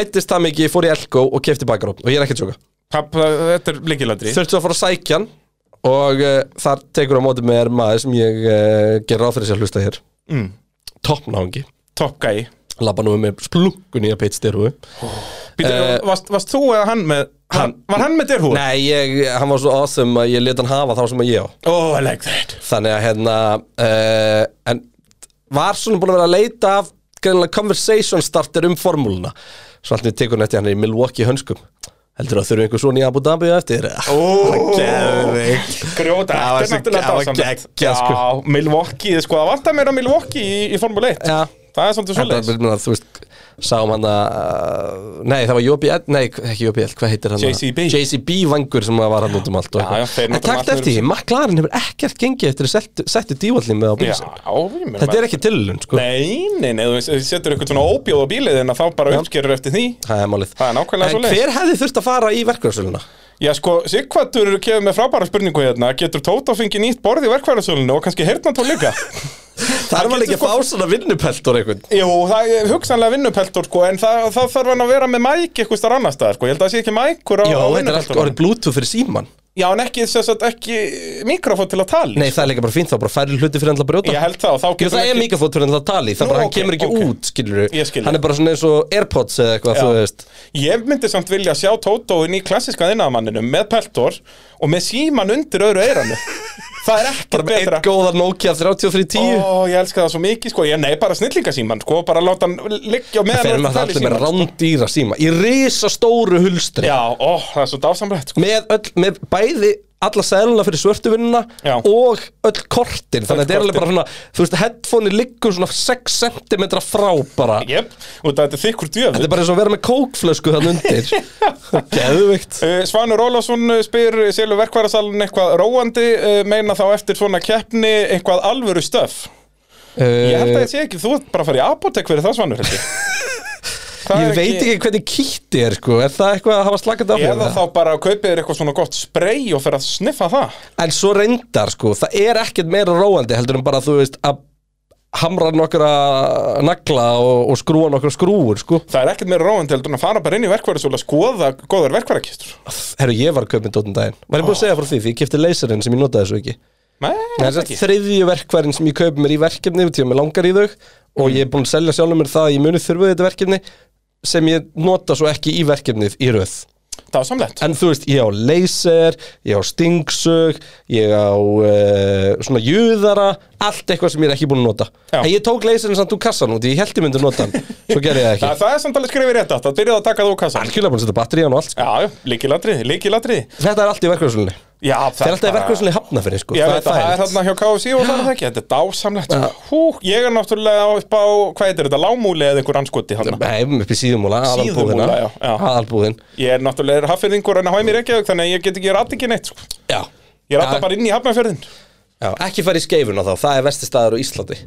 Speaker 2: leittist það mikið, ég fór í Elko og kipti bakaróp og ég er ekki að sjóka
Speaker 1: Papp, þetta er líkilandri
Speaker 2: þurfti að fara að sækja hann og uh, þar tekur á móti mér maður sem ég uh, ger ráð fyrir sér að hlusta hér mm. toppnáðungi
Speaker 1: top guy
Speaker 2: labba nú með splungun í að pitstyrfu
Speaker 1: Býtu, varst, varst þú eða hann með hann,
Speaker 2: Eh, Hann-
Speaker 1: var hann með derhú?
Speaker 2: nei, ég, hann var svo awesome að ég let hann hafa þá sem að ég á
Speaker 1: oh, I like that
Speaker 2: Þannig að hérna uh, En var svona búin að vera að leita af Greinlega conversation starter um formúluna Svo allt niður tekur hann eftir hann er í Milwaukee hönskum Heldur að þurfum einhver svona í Abu Dhabi á eftir
Speaker 1: Ó,
Speaker 2: Geðveikt.
Speaker 1: Grjóta,
Speaker 2: Það var
Speaker 1: þetta er
Speaker 2: svo-
Speaker 1: náttúrulega
Speaker 2: það var
Speaker 1: dásamlegt
Speaker 2: geggjað, sko.
Speaker 1: Já, Milwaukee, sko, það vantar meira Milwaukee í, í Formule 1
Speaker 2: Já.
Speaker 1: Það er svolítið
Speaker 2: Þetta
Speaker 1: svolítið
Speaker 2: er bara, Þú veist, sáum hann að Nei, það var JBL, nei, ekki JBL, hvað heitir hann?
Speaker 1: JCB.
Speaker 2: JCB vangur sem var hann út um allt og
Speaker 1: Já, já,
Speaker 2: eitthvað.
Speaker 1: þeir
Speaker 2: En
Speaker 1: nota
Speaker 2: takt
Speaker 1: margt
Speaker 2: eftir því, McLaren hefur ekkert gengið eftir að settu- settu dívallin með á
Speaker 1: Já,
Speaker 2: bílsinn
Speaker 1: ég meina
Speaker 2: Þetta er ekki tilun, sko
Speaker 1: Nei, nei, nei, þú veist, ef þú setur eitthvað svona óbjóð á bílið en þá bara uppskerur eftir því
Speaker 2: Það er málið
Speaker 1: Það er nákvæmlega
Speaker 2: En
Speaker 1: svoleiðis.
Speaker 2: hver hefði þurft að fara í verkvæðarsöluna?
Speaker 1: Já, sko, Sigvartur kefur með frábæra spurningu hérna Getur Tóta fengið nýtt borð í verkvæðarsölinu og kannski heyrnatól líka?
Speaker 2: Það er maður ekki að fá svona vinnupeltur einhvern
Speaker 1: Jú, það er hugsanlega vinnupeltur, sko En það, það þarf hann að vera með mæk eitthvað starf annars staðar, sko Ég held að það sé ekki mækur á,
Speaker 2: Já,
Speaker 1: á
Speaker 2: þetta er allt
Speaker 1: vinnupeltur
Speaker 2: orðið bluetooth fyrir síman
Speaker 1: Já, en ekki, sem sagt, ekki mikrofón til að tala í,
Speaker 2: Nei, það er líka bara fínt, þá bara færri hluti fyrir hann til að brjóta
Speaker 1: Ég held það og þá
Speaker 2: Jú,
Speaker 1: getur
Speaker 2: það er
Speaker 1: ekki-
Speaker 2: mikrofót fyrir hann til að tala í, það
Speaker 1: Nú,
Speaker 2: bara, hann
Speaker 1: ok,
Speaker 2: kemur ekki
Speaker 1: ok.
Speaker 2: út, skilur við
Speaker 1: Ég skil þig.
Speaker 2: Hann er bara svona eins og Airpods eða eitthvað, þú
Speaker 1: Já.
Speaker 2: veist
Speaker 1: Ég myndi samt vilja sjá Tótóin í klassiska innanmanninum með peltor og með síman undir öðru eiranu Það er ekkert
Speaker 2: Bara með
Speaker 1: betra
Speaker 2: einn góðan Nokia 3310
Speaker 1: Ó, ég elska það svo mikið, sko Ég nei, bara snillingasíman, sko Bara láta hann liggja á meðan
Speaker 2: Þeir eru
Speaker 1: hann er að tala í
Speaker 2: um allir með
Speaker 1: símann, sko.
Speaker 2: rándýra síma Í risastóru hulstri
Speaker 1: Já, ó, það er svo dásamlegt sko.
Speaker 2: með, öll, með bæði alla sæluna fyrir svörtuvinnuna
Speaker 1: Já.
Speaker 2: og öll kortin þannig
Speaker 1: Öll
Speaker 2: að þetta er alveg
Speaker 1: kortin.
Speaker 2: bara svona þú veist, headphone liggur svona 6 cm frá bara
Speaker 1: Jep, og þetta er þykkur
Speaker 2: þetta
Speaker 1: djöfn
Speaker 2: er bara eins og að vera með kókflösku þann undir geðvikt
Speaker 1: Uh, Svanur Ólafsson uh, spyr uh, Selur verkværasalun eitthvað róandi uh, meina þá eftir svona keppni eitthvað alvöru stöf Ég held að
Speaker 2: ég,
Speaker 1: ég sé ekki, þú ert bara að fara í apotek fyrir það Svanur held ég. Það er
Speaker 2: veit ekki hvernig kýtti er sko, er það eitthvað að hafa slakandi áhrif á
Speaker 1: Eða þá bara kaupið þér eitthvað svona gott spray og fer að sniffa það
Speaker 2: en svo reyndar sko, það er ekkert meira róandi heldur en bara þú veist að hamra nokkra nagla og, og skrúa nokkra skrúur sko
Speaker 1: Það er ekkert meira róin til að fara bara inn í verkværisúla að skoða góðar verkværakistur
Speaker 2: herru ég var að kaupa mér dóttin daginn var ég búin að segja frá því því ég kipti leyserinn sem ég notaði svo ekki
Speaker 1: Nei,
Speaker 2: Nei, það
Speaker 1: ekki.
Speaker 2: er þriðju verkværin sem ég kaupi mér í verkefni því að mér langar í þau og
Speaker 1: Mm.
Speaker 2: ég er búin að selja sjálfum mér það að ég muni þurfa þetta verkefni sem ég nota svo ekki í verkefnið í röð
Speaker 1: það var samlegt
Speaker 2: en þú veist, ég á laser, ég á stingsög ég á uh, svona júðara, allt eitthvað sem ég er ekki búin að nota
Speaker 1: Já.
Speaker 2: en ég tók laserinn samt úr kassan út, ég held ég myndi nota hann svo gerði ég það
Speaker 1: Það,
Speaker 2: ekki,
Speaker 1: það er samt alveg skrifið rétt átt, það byrjaði að taka þú kassan
Speaker 2: algjörlega búin að setja batteri í hann og allt sko.
Speaker 1: Já, já, líkilatriði, líkilatriði
Speaker 2: þetta er allt í verkvæðsvölinni
Speaker 1: Já,
Speaker 2: það er alltaf í
Speaker 1: bara-
Speaker 2: verkvæðsvölinni hafna fyrir sko.
Speaker 1: Ég veit að það er
Speaker 2: fælt.
Speaker 1: þarna hjá KFC og það er það ekki, þetta er dásamlegt sko. Hú, ég er náttúrulega upp á, hvað heitir þetta, lámúli eða einhver anskoti hann
Speaker 2: Nei, upp í síðumúla, aðalbúðina
Speaker 1: Síðumúla, já, já.
Speaker 2: aðalbúðin
Speaker 1: Ég er náttúrulega haffyrðingur en að hæmi reykjaðug þannig að ég get ekki rætt ekki neitt sko.
Speaker 2: já.
Speaker 1: Ég rætta
Speaker 2: Já.
Speaker 1: bara inn í hafnafjörðin
Speaker 2: Já, ekki fara í skeifuna þá, það er vesti staður á Íslandi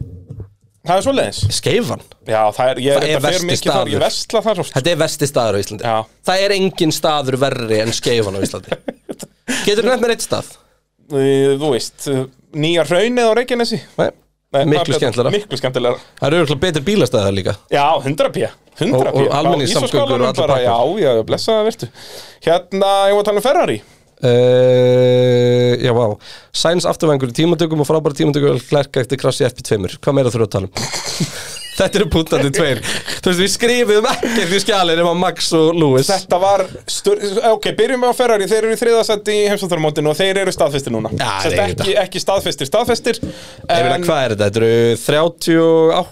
Speaker 1: Það er svo leiðis
Speaker 2: Skeifan?
Speaker 1: Já, það er, ég
Speaker 2: Það er
Speaker 1: er
Speaker 2: versti
Speaker 1: versti mikið þar,
Speaker 2: staður.
Speaker 1: ég vestla þar oft
Speaker 2: Þetta er vesti staður á Íslandi
Speaker 1: Já.
Speaker 2: Það er engin staður verri en skeifan á Íslandi Getur þú nefnt mér eitt stað?
Speaker 1: Uh, Þú veist, uh, nýja hraunið á Reykjanesi Nei,
Speaker 2: Nei,
Speaker 1: það er
Speaker 2: miklu
Speaker 1: betra.
Speaker 2: skemmtlara
Speaker 1: Miklu skemmtilega
Speaker 2: Það eru örugglega betri bílastæðar líka
Speaker 1: Já, 100 pí 100
Speaker 2: Og- og
Speaker 1: pí. Á Ísaskálanum
Speaker 2: almenningssamgöngur og allir
Speaker 1: bara, Já,
Speaker 2: pakkar.
Speaker 1: já, blessa það virtu Hérna, ég var að tala um Ferrari
Speaker 2: uh, Já, vá Sæns afturvengur í tímatökum og frábæra tímatökum Klerka eftir krassi FP2 Hvað meira þurfum við að tala um? Þetta eru púntandi tveir Þú veist, við skrifum ekkert í skjalið nema Max og Lewis
Speaker 1: Þetta var, stur, ok, byrjum við á Ferrari Þeir eru í þriðasætt í heimsóttarmótinu og þeir eru staðfestir núna
Speaker 2: Já,
Speaker 1: Sest,
Speaker 2: þeir eru
Speaker 1: ekki, ekki staðfestir, staðfestir
Speaker 2: Ég meina,
Speaker 1: En
Speaker 2: hvað er þetta? Þetta eru 38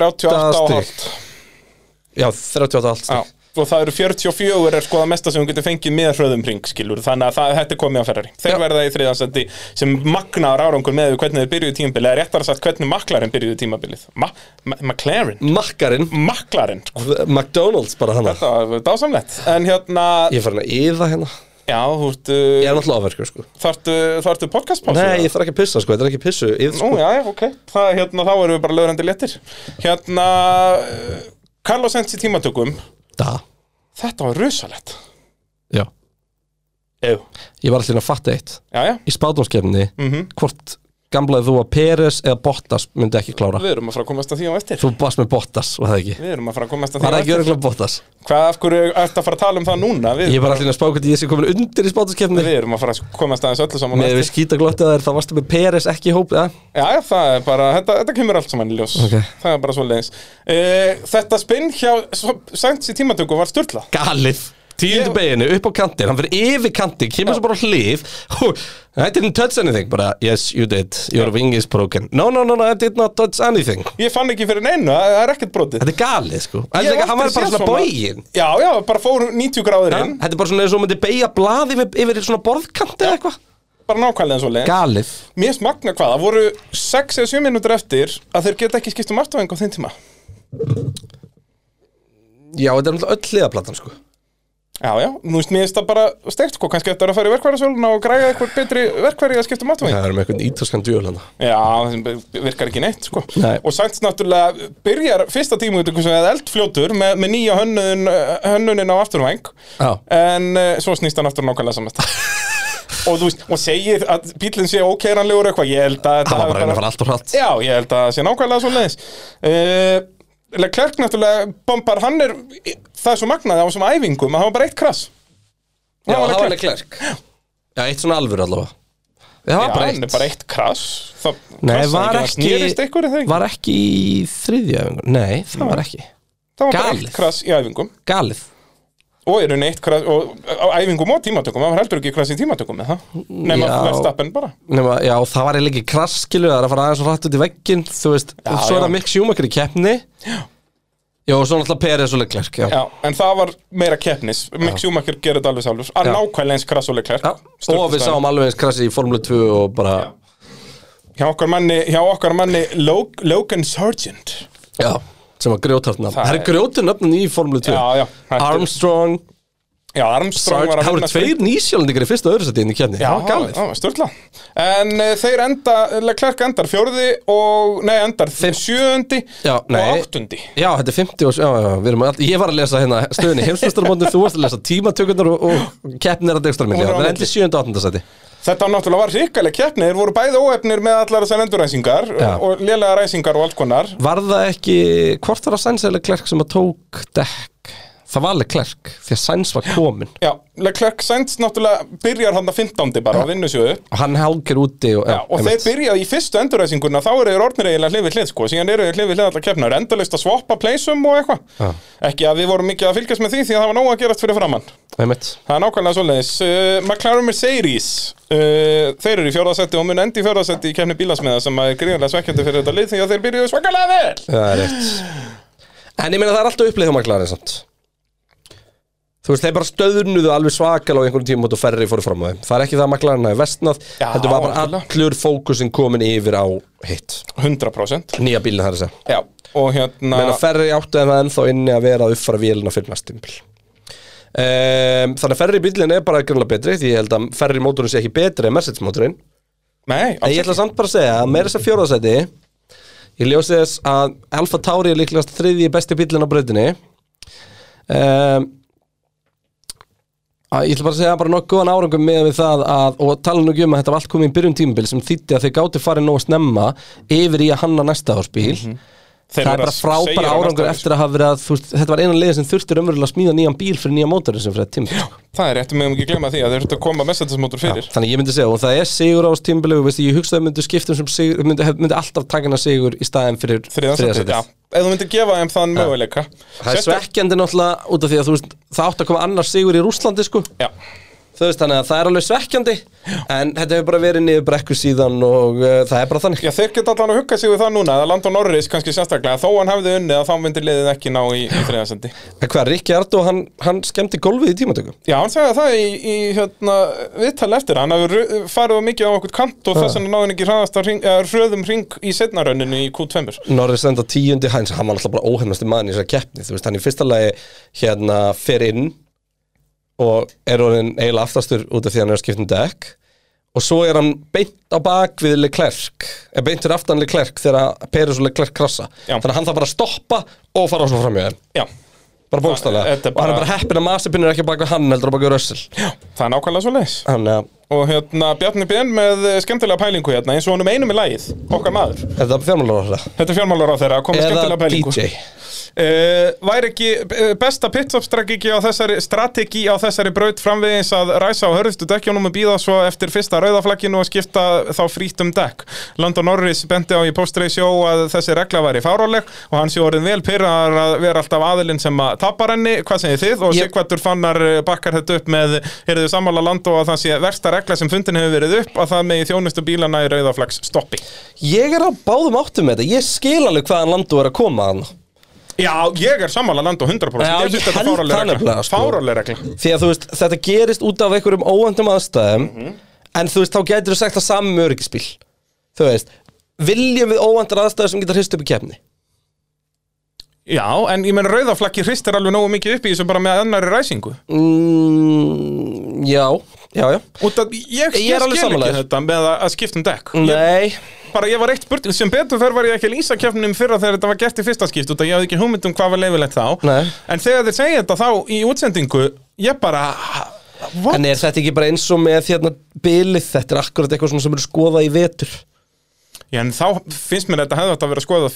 Speaker 1: 38 og
Speaker 2: stig.
Speaker 1: hálft
Speaker 2: Já, 38 allt
Speaker 1: Já, og það eru 44 er sko það mesta sem við getum fengið með hröðum ring skilur, þannig að það, þetta er komið á ferrari þeir
Speaker 2: Já.
Speaker 1: verða í þriðansendi sem magnaðar árangur með við hvernig þeir byrjuðu tímabilið eða réttar að sagt hvernig maklarinn byrjuðu tímabilið ma ma McLaren,
Speaker 2: Makkarinn
Speaker 1: maklarinn sko.
Speaker 2: McDonalds bara hana
Speaker 1: það var dásamlett en hérna,
Speaker 2: Ég er farin að yða hérna
Speaker 1: já, þú ert
Speaker 2: Ég er
Speaker 1: uh,
Speaker 2: náttúrulega áverkur sko
Speaker 1: þarftu, þarftu podcastpásu
Speaker 2: Nei,
Speaker 1: eða?
Speaker 2: ég þarf ekki að pissa sko, þetta er ekki pissu
Speaker 1: Nú,
Speaker 2: yð, sko.
Speaker 1: já, já, ok, það, hérna, þá erum við bara löðrandi léttir Hérna, uh, Carlos Sainz í tímatökum
Speaker 2: Da,
Speaker 1: Þetta var rusalett
Speaker 2: já
Speaker 1: Jú,
Speaker 2: Ég var alltaf að fatta eitt
Speaker 1: já, já,
Speaker 2: Í spátumskefni, hvort gamlaði þú að Peres eða Bottas myndi ekki klára
Speaker 1: við erum að fara að komast að því á eftir
Speaker 2: Þú barst með Bottas, var það ekki
Speaker 1: Við erum að fara að komast að því
Speaker 2: Var það
Speaker 1: á
Speaker 2: ekki
Speaker 1: eftir.
Speaker 2: örgulega Bottas
Speaker 1: Hvað af hverju ertu að fara að tala um það núna? Við,
Speaker 2: Ég er bara alltaf að spá hvernig ég sé komin undir í spátumskefni
Speaker 1: við erum að fara að komast aðeins öllu saman á
Speaker 2: Með
Speaker 1: eftir.
Speaker 2: við skítaglottið þær, þá varstu með Peres ekki í hóp ja?
Speaker 1: Já, já, það er bara, þetta, þetta kemur allt saman í ljós
Speaker 2: Ok.
Speaker 1: Það E, er bara svo leiðis Þetta spinn hjá Sainz í tímatöku var sturla
Speaker 2: Galið tíundu
Speaker 1: Ég-
Speaker 2: beginu, upp á kantin, hann fyrir yfir kantin, kemur svo bara á hlið Hú, I didn't touch anything, bara yes you did, your wing is broken No, no, no, no, I did not touch anything
Speaker 1: Ég fann ekki fyrir neinu, það það er ekkert brotið
Speaker 2: Þetta er galið sko,
Speaker 1: Ég hef
Speaker 2: Elsa, hann
Speaker 1: aldrei
Speaker 2: var bara
Speaker 1: séð
Speaker 2: svona bógin
Speaker 1: Já, já, bara fór 90 gráður inn
Speaker 2: Þetta er bara svona eins og hún myndi beigja blaði yfir, yfir svona borðkant eða eitthvað
Speaker 1: Bara nákvæmlega svo leið
Speaker 2: Galið
Speaker 1: Mér finnst magna hvað, það voru 6 eða 7 minútur eftir að þeir geta ekki skipt um afturvæðing á þeim tíma
Speaker 2: Já, þetta er náttúrulega öll liðaplatan sko
Speaker 1: Já, já, nú veist, mér finnst það bara steikt sko, kannski eftir að fara í verkværasöluna og græja eitthvað betri verkværi að skipta um afturvæðing
Speaker 2: Það er með einhvern ítalskan djúl hann
Speaker 1: Já, það virkar ekki neitt sko.
Speaker 2: Nei.
Speaker 1: Og Sainz náttúrulega byrjar fyrsta tíma út eða eldfljótur með, með nýja hönnun, hönnunin á afturvæng
Speaker 2: Já.
Speaker 1: En uh, svo snýst hann aftur nákvæmlega saman stað. Og þú veist, og segir að bílinn sé ókeiranlegur eitthvað Ég held að
Speaker 2: Það var
Speaker 1: hafi
Speaker 2: bara hérna að reyna að fara allt og hratt
Speaker 1: Já, ég held að það sé nákvæmlega svo leiðis Klerk náttúrulega bombar, hann er Það er svo magnaði á þessum æfingum að það var bara eitt krass
Speaker 2: Já,
Speaker 1: það var
Speaker 2: það var
Speaker 1: Leclerc.
Speaker 2: Leclerc Já, eitt svona alvöru allavega Það var
Speaker 1: Já,
Speaker 2: bara
Speaker 1: hann er
Speaker 2: eitt
Speaker 1: bara eitt krass Það
Speaker 2: Nei,
Speaker 1: krassaði
Speaker 2: var
Speaker 1: það
Speaker 2: ekki,
Speaker 1: snerist eitthvað, er það ekki?
Speaker 2: var ekki í þriðja öfingur Nei, það var ekki
Speaker 1: Það var bara eitt
Speaker 2: galið.
Speaker 1: krass í æfingum
Speaker 2: Galið
Speaker 1: og eru neitt krass, og á æfingum og tímatökum, það var heldur ekki krass í tímatökum með það, nema
Speaker 2: Já.
Speaker 1: verðstappen bara
Speaker 2: Nefna, Já, það var eiginlega ekki kraskilu Það er að fara aðeins og hratt út í vegginn Þú veist, og
Speaker 1: já.
Speaker 2: svo er það Mick Schumacher í keppni Já Já, og svo náttúrulega Peres og Leclerc Já,
Speaker 1: Já, en það var meira keppnis, Mick Schumacher gerir þetta alveg sjálfur, að
Speaker 2: Já.
Speaker 1: nákvæmlega eins krass og leikler
Speaker 2: Já. Og við sáum alveg eins krasi í Formule 2 og bara
Speaker 1: hjá okkar manni, hjá okkar manni Log Logan Sargent
Speaker 2: Já, sem var grjótartnafn
Speaker 1: Það
Speaker 2: Það er
Speaker 1: er-
Speaker 2: grjótarnafnin í Formule 2
Speaker 1: Já, já, þetta er-
Speaker 2: Armstrong,
Speaker 1: Já, Armstrong
Speaker 2: Sarge,
Speaker 1: var að
Speaker 2: það voru
Speaker 1: vinna spil-
Speaker 2: tveir nýsjálendingar í fyrsta og öðru sæti inn í kefni,
Speaker 1: Já,
Speaker 2: það var galið
Speaker 1: já, störla En uh, þeir enda, Leclerc endar fjórði og, nei, endar Fimm. sjöundi
Speaker 2: Já,
Speaker 1: og
Speaker 2: nei.
Speaker 1: áttundi
Speaker 2: Já, þetta er 50 og, já, já, við erum alltaf, ég var að lesa hérna stöðunni heimsmestarmóndin, þú varst að lesa tímatökurnar og, og keppnir að degstra
Speaker 1: Og
Speaker 2: minni, já,
Speaker 1: voru á
Speaker 2: það
Speaker 1: milli.
Speaker 2: er endið 7. og 8. sæti
Speaker 1: Þetta var náttúrulega var hrikaleg keppni, þeir voru bæði óefnir með allar þessar enduræsingar
Speaker 2: Já.
Speaker 1: og lélega ræsingar og alls konar.
Speaker 2: Var það ekki, hvort var það Sainz eða Klerk sem að tók dekk? Það var alveg Klerk, því að Sainz var komin
Speaker 1: Já, Leclerc Sainz náttúrulega byrjar hann að 15. bara á vinnusjöðu
Speaker 2: og hann hálgir úti og,
Speaker 1: Já, og þeir
Speaker 2: einmitt.
Speaker 1: sko.
Speaker 2: Já.
Speaker 1: eitthvað. Ekki að við vorum mikið að fylgjast með því, því að það var nóg að gerast fyrir framann.
Speaker 2: Einmitt.
Speaker 1: Það er nákvæmlega svoleiðis. Uh, McLaren Mercedes, uh, þeir eru í fjórðasetti og mun endi í fjórðasetti í kemni bílasmiða sem er gríðarlega svekkjandi fyrir þetta lið því að þeir byrjuðu svakalega vel.
Speaker 2: Það er rétt En ég meina það er alltaf upplið hjá maklarinn samt Þú veist, þeir bara stöðnuðu alveg svakal á einhvern tímum og ferri fóru fram á þeim. Það er ekki það að maklarinn hafi vestnað,
Speaker 1: Já,
Speaker 2: heldur var bara
Speaker 1: algjörlega.
Speaker 2: allur fókusin komin yfir á hitt.
Speaker 1: 100%.
Speaker 2: Nýja bílinn þar að segja.
Speaker 1: Já, og hérna
Speaker 2: Meina ferri áttu en það ennþá inni að vera að uppfara vélina fyrir næstumbil. Um, þannig að ferri bílinn er bara grunlega betri því ég held að ferri mótorinn sé ekki betri en Mercedes mótorinn.
Speaker 1: Nei,
Speaker 2: En ég
Speaker 1: alls
Speaker 2: ætla samt bara að segja að meira þess að fjóraðsæti Ég ljósi þess að Alfa Tauri er líklegast þriðji besti bílinn á brautinni um, að Ég ætla bara að segja bara nokkuð góðan árangum með við það að, og tala nú ekki um að þetta var allt komið í byrjun tímabil sem þýtti að þeir gátu farið nóg að snemma yfir í að hanna næsta ársbíl
Speaker 1: Mhm. Þeir
Speaker 2: Það
Speaker 1: eru
Speaker 2: er bara
Speaker 1: að segja
Speaker 2: frábæra
Speaker 1: það
Speaker 2: árangur
Speaker 1: næsta
Speaker 2: eftir að hafa verið að þú veist, þetta var einan leið sem þurfti raunverulega að smíða nýjan bíl fyrir nýja mótorinn sem fyrir tímabil
Speaker 1: Það er rétt, við mögum ekki glemma því að þeir eru að koma messagesmótur fyrir
Speaker 2: Þannig ég myndi segja, og það er sigur á tímbilegu, veist, ég hugsaði að myndu skiptum um sem sigur, myndi, hef- myndi alltaf takina sigur í staðin fyrir
Speaker 1: Þriðansættið,
Speaker 2: þriðasætið.
Speaker 1: já Ef þú myndir gefa þeim þann möguleika
Speaker 2: Það er
Speaker 1: Sérstak-
Speaker 2: svekkjandi náttúrulega út af því að þú veist, það átt að koma annars sigur í Rúslandi sko.
Speaker 1: Já,
Speaker 2: Þú veist, þannig að það er alveg svekkjandi, en þetta hefur bara verið niður brekku síðan og uh, það er bara þannig.
Speaker 1: Já, þeir geta allan að hugga sig við það núna að Landon Norris kannski sérstaklega þó hann hefði unnið að þá myndir liðið ekki ná í, í þriðasendi
Speaker 2: En hvað, Rikki Ardó, hann, hann skemmti golfið í tímatökum.
Speaker 1: Já, hann sagði það í, í hérna, viðtal eftir hann hefur ru- farið á mikið á okkur kant og þess vegna náði hann ekki hraðasta hring, eða hröðum ring í setnarönninu í Q2
Speaker 2: Norris enda tíundi hans, hann var alltaf bara óhefnasti maður í þessari keppni, þú veist, hann í fyrsta lagi hérna fer inn og er orðin eiginlega aftastur út af því að hann er að skipta um dekk og svo er hann beint á bak við Leclerc, er beint fyrir aftan Leclerc þegar Peres og Leclerc krassa
Speaker 1: Já.
Speaker 2: þannig að hann þarf bara að stoppa og fara svo fram í þeim
Speaker 1: Já,
Speaker 2: bara bókstælega,
Speaker 1: Þetta er
Speaker 2: og hann er
Speaker 1: bara-
Speaker 2: bara heppin að Masipin er ekki á bak við hann heldur á bak við Russell
Speaker 1: það er nákvæmlega svo leis
Speaker 2: þannig að
Speaker 1: Og hérna, Bjarni BN með eh, skemmtilega pælingu hérna eins og honum einum í lagið, okkar maður
Speaker 2: þetta er fjármálar á þetta
Speaker 1: Þetta er fjármálar á þeirra að koma með
Speaker 2: eða
Speaker 1: skemmtilega pælingu
Speaker 2: DJ,
Speaker 1: Uh, væri ekki eh, besta pitstop strategi á þessari, strategi á þessari braut framvegis að ræsa á hörðustu dekkjónum og býða svo eftir fyrsta rauðaflakkinu og skipta þá frítt um dekk Landon Norris benti á í post-race-sjó að þessi regla væri fáráleg og hann sé orðin vel pyrrar að vera alltaf aðilinn sem að tapar henni, hvað segir þið? Og
Speaker 2: Ég-
Speaker 1: Sigvartur fannar eh, bakkar þetta upp með eru þið sammála Landó að það sé versta regla sem fundin hefur verið upp að það megi þjónustu bílana í rauðaflags stoppi
Speaker 2: Ég er á báðum áttum með þetta Ég skil alveg hvaðan landu er að koma hann
Speaker 1: Já, ég er sammála Landó 100%
Speaker 2: Já,
Speaker 1: Ég finnst
Speaker 2: ég
Speaker 1: þetta
Speaker 2: held
Speaker 1: fáráleg
Speaker 2: það
Speaker 1: regla
Speaker 2: nefnilega, sko.
Speaker 1: Fáráleg regla
Speaker 2: Því að þú veist, þetta gerist út af einhverjum óvandum aðstæðum
Speaker 1: Mhm.
Speaker 2: En þú veist, þá gætir þú sagt það saman með öryggisbíl Þú veist, viljum við óvandar aðstæður sem getur hrist upp í kefni
Speaker 1: Já, en ég menn rauðaflakki hristir alveg nógu mikið upp í þessu bara með annari ræsingu
Speaker 2: mm, Já, já, já
Speaker 1: Út að ég, ég,
Speaker 2: Ég er
Speaker 1: skil
Speaker 2: alveg
Speaker 1: ekki
Speaker 2: sammálaður. Mm.
Speaker 1: þetta með að, að skipta um dekk ég,
Speaker 2: Nei,
Speaker 1: Bara ég var eitt spurning, sem betur fer var ég ekki að lýsa keppnum fyrra þegar þetta var gert í fyrsta skipt út að ég hafði ekki hugmynd um hvað var leifilegt þá
Speaker 2: Nei.
Speaker 1: En þegar þeir segja þetta þá í útsendingu ég bara, what?
Speaker 2: en er þetta ekki bara eins og með hérna bilið Þetta er akkurat eitthvað svona sem eru skoðað í vetur
Speaker 1: Já, en þá finnst mér þetta hefði átt að vera skoða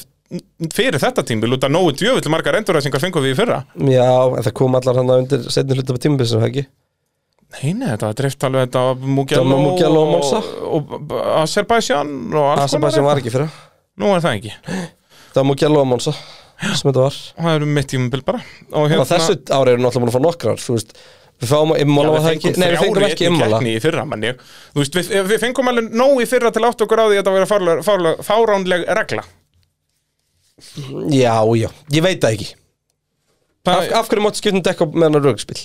Speaker 1: fyrir þetta tímbil út að nógu djöfull margar endurræsingar fengum við í fyrra
Speaker 2: Já, en það kom allar hann undir setni hluta á tímabilsinu, ekki?
Speaker 1: Nei, nei, þetta var dreift alveg þetta var Mugello,
Speaker 2: Þetta var Mugello og Monza.
Speaker 1: og, og Azerbaijan og alls
Speaker 2: Azerbaijan var ekki fyrir
Speaker 1: Nú er það ekki
Speaker 2: Það var Mugello og Monza sem þetta var
Speaker 1: það eru mitt tímabil bara og hérna-
Speaker 2: Þannig að þessu ári eru náttúrulega búin að fá nokkrar Þú veist, við fáum að
Speaker 1: Já,
Speaker 2: immála
Speaker 1: við
Speaker 2: var það ekki
Speaker 1: fengum
Speaker 2: Nei, við fengum
Speaker 1: þrjár í
Speaker 2: ekki
Speaker 1: einni
Speaker 2: immála
Speaker 1: keppni í fyrra, manni. Þú veist, við, við fengum alveg nóg í fyrra til átt okkur á því að þetta verið fárlega, fárlega, fáránleg regla
Speaker 2: Já, já, ég veit það ekki Af, af hverju máttu skiptum dekka meðan að rögspill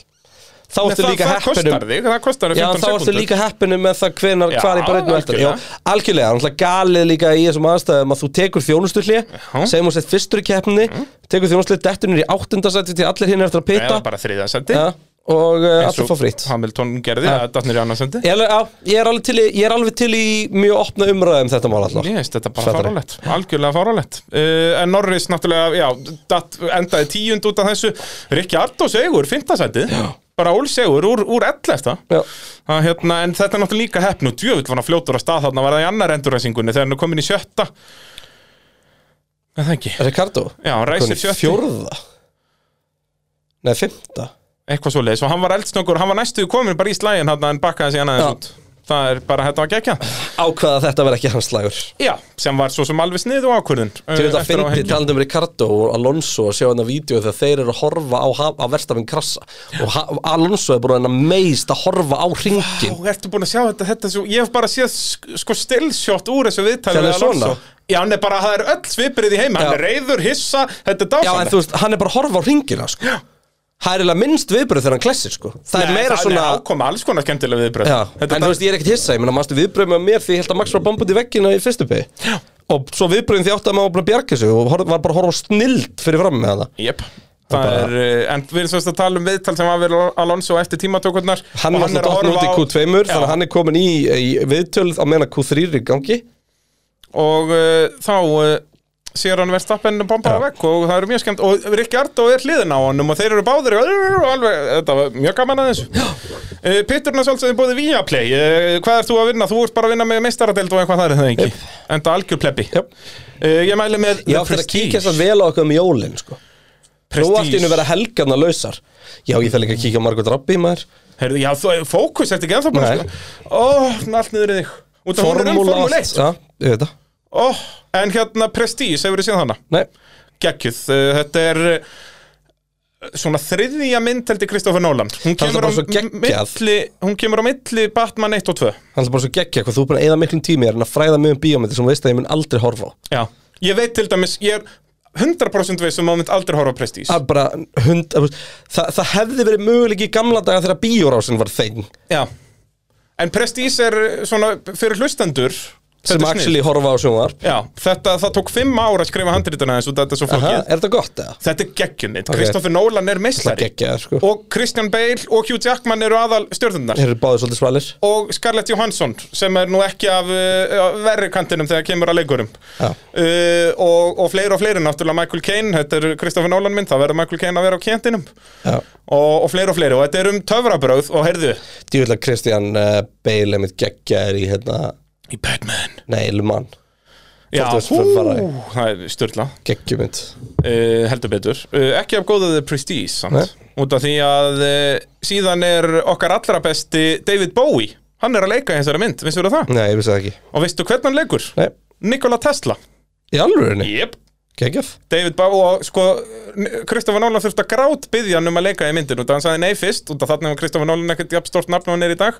Speaker 2: Þá
Speaker 1: Nei,
Speaker 2: ertu
Speaker 1: það,
Speaker 2: líka
Speaker 1: það
Speaker 2: heppinum
Speaker 1: kostar þig, það kostar þig
Speaker 2: Já,
Speaker 1: 15
Speaker 2: þá ertu
Speaker 1: sekúndur.
Speaker 2: líka heppinum með það hvenar,
Speaker 1: Já,
Speaker 2: hvar í brautinu eftir Já,
Speaker 1: algjörlega.
Speaker 2: algjörlega, náttúrulega galið líka í þessum aðstæðum að þú tekur þjónustulli
Speaker 1: Já.
Speaker 2: segjum hún sett fyrstur í keppni tekur þjónustulli, dettur niður í áttundasætti til allir hinn er eftir að
Speaker 1: eða
Speaker 2: pita
Speaker 1: bara þriða sendi
Speaker 2: ja, og uh, allir fá fritt
Speaker 1: Hamilton gerði,
Speaker 2: Já.
Speaker 1: að datnir í annarsendi
Speaker 2: Ég er, alveg- já, ég, er alveg til, í- ég er alveg til í mjög opna umræðum þetta mál allar
Speaker 1: Mér finnst þetta bara
Speaker 2: Sveitari.
Speaker 1: fárálegt, algjörlega fárálegt uh, En Norris náttúrulega, já, dat, endaði tíund út af þessu Rikki Ardó segur, fintasætið Bara ól segur úr, úr ell eftir
Speaker 2: Já.
Speaker 1: það hérna, En þetta er náttúrulega líka heppn og djöfull var hann fljótur að stað þarna Var það í annar endurræsingunni þegar hann er komin í sjötta Nei, það ekki
Speaker 2: Ricardo,
Speaker 1: Já, hann ræsir sjötti
Speaker 2: fjórða Nei, fimmta
Speaker 1: Eitthvað svoleiðis og hann var eldsnöggur, hann var næstuð komin bara í slægin þarna en bakkaði síðan
Speaker 2: Já.
Speaker 1: aðeins út Það er bara, þetta var gekkja
Speaker 2: Ákvaða að þetta verði ekki hans slagur
Speaker 1: Já, sem var svo sem alveg snið og ákvörðun uh,
Speaker 2: Þú veit að fyndi talandi um Ricardo og Alonso að sjá hennar vídeo þegar þeir eru að horfa á, ha- á verstafinn krassa og ha- Alonso er bara hennar meist að horfa á
Speaker 1: Ó,
Speaker 2: ringin
Speaker 1: ertu búin að sjá þetta, þetta er svo, ég hef bara séð sk- sko stillsjótt úr þessu viðtæli
Speaker 2: Þegar það er svona?
Speaker 1: Já, hann er bara, það er öll svipirið í heima, hann
Speaker 2: Já.
Speaker 1: er reyður, hissa, þetta er
Speaker 2: Já, en
Speaker 1: dásamlegt
Speaker 2: þú veist, hann er bara að horfa á ringina sko. Það er eiginlega minnst viðbröð þegar hann klessir sko. Það er
Speaker 1: Nei,
Speaker 2: meira
Speaker 1: það
Speaker 2: svona
Speaker 1: er ákoma alls konar skemmtilega viðbröð
Speaker 2: Já,
Speaker 1: Þetta
Speaker 2: en
Speaker 1: er
Speaker 2: þú veist, ég er ekkert hissa, ég menna, mannstu viðbröðum með mér því ég held að Max var bombandi í veggina í fyrstu pegi og svo viðbröðum því átti að maður bara að bjarga sig og hor- var bara að horfa á snild fyrir fram með hana
Speaker 1: Jep Það er, eh, en við erum svo að tala um viðtal sem hafa verið Alonso eftir tímatökurnar
Speaker 2: Hann
Speaker 1: og
Speaker 2: var alltaf dottnur út í Q2 þannig að hann er komin í, í viðtölð á meðan að Q3 er í gangi
Speaker 1: og uh, þá uh, sér hann verðstappen bombaða vekk og það eru mjög skemmt og Rikardó er hliðin á honum og þeir eru báðir í- og alveg, þetta var mjög gaman að þessu uh, Pitturna sjálfsögði bóði Viaplay uh, hvað ert þú að vinna? Þú ert bara að vinna með meistaradeld og eitthvað það er það ekki enda algjör plebbi
Speaker 2: Jep.
Speaker 1: uh, ég mæli með
Speaker 2: Ég
Speaker 1: The
Speaker 2: átti að
Speaker 1: Prestige.
Speaker 2: kíkja þess að vel á eitthvað um jólin sko. Nú
Speaker 1: Prestige.
Speaker 2: átti henni að vera helgarna lausar Já, ég þarf líka að kíkja á Margot Robbie maður
Speaker 1: Heyrðu, já, þú, fókus ert ekki ennþá búin að
Speaker 2: Nei.
Speaker 1: sko- ó, allt niður í þig út af hún er um
Speaker 2: Formúla og
Speaker 1: formule 1
Speaker 2: allt Já, ég veit það
Speaker 1: Ó, en hérna Prestige hefur þið séð hana
Speaker 2: Nei,
Speaker 1: geggjuð Uh, Þetta er uh, svona þriðja mynd heldur Kristoffer Nóland hún
Speaker 2: Það er
Speaker 1: kemur,
Speaker 2: bara svo
Speaker 1: á
Speaker 2: geggjað.
Speaker 1: milli, hún kemur á milli Batman 1 og 2
Speaker 2: hann er bara svo geggja hvað þú er búin að eða miklum tími er en að fræða mig um bíómyndir sem þú veist að ég mun aldrei horfa á
Speaker 1: Já. Ég veit til dæmis, ég er 100% veist um að mynd aldrei horfa á Prestige
Speaker 2: Það er bara hund að, þú veist, það, það hefði verið möguleik í gamla daga þegar bíórásin var þeim
Speaker 1: Já. En Prestige er uh, svona fyrir hlustendur
Speaker 2: sem
Speaker 1: þetta er snið.
Speaker 2: actually horfa á sjónvarp
Speaker 1: Já, þetta, það tók fimm ára að skrifa handrituna þessu, þetta er svo
Speaker 2: Aha,
Speaker 1: flókið
Speaker 2: Er þetta gott eða?
Speaker 1: Þetta er geggjumynd, Kristoffer Nólan er
Speaker 2: Það
Speaker 1: meistari
Speaker 2: geggja, sko
Speaker 1: og Christian Bale og Hugh Jackman eru aðal stjörðundar
Speaker 2: Þeir eru báðið svolítið svalir
Speaker 1: og Scarlett Johansson sem er nú ekki af uh, verri kantinum þegar kemur að leikurum
Speaker 2: Já.
Speaker 1: uh, og, og fleiri og fleiri náttúrulega Michael Caine, þetta er Kristoffer Nolan mynd það verður Michael Caine að vera á kentinum og,
Speaker 2: Já
Speaker 1: og fleiri og fleiri og þetta er um töfrabröð og heyrðu
Speaker 2: Djúvill að eh, Christian uh, Bale einmitt geggja er í hérna
Speaker 1: í Batman
Speaker 2: Nei, Lumann
Speaker 1: Já,
Speaker 2: Fortress
Speaker 1: hú,
Speaker 2: fara í.
Speaker 1: það er styrla
Speaker 2: geggjumynd
Speaker 1: uh, heldur betur uh, ekki af góða The Prestige samt
Speaker 2: Nei.
Speaker 1: út af því að uh, síðan er okkar allra besti David Bowie hann er að leika í þessari mynd, vissur það?
Speaker 2: Nei, ég vissi það ekki
Speaker 1: og veistu hvern hann leikur?
Speaker 2: Mm. Nei,
Speaker 1: Nikola Tesla
Speaker 2: í alvörinni,
Speaker 1: yep.
Speaker 2: geggjaf
Speaker 1: David Bowie og sko Kristoffer Nolan þurfti að grát byggja hann um að leika í myndin út af hann sagði nei fyrst út af þannig að Kristoffer Nolan ekkert jafn stórt nafn og hann er í dag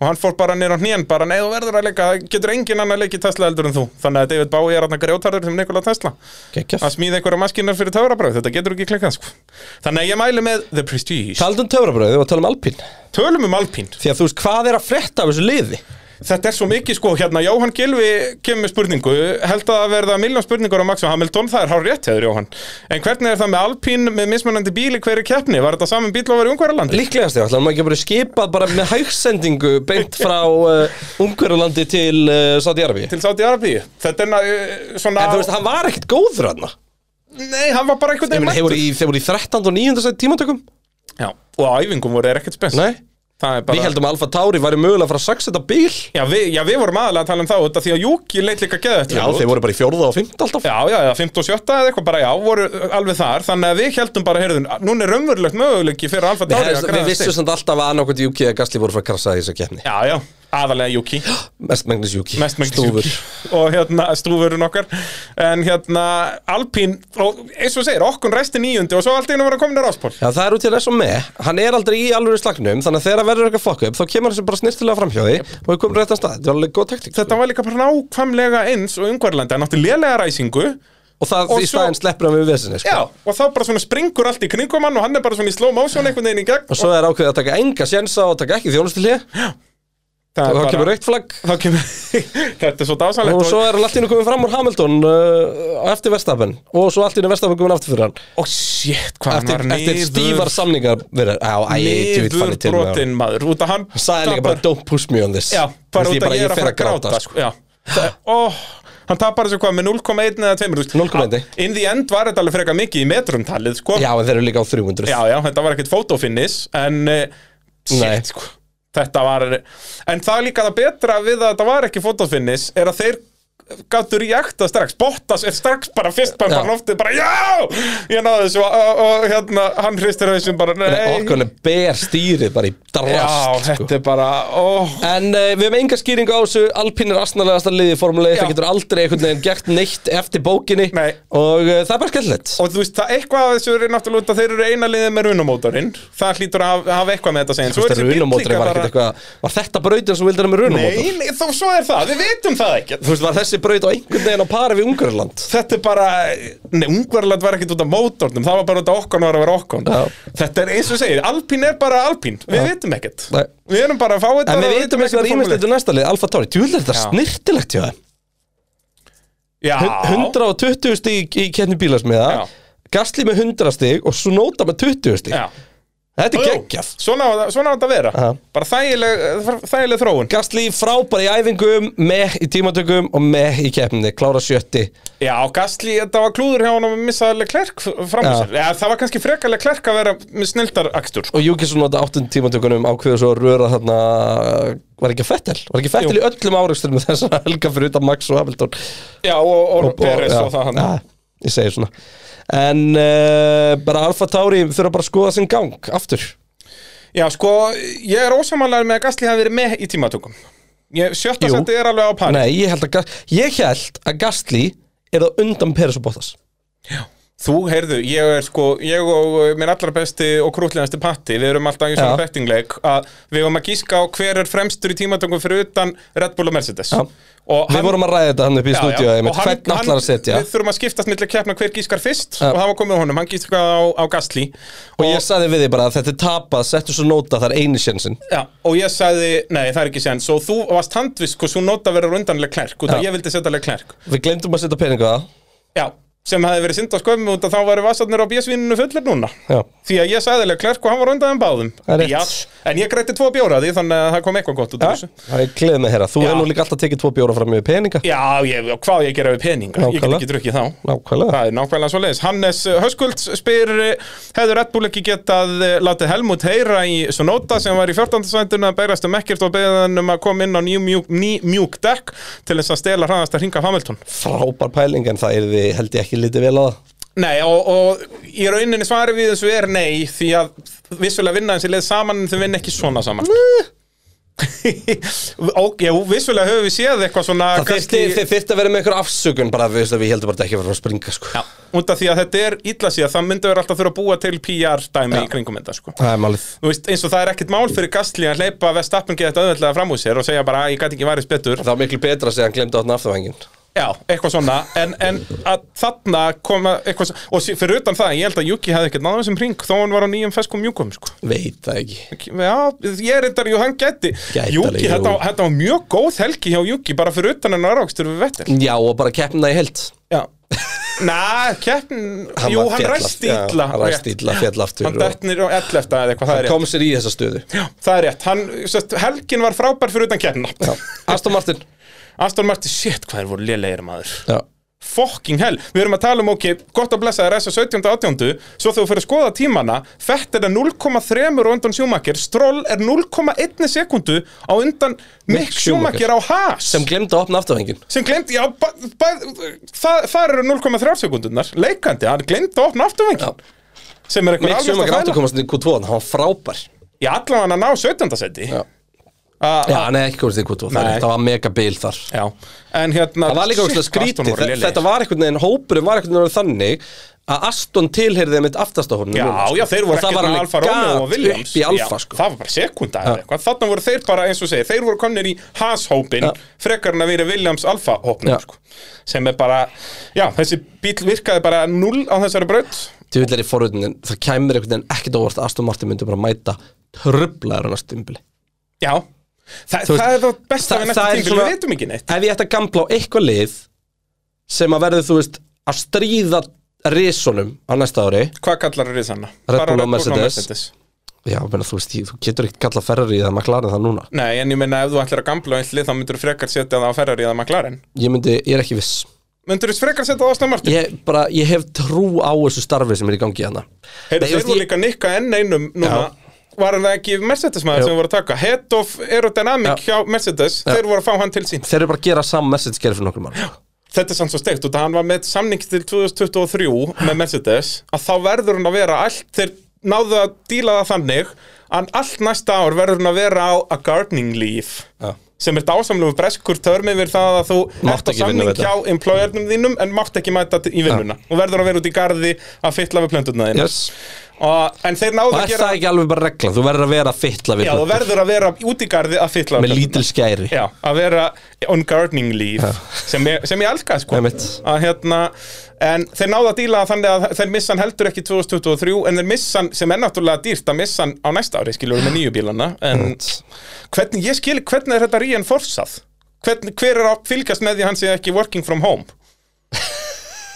Speaker 1: og hann fór bara nýr á hnén bara nei þú verður að leika það getur engin annar leikið Tesla eldur en þú þannig að David Bowie er hann að grjótarður sem Nikola Tesla
Speaker 2: Geggjaf
Speaker 1: að smíða einhverja maskinar fyrir töfrabröð þetta getur ekki klikkað sko þannig að ég mæli með The Prestige
Speaker 2: Taldum töfrabröðu og talum alpín
Speaker 1: tölum um Alpín
Speaker 2: Því að þú veist, hvað er að frétta af þessu liði?
Speaker 1: þetta er svo mikið sko hérna Jóhann Gilvi kemur með spurningu held að verða miljón spurningur á Max og Hamilton það er hár rétt hefur Jóhann en hvernig er það með Alpín með mismunandi bíli hverju keppni var þetta saman bíl á verið ungverðarlandi
Speaker 2: Líklegast ég, ætlaðum maður ekki að bara skipað bara með hægsendingu beint frá uh, Ungverjulandi til uh, Saudi-Arabi
Speaker 1: til Saudi Arabíu þetta er na, uh, svona
Speaker 2: En þú veist, hann var ekkert góður hann
Speaker 1: nei hann var bara einhvern veginn
Speaker 2: Þeir voru
Speaker 1: mættur
Speaker 2: í, þeir voru í 13. og 9. sætt tímantökum
Speaker 1: Já, og á æfingum voru þeir ekkert spes
Speaker 2: Nei,
Speaker 1: það er bara
Speaker 2: við heldum að Alfa Tauri væri mögulega að fara að saxa þetta bíl
Speaker 1: já, við, já við vorum aðalega að tala um þá þetta því að Júki leit líka geða
Speaker 2: Já, þeir voru bara í 4. og 5. alltaf
Speaker 1: Já, já, já, 15 og 7 eða eitthvað bara, já, voru alveg þar Þannig að við heldum bara, heyrðun, núna er raunverulegt möguleiki fyrir Alfa
Speaker 2: Við,
Speaker 1: Tauri að
Speaker 2: hefðist-
Speaker 1: græða
Speaker 2: við vissum
Speaker 1: stig.
Speaker 2: samt alltaf að annarkvæmt Juki eða Gasly voru að fara að krasa í þessu keppni
Speaker 1: Já, já, aðalega Juki,
Speaker 2: Mestmengnis Juki
Speaker 1: mest mengst Juki Og hérna, stúfurinn okkar En hérna, Alpín, og eins og þú segir, okkun resti níundi Og svo allt í einu var að komin að ráspól
Speaker 2: Já, það er út í þess og með, hann er aldrei í alvöru slagnum þannig að þegar það verður eitthvað fuck up, þá kemur þessu bara snirtilega framhjóði yep. og við komum rétt að stað, þetta var alveg góð taktík
Speaker 1: Þetta var líka bara nákvæmlega eins og umhverjandi Hann átti lélega ræsingu
Speaker 2: og það
Speaker 1: og
Speaker 2: í
Speaker 1: svo-
Speaker 2: staðinn sleppur hann við vesinni sko.
Speaker 1: Já, og þá bara svona springur allt í kringum hann Og hann er bara svona í slow motion einhvern veginn í gegn
Speaker 2: og svo er ákveðið að taka enga sjensa og taka ekki þjónustilíð og
Speaker 1: það er
Speaker 2: þá
Speaker 1: bara-
Speaker 2: kemur raukt flagg
Speaker 1: Þá kemur, þetta er svo dásanlegt
Speaker 2: og svo er hann alltaf komið fram úr Hamilton uh, á eftir Vestapen og svo alltaf Vestapen komið aftur fyrir hann
Speaker 1: Ó, shit, hvað hann
Speaker 2: eftir,
Speaker 1: var
Speaker 2: eftir
Speaker 1: niður-
Speaker 2: stífar samningar verið, á, æ, ég veit fannig til með hann
Speaker 1: niðurbrotin maður út að hann
Speaker 2: sagði líka bara don't push me on this
Speaker 1: já, bara
Speaker 2: Því
Speaker 1: út að ég er að
Speaker 2: fer
Speaker 1: fara að gráta
Speaker 2: sko.
Speaker 1: sko. Já. Það- ó, hann tapar þessu hvað með 0,1 eða 2 þú veist.
Speaker 2: 0,1.
Speaker 1: in the end var þetta alveg frekar mikið í metrumtalið sko.
Speaker 2: eh? já, en þeir eru líka á 300
Speaker 1: já, já, þetta var ekkert fotofinnis en eh,
Speaker 2: Nei.
Speaker 1: shit, sko. þetta var en það er líka það betra við að þetta var ekki fotofinnis er að þeir gáttur í ekta strax, Bottas er strax bara fyrst bara,
Speaker 2: Já.
Speaker 1: bara loftið, bara já ég náði þessu og, og, og hérna hann hristir hausinn bara,
Speaker 2: Nei,
Speaker 1: nei,
Speaker 2: okkur ber stýrið bara í
Speaker 1: Já,
Speaker 2: drast sko.
Speaker 1: þetta er bara oh.
Speaker 2: En uh, við hefum enga skýringu á þessu Alpín er astnalegasta liði í Formule
Speaker 1: Já.
Speaker 2: 1 Það getur aldrei einhvern veginn gert neitt eftir bókinni
Speaker 1: Nei.
Speaker 2: Og uh, það er bara skellilegt
Speaker 1: Og þú veist, það eitthvað af þessu er náttúrulega út að þeir eru eina liðið með runumótorinn Það hlýtur að hafa, hafa eitthvað með þetta að segja En
Speaker 2: Þú
Speaker 1: svo er
Speaker 2: veist að
Speaker 1: þessi bíll
Speaker 2: runumótri
Speaker 1: líka
Speaker 2: var ekkert eitthvað Var þetta brautin sem vildi hann með runumótri?
Speaker 1: Nei, nei, þó svo er það, við vitum það ekkert
Speaker 2: Þú veist, var þessi braut á einhvern veginn á pari við Ungarland?
Speaker 1: Þetta er bara, nei, ungverðland var ekkert út af mótornum Það var bara út af okkon var að vera okkon
Speaker 2: Já.
Speaker 1: Þetta er eins og segir, alpín er bara alpín Við vitum ekkert
Speaker 2: Nei.
Speaker 1: Við erum bara að fá þetta og
Speaker 2: En við veitum eins og það er
Speaker 1: ekkert
Speaker 2: ímest eitthvað um næsta lið, Alfa Tauri, djúlega er þetta
Speaker 1: Já.
Speaker 2: snirtilegt hjá þeim um
Speaker 1: formúlu.
Speaker 2: 120 stík í keppni bílasmiða
Speaker 1: Já.
Speaker 2: Gasli með 100 stík og Sunoda með 20 stík
Speaker 1: Já, já
Speaker 2: Þetta
Speaker 1: Jú,
Speaker 2: er geggjað
Speaker 1: Svona á það- svona á þetta að vera
Speaker 2: Já.
Speaker 1: Bara þægileg, þægileg þróun
Speaker 2: Gasly frábær í æfingum, með í tímatökum og með í keppninni, klára sjötti
Speaker 1: Já, Gastli, þetta var klúður hjá hann að missa Leclerc fram úr
Speaker 2: Já.
Speaker 1: sér. Já, það var kannski frekar Leclerc að vera með snildarakstur.
Speaker 2: og Júkisson nota áttund tímatökunum ákveðu svo að röra þarna var ekki Fettel, var ekki Fettel
Speaker 1: Jú.
Speaker 2: í öllum áreikstur með þessar helga fyrir utan Max og Hamilton
Speaker 1: Já, og, og, Peres
Speaker 2: já,
Speaker 1: og það hann.
Speaker 2: ja, ég segi svona en uh, bara Alfa Tauri þurfa bara að skoða sinn gang aftur
Speaker 1: Já, sko, ég er ósamanlega með að Gastli hafi verið með í tímatökum. Ég, sjötta
Speaker 2: Jú.
Speaker 1: seti er alveg á pari.
Speaker 2: nei, ég held að, Gas- ég held að Gasly er það undan Peres og Bottas
Speaker 1: Þú, heyrðu, ég er sko, ég og uh, minn allra besti og krútlegasti patti, við erum alltaf í svona
Speaker 2: Já.
Speaker 1: bettingleik að við erum að gíska á hver er fremstur í tímatökum fyrir utan Red Bull og Mercedes.
Speaker 2: Já.
Speaker 1: Og
Speaker 2: við vorum að ræða þetta hann upp í
Speaker 1: Já,
Speaker 2: stúdíu
Speaker 1: já,
Speaker 2: hvern
Speaker 1: og hann-
Speaker 2: allar að
Speaker 1: hann-
Speaker 2: setja
Speaker 1: Við þurfum að skiptast millir keppna hver gískar fyrst
Speaker 2: Já.
Speaker 1: og það var komið honum, hann gískar á, á Gastli
Speaker 2: Og ég saði við þig bara að þetta er tapað, settu svo nota, það er einu sjensin.
Speaker 1: Já, og ég sagði, nei það er ekki sens og þú varst sko, handvisk og svo nota verður undanlega klærk út af
Speaker 2: Já.
Speaker 1: ég vildi setja lega klærk
Speaker 2: Við glemdum að setja peninga á það.
Speaker 1: Já, sem hefði verið synd á skömmu út að þá væri vassarnir á bjössvininu fullir núna
Speaker 2: Já.
Speaker 1: því að ég sagði alveg klerk og hann var undan báðum
Speaker 2: Það er rétt.
Speaker 1: Já, en ég grætti tvo bjóra því þannig að það kom eitthvað gott út af þessu
Speaker 2: Það er gleðið með herra Þú
Speaker 1: Já.
Speaker 2: hefur nú líka alltaf tekið tvo bjóra fram yfir peninga
Speaker 1: Já, ég, hvað á ég að gera við peninga? Ég get
Speaker 2: Nákvæmlega.
Speaker 1: ekki drukkið þá
Speaker 2: Nákvæmlega
Speaker 1: Það er nákvæmlega svo leiðis. Hannes Höskulds spyr, eh, hefur Red Bull ekki getað eh, látið Helmut heyra í Sonota sem var í 14. sænduna að berast um ekkert og beðið hann um að koma inn á ný mjúk, ný mjúk dekk til þess að stela hraðast að ringa Hamilton?
Speaker 2: Frábær pæling en það er held ég ekki litið vel á það
Speaker 1: Nei, og, og í rauninni svari við þessu er nei, því að vissulega vinna þessi leið saman en þau vinna ekki svona saman. og, já, vissulega höfum við séð eitthvað svona
Speaker 2: Það þyrfti, þið þyrfti að vera með einhver afsökun bara við, við heldum bara að þetta ekki að fara að springa sko.
Speaker 1: Já, út af því að þetta er illa síðan, það myndi vera alltaf þurfa að búa til PR-dæmi í kringum þetta, sko.
Speaker 2: Það er málið
Speaker 1: Þú veist, eins og það er ekkert mál fyrir Gastli að hleypa Vestappen geta þetta auðveldlega fram úr sér og segja bara að ég gæti ekki værið betur
Speaker 2: Það var miklu betra að segja hann glemdi átna afturvængin
Speaker 1: Já, eitthvað svona, en, en að þarna koma eitthvað svona og sí- fyrir utan það, ég held að Juki hefði ekkert náðum sem hring þó hann var á nýjum feskum mjúkum, sko
Speaker 2: Veit það ekki
Speaker 1: Já, ég er reyndar, jú, hann gæti
Speaker 2: Gæti
Speaker 1: Juki,
Speaker 2: alveg, jú.
Speaker 1: þetta, var- þetta var mjög góð helgi hjá Juki bara fyrir utan en aðrákstur við vettir
Speaker 2: Já og bara keppna í held
Speaker 1: Já Næ, keppn,
Speaker 2: Hann
Speaker 1: jú,
Speaker 2: var
Speaker 1: hann
Speaker 2: féll
Speaker 1: ræsti
Speaker 2: aftur.
Speaker 1: illa
Speaker 2: Já, hann ræsti
Speaker 1: rétt.
Speaker 2: illa, féll aftur
Speaker 1: Hann
Speaker 2: og-
Speaker 1: detnir og 11 eða eitthvað, það er rétt
Speaker 2: Kom sér í þessa stöðu
Speaker 1: Já, það er rétt, hann, sest, helgin var frábær fyrir utan keppna
Speaker 2: Já. Aston Martin
Speaker 1: Aston Martin, shit, hvað er voru lélegir maður
Speaker 2: Já.
Speaker 1: Fucking hell, við erum að tala um ok gott að blessa þér S.A. 17. og 18. svo þegar þú fyrir að skoða tímana Fettir er 0,3 og undan sjúmakir Stroll er 0,1 sekundu á undan Mick
Speaker 2: Schumacher.
Speaker 1: sjúmakir á Haas
Speaker 2: Sem glemdi að opna afturvængin
Speaker 1: sem glemdi, já, ba, ba, það, það eru 0,3 sekundunar leikandi, hann glemdi að opna
Speaker 2: Já.
Speaker 1: afturvengin sem er eitthvað
Speaker 2: Mick Schumacher átti að komast inn í Q2 en hann var frábær
Speaker 1: Já, allan hann að ná 17. seti
Speaker 2: Já.
Speaker 1: Já,
Speaker 2: Já, hann er ekki komast inn í Q2 það, er
Speaker 1: Nei.
Speaker 2: rétt, það var mega bil þar
Speaker 1: já, en hérna
Speaker 2: Það var líka ógstlega
Speaker 1: shit, hvað Aston
Speaker 2: skrítið
Speaker 1: voru
Speaker 2: Þe-
Speaker 1: lélegir.
Speaker 2: Þetta var einhvern veginn, hópurum var einhvern veginn þannig að Aston tilheyrði mitt aftast á honum
Speaker 1: Já,
Speaker 2: núna, sko.
Speaker 1: já, þeir voru
Speaker 2: Og það
Speaker 1: ekkert
Speaker 2: var
Speaker 1: með
Speaker 2: alveg
Speaker 1: Alfa Romeo og
Speaker 2: gat
Speaker 1: Williams
Speaker 2: upp í Alfa,
Speaker 1: já,
Speaker 2: sko.
Speaker 1: Það var bara sekunda eða eitthvað Þannig voru þeir bara, eins og segir, þeir voru komnir í Haas-hópin
Speaker 2: Já.
Speaker 1: Frekar en að vera Williams-Alfa-hópnum
Speaker 2: Já.
Speaker 1: sko. Sem er bara, já, þessi bíl virkaði bara null á þessari braut
Speaker 2: Djúvill er í forvöldin, það kæmur einhvern veginn ekkert óvart að Aston Martin myndi bara mæta tröflaður á næstu umbili
Speaker 1: Já, Þa,
Speaker 2: Þú veist,
Speaker 1: það er það besta
Speaker 2: það-
Speaker 1: við næsta
Speaker 2: það er
Speaker 1: tímpil,
Speaker 2: svona-
Speaker 1: við veitum ekki neitt
Speaker 2: Ef ég ætti að gamla á eitthvað lið sem að verði, þú veist, að stríða risunum á næsta ári
Speaker 1: Hvað kallar það sanna?
Speaker 2: Red
Speaker 1: Bara
Speaker 2: Bull og
Speaker 1: og
Speaker 2: Mercedes. Já, menna, þú veist, ég- þú getur ekkert kallað Ferrari eða McLaren það núna
Speaker 1: Nei, en ég meina ef þú ætlar að gamla og einhli þá myndur þú frekar setja það á Ferrari eða McLaren
Speaker 2: Ég myndi, ég er ekki viss
Speaker 1: Myndur þú frekar setja það á Aston Martin?
Speaker 2: Ég, bara, ég hef trú á þessu starfi sem er í gangi hérna. hana
Speaker 1: Heyrðu, þeir voru líka nikka enn einum núna Var það ekki Mercedes maður
Speaker 2: Jú.
Speaker 1: sem voru að taka Head of Aerodynamic hjá Mercedes Þeir voru að fá hann til sín
Speaker 2: Þeir eru bara að gera saman message gerði fyrir nokkur mann
Speaker 1: Þetta er sann svo steikt út að hann var með samning til 2023 með Mercedes að þá verður hann að vera allt Þeir náðu að díla það þannig að allt næsta ár verður hann að vera á a gardening leave
Speaker 2: Já.
Speaker 1: sem er dásamlegu breskur törmi yfir það að þú
Speaker 2: Mátt
Speaker 1: ert á
Speaker 2: ekki
Speaker 1: samning
Speaker 2: vinna við þetta.
Speaker 1: hjá employernum þínum en mátt ekki mæta til- í vinnuna og verður að vera út í garði að fytla við plöndurna þín
Speaker 2: yes.
Speaker 1: en þeir náðu
Speaker 2: Og
Speaker 1: að
Speaker 2: er
Speaker 1: gera
Speaker 2: það ekki alveg bara reglan, þú verður að vera að fytla við
Speaker 1: Já, þú
Speaker 2: plöntur.
Speaker 1: verður að vera út í garði að fylla
Speaker 2: með lítil skæri
Speaker 1: Já, að vera on gardening leave sem ég, sem ég elska sko
Speaker 2: Einmitt.
Speaker 1: að hérna, en þeir náða að díla það þannig að þeir missa hann heldur ekki 2023 en þeir missa hann, sem er náttúrulega dýrt að missa hann á næsta ári, skiljum við með nýju bílana en hvernig, ég skil, hvernig er þetta ríðan forsað? Hvern, hver er að fylgjast með því að hann sé ekki working from home?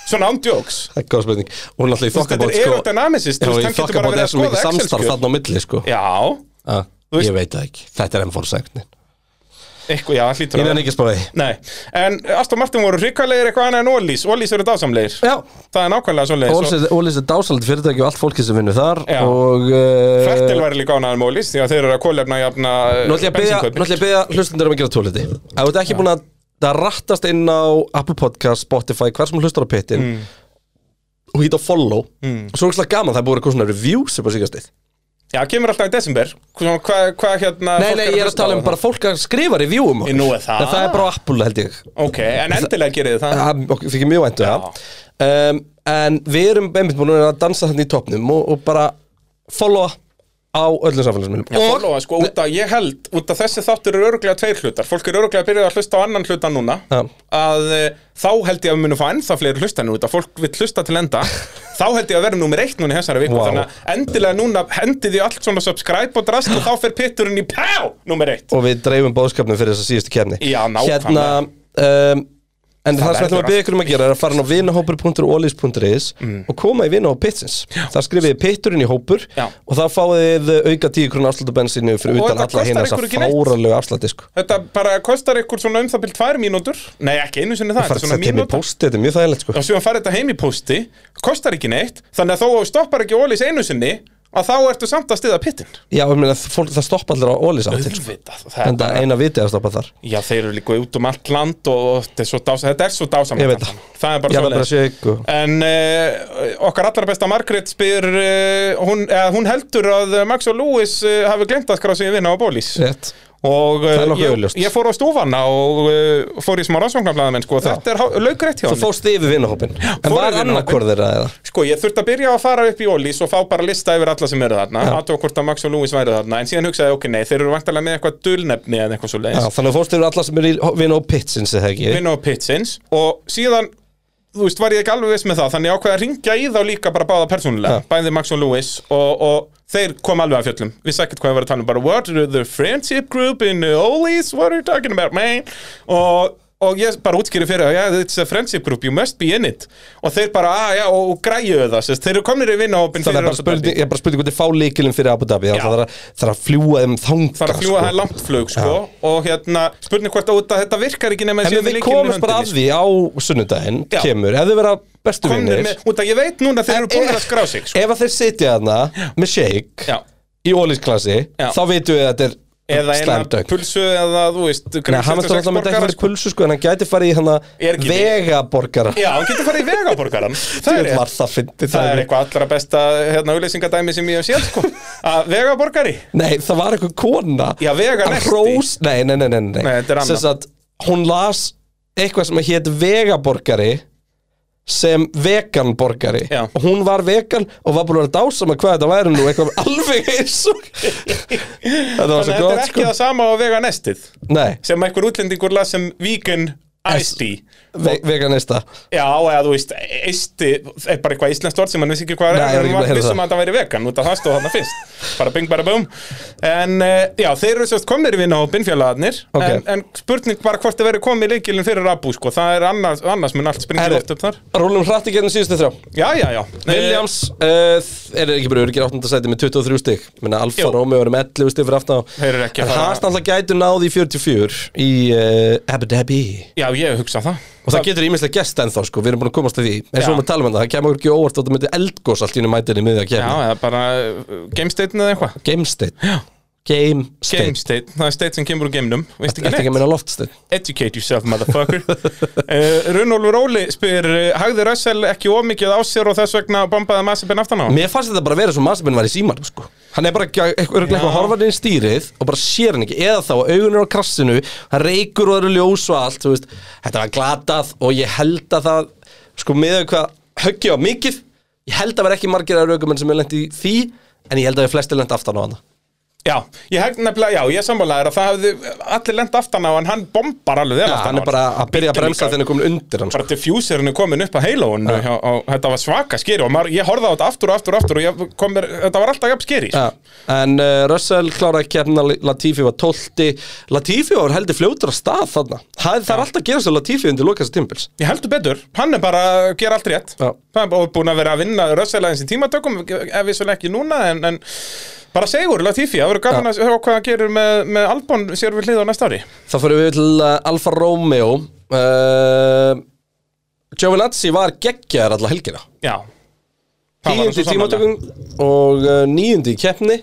Speaker 1: Svona ándjóks
Speaker 2: Það er góð spurning Og náttúrulega í
Speaker 1: Þetta
Speaker 2: þokkabót sko-
Speaker 1: er aerodynamicist,
Speaker 2: Já,
Speaker 1: þú veist,
Speaker 2: í
Speaker 1: hann getur bara
Speaker 2: þokkabót
Speaker 1: verið
Speaker 2: er
Speaker 1: að
Speaker 2: svo mikið
Speaker 1: skoða
Speaker 2: samstarf
Speaker 1: Excel-skjöl
Speaker 2: þarna á milli sko
Speaker 1: Já,
Speaker 2: Ah,
Speaker 1: Þú veist-
Speaker 2: Ég veit það ekki, þetta er enn fórsæknin
Speaker 1: eitthvað, já, hlýtur
Speaker 2: Ég
Speaker 1: að
Speaker 2: nefn ekki að spá því
Speaker 1: Nei, en Aston Martin voru hrikalegir eitthvað annað en Ólís Ólís eru dásamlegir
Speaker 2: Já,
Speaker 1: Það er nákvæmlega svo leiðis og
Speaker 2: Ólís er dásaldi fyrirtæki og allt fólki sem vinnur þar
Speaker 1: Já.
Speaker 2: og uh,
Speaker 1: Fettil væri líka ánæðan með Ólís því að þeir eru að kólefna jafna eh,
Speaker 2: Náttúrulega að biðja- náttúrulega að beðja hlustundur um að gera tóliti Ef þú ert ekki búin að það rattast inn á Apple Podcast, Spotify, hver sem hlustar á pittin
Speaker 1: Mm.
Speaker 2: og hýta follow mm. Svo er það gaman, það er búin eitthvað svona reviews upp á síkastið
Speaker 1: Já, kemur alltaf í desember Hvað hva, hérna
Speaker 2: Nei,
Speaker 1: fólk
Speaker 2: nei, ég er að
Speaker 1: hlusta á
Speaker 2: tala um
Speaker 1: þarna?
Speaker 2: bara fólk að skrifa review um okkur
Speaker 1: Nú er það.
Speaker 2: En það er bara á Apple held ég
Speaker 1: Ok, en endilega gerið þið það
Speaker 2: Það okkur Ah, þykir mjög væntu það um, En við erum einmitt búin að dansa þannig í topnum og, og bara followa á öllum samfélagsmiðlum
Speaker 1: og followa, sko, út að ég held út að þessi þáttur eru öruglega tveir hlutar fólk eru öruglega að byrja að hlusta á annan hluta núna
Speaker 2: Já.
Speaker 1: að e, þá held ég að við munum fá ennþá fleiri hlustanir út að fólk vill hlusta til enda þá held ég að verðum númer eitt núna í þessari viku
Speaker 2: Vá.
Speaker 1: þannig að endilega núna hendið ég allt svona subscribe og drast og þá fer pitturinn í pá númer eitt
Speaker 2: og við dreifum bóðskapnum fyrir þessa síðustu kefni
Speaker 1: Já, nákvæmlega.
Speaker 2: Hérna, um, En það,
Speaker 1: verður
Speaker 2: sem ætlum að byggja ykkur um að gera er að fara inn á vinahópur.olis.is
Speaker 1: Mm.
Speaker 2: og koma í vinahóp pitsins. Það skrifiði pitturinn í hópur
Speaker 1: Já.
Speaker 2: og það fáið þið auka 10 krónu afslutu bensinu fyrir
Speaker 1: Og
Speaker 2: utan
Speaker 1: þetta
Speaker 2: alla
Speaker 1: kostar
Speaker 2: hérna
Speaker 1: ykkur
Speaker 2: þessar
Speaker 1: ekki neitt.
Speaker 2: fáralegu afslutdisku.
Speaker 1: Þetta bara kostar ykkur svona um það byrjum tvær mínútur Nei, ekki einu sinni það,
Speaker 2: Það
Speaker 1: þetta er svona
Speaker 2: kemur í
Speaker 1: mínútur
Speaker 2: posti, þetta er mjög þægilegt sko.
Speaker 1: Og síðan farið þetta heim í pósti, kostar ekki neitt Þannig að þó að þú stoppar ekki ólís einu sinni Að þá ertu samt að stiða pittin
Speaker 2: Já, ég meina, fólk, það stoppa allir á sko. Olis áttil.
Speaker 1: Auðvitað, það er
Speaker 2: En það eina vitið að stoppa þar.
Speaker 1: Já, þeir eru líka út um allt land og og þetta er svo dásamlegt Þetta er svo dásamlegt
Speaker 2: Ég veit
Speaker 1: allt
Speaker 2: það.
Speaker 1: saman. Það er bara
Speaker 2: Ég verð bara að
Speaker 1: svoleiðis.
Speaker 2: sé ykkur.
Speaker 1: En uh, okkar allra besta Margrét spyr uh, hún, eh, hún heldur að Max og Lewis uh, hafi glemt að skrá sig í vinna á bólís
Speaker 2: Rétt.
Speaker 1: Og
Speaker 2: Það er
Speaker 1: uh,
Speaker 2: nokkuð
Speaker 1: ég,
Speaker 2: augljóst.
Speaker 1: ég fór á stúfana og uh, fór í smá rannsóknarblæðamenn sko, og Þetta er há- laukrétt hjá
Speaker 2: Þú
Speaker 1: hann
Speaker 2: fórst yfir vinahópin. En
Speaker 1: fór
Speaker 2: var
Speaker 1: yfir
Speaker 2: annarkvörð þeirra eða?
Speaker 1: Sko, ég þurfti að byrja að fara upp í Ólís og fá bara lista yfir alla sem eru þarna Aðtók hvort að Max og Lewis væru þarna En síðan hugsaði, ég, ok, nei, þeir eru vantarlega með eitthvað dulnefni eða eitthvað svo
Speaker 2: Já,
Speaker 1: leiðis
Speaker 2: þannig að þú fórst yfir alla sem er í vinahóp pitsins eða ekki?
Speaker 1: Vinn á Pitsins Og síðan, þú veist, var ég ekki alveg viss með það Þannig ég ákveði að ringja í þá líka bara báða persónulega Bæði Max og Lewis og, og þeir kom alveg að fjöllum Við sækert hvað ég var að tala um bara What are the friendship group in Ólís? What are you talking about, man? Og og ég bara útskýri fyrir að yeah, it's a friendship group, you must be in it og þeir bara, ah, já, og, og græjuðu það sérst, þeir eru komnir í vinnahópin
Speaker 2: Þannig að bara spurning, ég er bara spurning hvort þið fá leikilinn fyrir Abu Dhabi þannig að Það er að, það er að fljúa þeim þanga
Speaker 1: Það er að fljúa það er langt flug sko og hérna spurning hvort að út að þetta virkar ekki nema
Speaker 2: En
Speaker 1: séu
Speaker 2: við
Speaker 1: með lykilinn í
Speaker 2: komumst bara
Speaker 1: höndinni, sko.
Speaker 2: að því á sunnudaginn
Speaker 1: Já.
Speaker 2: kemur, ef þið vera bestu
Speaker 1: sko. Komnir
Speaker 2: vinnir
Speaker 1: með- út að ég veit núna að þeir eru búin að skrá sig sko.
Speaker 2: Ef að þeir sitja þarna með shake
Speaker 1: Já.
Speaker 2: í ólísklasi
Speaker 1: Já.
Speaker 2: þá veitum við að þetta er
Speaker 1: eða eina
Speaker 2: slæmdögg
Speaker 1: pulsu eða þú veist
Speaker 2: Nei, hann er alltaf myndi ekki farið í pulsu sko en hann gæti farið í
Speaker 1: Er
Speaker 2: hann
Speaker 1: ekki
Speaker 2: vegaborgara
Speaker 1: Já, hann getur farið í vegaborgaran Það er
Speaker 2: Djöfull
Speaker 1: rétt.
Speaker 2: var það fyndi
Speaker 1: Það er eitthvað allra besta hérna, auðlýsingadæmi sem ég hef séð sko. að vegaborgari
Speaker 2: Nei, það var eitthvað kona
Speaker 1: Já, Vega
Speaker 2: Að
Speaker 1: Nesti.
Speaker 2: hrós- Nei, nei, nei, nei, nei.
Speaker 1: Nei, þetta er annað.
Speaker 2: Sem sagt, hún las eitthvað sem hét vegaborgari sem veganborgari
Speaker 1: Já.
Speaker 2: og hún var vegan og var búin að vera dásama hvað þetta væri nú eitthvað alveg eins og þetta
Speaker 1: Þannig
Speaker 2: var svo
Speaker 1: að þetta
Speaker 2: gott
Speaker 1: er ekki
Speaker 2: sko
Speaker 1: það sama á veganestið
Speaker 2: Nei,
Speaker 1: sem einhver útlendingur las sem vegan iced tea
Speaker 2: ve veganista
Speaker 1: Já, eða þú veist, eisti er bara eitthvað íslenskt orð sem mann vissi ekki hvað
Speaker 2: Nei,
Speaker 1: er
Speaker 2: ég
Speaker 1: en
Speaker 2: er ekki
Speaker 1: mann
Speaker 2: búin að heyra
Speaker 1: vissum
Speaker 2: það.
Speaker 1: um að það væri vegan út af það stóð þarna fyrst bara bing bara bum en eh, já, þeir eru sérst komnir í vinnahópin fjölaðarnir
Speaker 2: Ok.
Speaker 1: en, en spurning bara hvort þið verið komið í leikilin fyrir Abu sko, það er annars, annars mun allt springið
Speaker 2: Herri.
Speaker 1: oft upp þar
Speaker 2: Rólum hratt í gerðin síðustu þrjá
Speaker 1: Já, já, Eh, já
Speaker 2: Williams uh, er ekki bara örgir 8. sæti með 23 stig Minna Alfa
Speaker 1: Jú.
Speaker 2: Romeo er með 11 stig fyrir aftan á.
Speaker 1: Þeir eru ekki að
Speaker 2: En
Speaker 1: fara-
Speaker 2: Haas náttúrulega gætu náði í 44 í uh, Abu Dhabi
Speaker 1: Eh, Já, ég hugsa það
Speaker 2: Og það getur ímislega gest ennþá sko, við erum búin að komast að því eins
Speaker 1: Já.
Speaker 2: og við erum að tala um þetta, það kemur okkur ekki óvart að það myndi eldgós allt í einu mætinni miðið að
Speaker 1: Já,
Speaker 2: kemur
Speaker 1: eða bara gamesteitn eða eitthvað
Speaker 2: Gamesteinn Gamesteinn
Speaker 1: Gamesteitn, það er steit sem kemur úr geimnum Veist ekki
Speaker 2: Þetta er
Speaker 1: neitt
Speaker 2: ekki að minna loftsteinn
Speaker 1: Educate yourself, motherfucker uh, Runolfur Óli spyr uh, Hagði Russell ekki ómikið á sér og þess vegna bombaði Masipin aftan á hann?
Speaker 2: Mér fannst þetta bara vera svo massminn var í símanum sko Hann er bara ekki eitthvað eitthvað að horfa inn í stýrið og bara sér hann ekki Eða þá að augun er á krassinu, hann reykur og það eru ljós og allt þú veist. Þetta var glatað og ég held að það Sko miðað við hvað höggja á mikið Ég held að vera ekki margir að raukumenn sem er lent í því En ég held að við flestir lent aftan á hana
Speaker 1: Já, ég held nefnilega, já, ég sammálaði að það hafði allir lent aftan á hann, hann bombar alveg vel
Speaker 2: Já,
Speaker 1: aftan á
Speaker 2: hann er bara að byrja
Speaker 1: Bíllinn
Speaker 2: að bremsa
Speaker 1: líka.
Speaker 2: þegar hann er komin undir hann sko.
Speaker 1: bara diffuserinn er komin upp að heila hún og, og þetta var svaka skeri og maður, ég horfði á þetta aftur og aftur og aftur og ég kom mér, þetta var alltaf jafn skeri
Speaker 2: Já, en uh, Russell kláraði keppna Latifi var 12 Latifi var heldur fljótur að stað þarna það, það er alltaf að gera svo Latifi undir lokast tímpils
Speaker 1: Ég heldur betur, hann er bara að gera allt rétt
Speaker 2: Já.
Speaker 1: Hann er bara búin að vera að vinna rössalæðins í tímatökum ef við svolítið ekki núna en, en bara segur Latifi, það verður gaman að sjá hvað hann gerir með, með Albon sér við hlið á næsta ári
Speaker 2: þá fyrir við til uh, Alfa Romeo uh, Giovinazzi var geggjaðar alla helgina
Speaker 1: Já Það var hann
Speaker 2: tíundi
Speaker 1: svo
Speaker 2: tímatökum og uh, níundi í keppni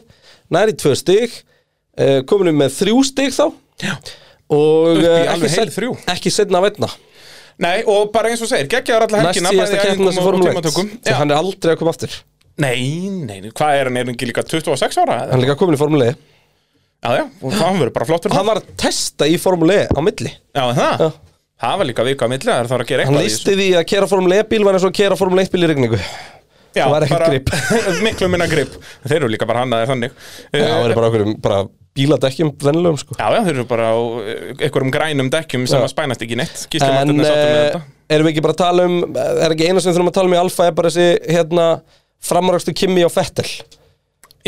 Speaker 2: næri tvö stig uh, kominum með þrjú stig þá
Speaker 1: sannarlega. Já. Upp
Speaker 2: og
Speaker 1: í
Speaker 2: uh,
Speaker 1: alveg
Speaker 2: ekki,
Speaker 1: heil
Speaker 2: seinn-
Speaker 1: þrjú.
Speaker 2: ekki setna að vetna
Speaker 1: Nei, og bara eins og segir, geggjaður alla
Speaker 2: næst
Speaker 1: helgina
Speaker 2: síðasta
Speaker 1: bæði í æfingum
Speaker 2: keppna sem
Speaker 1: og- og
Speaker 2: Formule 1
Speaker 1: tímatökum
Speaker 2: því
Speaker 1: Já.
Speaker 2: hann er aldrei að koma aftur
Speaker 1: Nei, nei, hvað er hann, er hann ekki líka 26 ára? eða?
Speaker 2: hann er líka komin í Formule 1
Speaker 1: Já, já, og það verður bara flott fyrir
Speaker 2: hann
Speaker 1: það
Speaker 2: var að testa í Formule E á milli
Speaker 1: Já, en það,
Speaker 2: Já.
Speaker 1: það var líka vika að milli, það er það að gera
Speaker 2: hann
Speaker 1: eitthvað í þessu.
Speaker 2: listi því að kera Formule E bíl var eins og að kera Formule 1 bíl í regningu
Speaker 1: Já,
Speaker 2: það var ekkert
Speaker 1: bara-
Speaker 2: grip.
Speaker 1: Miklu minna grip, þeir eru líka bara hannaðir þannig
Speaker 2: já, það er bara okkur bara bíladekkjum vennilegum sko
Speaker 1: Já, já, þeir eru bara á eh, einhverjum grænum dekkjum sem
Speaker 2: Já.
Speaker 1: að spænast ekki neitt Gísli
Speaker 2: en
Speaker 1: Martin er sáttur með
Speaker 2: eh,
Speaker 1: þetta
Speaker 2: erum við ekki bara að tala um er ekki eina sem við þurfum að tala um í Alfa er bara þessi hérna framarakstu Kimi og Fettel þú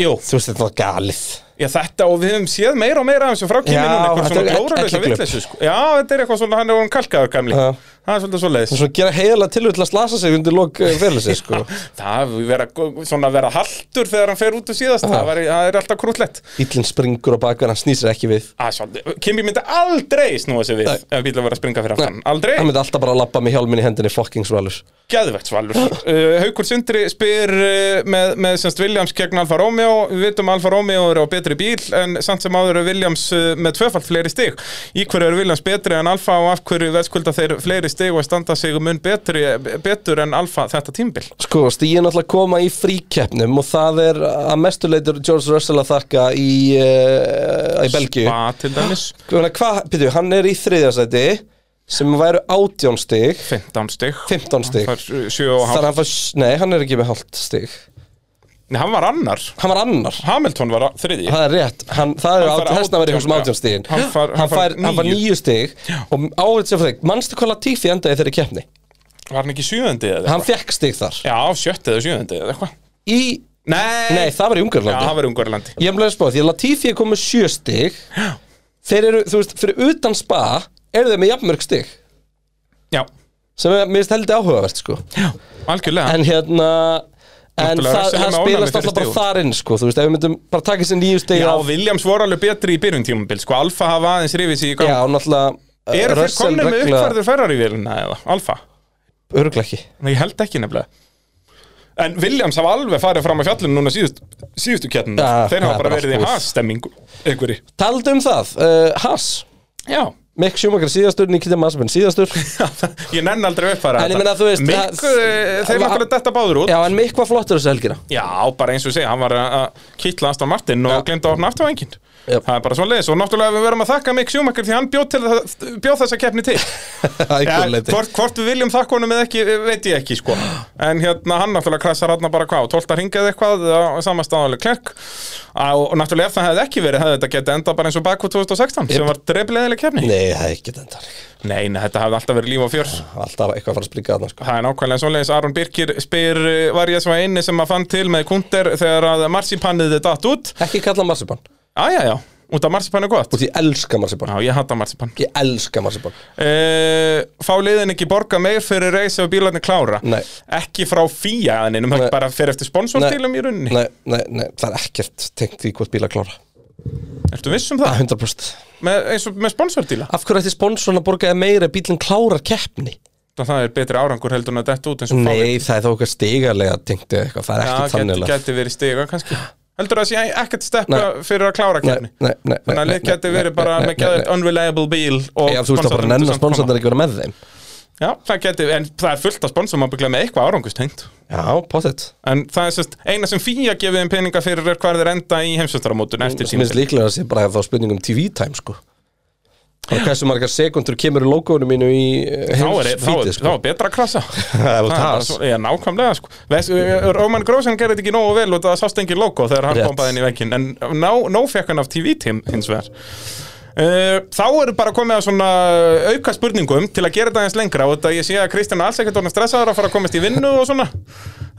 Speaker 1: Jú,
Speaker 2: veist þetta var galið
Speaker 1: já, þetta og við höfum séð meira og meira af þessu frá
Speaker 2: Já,
Speaker 1: kíminum eitthvað
Speaker 2: þetta
Speaker 1: svona
Speaker 2: er ell-
Speaker 1: glóralösa
Speaker 2: elliglöp.
Speaker 1: vitleysu sko. Já, þetta er eitthvað svona hann er um kalkaður gamli
Speaker 2: Já.
Speaker 1: það er svolítið svo leiðis
Speaker 2: er svona að gera heiðalega tilhug til að slasa sig undir lok fyrirlisir sko.
Speaker 1: Það vera, svona vera haltur þegar hann fer út og síðast, það, væri- það er alltaf krútlegt
Speaker 2: Ítlinn springur á bakverð, hann snýsir ekki við
Speaker 1: Að svolítið- Kimi myndi aldrei snúa sig við
Speaker 2: Nei.
Speaker 1: ef bílum var að springa fyrir aftan, aldrei
Speaker 2: Hann myndi alltaf bara að labba með hjálminn í hendinni fucking svalur
Speaker 1: Gæðvegt svalur uh, Haukur Sindri spyr uh, með, með semst Williams gegn Alfa Romeo Við vitum að Alfa Romeo eru á betri bíl en samt sem áður er Williams uh, með tvöfalt fleiri stig Í hverju eru Williams betri en Alfa og af hverju veðskulda þeir fleiri stig og standa sig mun betri, betur en Alfa þetta tímbil
Speaker 2: Sko, stíðin alltaf koma í fríkeppnum og það er að mestu leitur George Russell að þakka í, uh, í Belgíu
Speaker 1: Hvað til dæmis?
Speaker 2: Hvað, hva, byrju, hann er í þriðjasæti sem væru átjón stig
Speaker 1: 15 stig
Speaker 2: 15 stig
Speaker 1: Það er 7 og
Speaker 2: Þannig
Speaker 1: hálf
Speaker 2: að hann fær, nei, hann er ekki með hálft stig
Speaker 1: Nei, Hann var annar
Speaker 2: Hann var annar
Speaker 1: Hamilton var á- þriðji
Speaker 2: Það er rétt, hann, það er
Speaker 1: Hann fær
Speaker 2: át- þessna verið
Speaker 1: átján,
Speaker 2: eitthvað sem
Speaker 1: já.
Speaker 2: átjón um stigin
Speaker 1: Hann fær- hann fær
Speaker 2: hann fær
Speaker 1: níu.
Speaker 2: níu stig og árið sem fyrir þig, mannstu hvað Latifi endaði í þeirri keppni?
Speaker 1: Var hann ekki sjöðandi eða
Speaker 2: Hann
Speaker 1: eitthvað?
Speaker 2: fekk stig þar
Speaker 1: Já, sjötti eða sjöðandi eða eitthvað
Speaker 2: Í,
Speaker 1: Nei,
Speaker 2: nei, það var í
Speaker 1: Já,
Speaker 2: Ungarlandi
Speaker 1: það var Ungarlandi
Speaker 2: Ég hef bleið að spá, því að Latifi er komið sjö stig Þeir eru, þú veist, fyrir utan spa eru þeir með jafnmörg stig
Speaker 1: Já,
Speaker 2: sem er, mér finnst heldur áhugavert, sko
Speaker 1: já, algjörlega
Speaker 2: en hérna En
Speaker 1: Náttúrulega
Speaker 2: það,
Speaker 1: refsa
Speaker 2: það
Speaker 1: honum með
Speaker 2: spilast
Speaker 1: ofnæmi fyrir
Speaker 2: alltaf bara
Speaker 1: stigum.
Speaker 2: þar inn sko, þú veist, ef við myndum bara taka þessi nýju stegi
Speaker 1: Já,
Speaker 2: af,
Speaker 1: Williams voru alveg betri í byrjun tímabil sko, Alfa hafa aðeins rifið sér í
Speaker 2: já,
Speaker 1: gang
Speaker 2: náttúrulega uh,
Speaker 1: Eru þeir
Speaker 2: Russell
Speaker 1: komnir með
Speaker 2: regla-
Speaker 1: uppfærður ferrar í vélina eða, Alfa?
Speaker 2: Örugglega ekki
Speaker 1: Nei, ég held ekki nefnilega En Williams hafa alveg farið fram á fjallinu núna síðust, síðustu kjarnin
Speaker 2: Já,
Speaker 1: Þeir
Speaker 2: það er
Speaker 1: hafa bara
Speaker 2: bara
Speaker 1: verið í
Speaker 2: allt búið.
Speaker 1: hasstemmingu einhverji
Speaker 2: Taldu um það, uh, Haas
Speaker 1: Já,
Speaker 2: Mick Schumacher síðastur, Nikita Masbin síðastur
Speaker 1: ég nenn aldrei að uppfæra
Speaker 2: En ég meina, þú veist,
Speaker 1: Mikk,
Speaker 2: það-
Speaker 1: eh, þeir
Speaker 2: Va-
Speaker 1: náttúrulega detta báður út
Speaker 2: Já, en Mick var flottur þessu helgina
Speaker 1: Já, bara eins og segja, hann var að að kitla Aston Martin og glemd að opna afturvængin
Speaker 2: Jöp.
Speaker 1: Það er bara svoleiðis og náttúrulega við verum að þakka Mick Schumacher því hann bjóð, til, það- bjóð þessa keppni til ja, hvort, hvort við viljum þakka honum eða ekki, veit ég ekki sko En hérna, hann náttúrulega krasar hann bara hvað, 12 ringið eitthvað, samastáðanlega klerk Og náttúrulega ef það hefði ekki verið, hefði þetta getið endað bara eins og baku 2016 sem var drefleðileg keppni
Speaker 2: Nei, það er ekki þetta
Speaker 1: Nei, nei, þetta hefði alltaf verið líf og fjör
Speaker 2: Alltaf eitthvað að fara að springa þarna sko.
Speaker 1: Það er nákvæmlega svoleiðis, Aron Birkir spyr eh, var ég svo eini sem að fann til með kundir þegar að marsipannið er datt út
Speaker 2: Ekki kalla Marsipan
Speaker 1: Æja, já, út af marsipan er gott
Speaker 2: Út í elska Marsipan
Speaker 1: Já, ég hata marsipan
Speaker 2: Ég elska Marsipan
Speaker 1: e, Fá liðin ekki borga meir fyrir reis ef bílarnir klára
Speaker 2: Nei.
Speaker 1: Ekki frá fía en einum
Speaker 2: Nei.
Speaker 1: bara fyrir eftir sponsortilum í runni
Speaker 2: nei, nei, nei, það er ekkert tengt í hvort bíla klára
Speaker 1: Ertu viss um það?
Speaker 2: 100%
Speaker 1: Með, eins og með sponsortila
Speaker 2: Af hverju ætti sponsorinn að borgaði meira ef bílinn klárar keppni?
Speaker 1: Það er betri árangur heldur en að detta út eins og fá
Speaker 2: Nei, það er þá eitthvað stigarlega tengt eða eitthvað, það er
Speaker 1: Já,
Speaker 2: ekki
Speaker 1: geti,
Speaker 2: þannig lagað.
Speaker 1: geti verið stiga kannski Heldur það að sé ekkert steppa
Speaker 2: Nei.
Speaker 1: fyrir að klára
Speaker 2: Nei,
Speaker 1: kefni
Speaker 2: nei, nei, nei,
Speaker 1: Þannig að
Speaker 2: nei,
Speaker 1: lið geti
Speaker 2: nei,
Speaker 1: verið
Speaker 2: nei,
Speaker 1: bara
Speaker 2: nei,
Speaker 1: með
Speaker 2: nei,
Speaker 1: geðið
Speaker 2: nei.
Speaker 1: unreliable bíl og
Speaker 2: Já, þú veist að bara
Speaker 1: sponsorarnir
Speaker 2: nenn
Speaker 1: myndu
Speaker 2: að
Speaker 1: samt koma.
Speaker 2: sponsorinn ekki vera með þeim
Speaker 1: Já, það geti, en það er fullt af sponsorum ábygglega með eitthvað árangustengt
Speaker 2: Já, pottet
Speaker 1: En það er sérst, eina sem fíja gefið þeim peninga fyrir er hvað þeir enda í heimsvöldaramótun eftir
Speaker 2: Mér finnst
Speaker 1: tímabil.
Speaker 2: líklega að sé bara þá spurning um TV time sko Og hversu margar sekundur kemur í logoinu mínu í eh,
Speaker 1: Þá er, e- þá, er, þá
Speaker 2: sko
Speaker 1: er betra að krasa
Speaker 2: Það er
Speaker 1: bara
Speaker 2: það
Speaker 1: svo- Já, nákvæmlega sko Ves, Róman Grósan gerði þetta ekki nógu vel og það sást engin logo þegar hann
Speaker 2: Rétt.
Speaker 1: bombaði inn í vekkin En ná, ná fekk hann af TV-tím hins vegar Uh, þá eru bara komið að svona auka spurningum til að gera þetta aðeins lengra og þetta ég sé að Kristján er alls ekkert orðin stressaður að fara að komast í vinnu og svona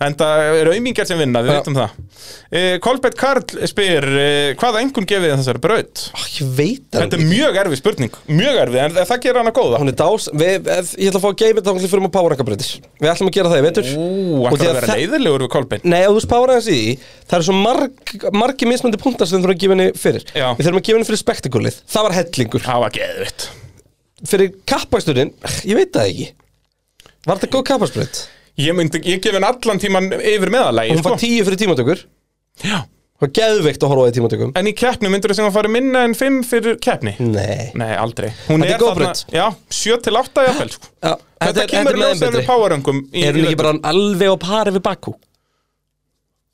Speaker 1: en það eru aumingjar sem vinna, við
Speaker 2: Já.
Speaker 1: veitum það uh, Kolbett Karl spyr uh, hvaða engun gefið þið þessari braut?
Speaker 2: Ó, Ah, Ég veit
Speaker 1: Þetta
Speaker 2: að
Speaker 1: er mjög erfið spurning, mjög erfið, en það gerir hana góða
Speaker 2: Hún er dás við, ef, Ég ætla að fá að geima þetta þá fyrir um að powerrankabreytis Við ætlum að gera það, ég veitur
Speaker 1: Ú,
Speaker 2: Og
Speaker 1: ætlar
Speaker 2: því
Speaker 1: að vera
Speaker 2: það-
Speaker 1: leiðilegur við Kolbeinn
Speaker 2: Nei, ef þú spára þessi í, því, það eru svo marg, margi mismöndi punktar sem við þurfum að gefa henni fyrir
Speaker 1: Já.
Speaker 2: Við þurfum að gefa henni fyrir spektakulið, það var hellingur
Speaker 1: Það var geðvitt
Speaker 2: Fyrir kappasturinn, ég veit það ekki Var þetta góð kappasturin?
Speaker 1: Ég, myndi, ég gef henn allan tíman yfir meðalagi
Speaker 2: Hún
Speaker 1: sko.
Speaker 2: var tíu fyrir tímatökur
Speaker 1: Já.
Speaker 2: Það var geðveikt að horfa á því tímatökum
Speaker 1: En í keppni myndur þú sem að fara minna en 5 fyrir keppni
Speaker 2: Nei
Speaker 1: Nei, aldrei Hún
Speaker 2: Þetta er góð braut.
Speaker 1: Já, 7 til 8 jafnvel sko.
Speaker 2: ja,
Speaker 1: Þetta kemur ljósað við poweröngum
Speaker 2: Er hún ekki bara alveg á pari við Bakú?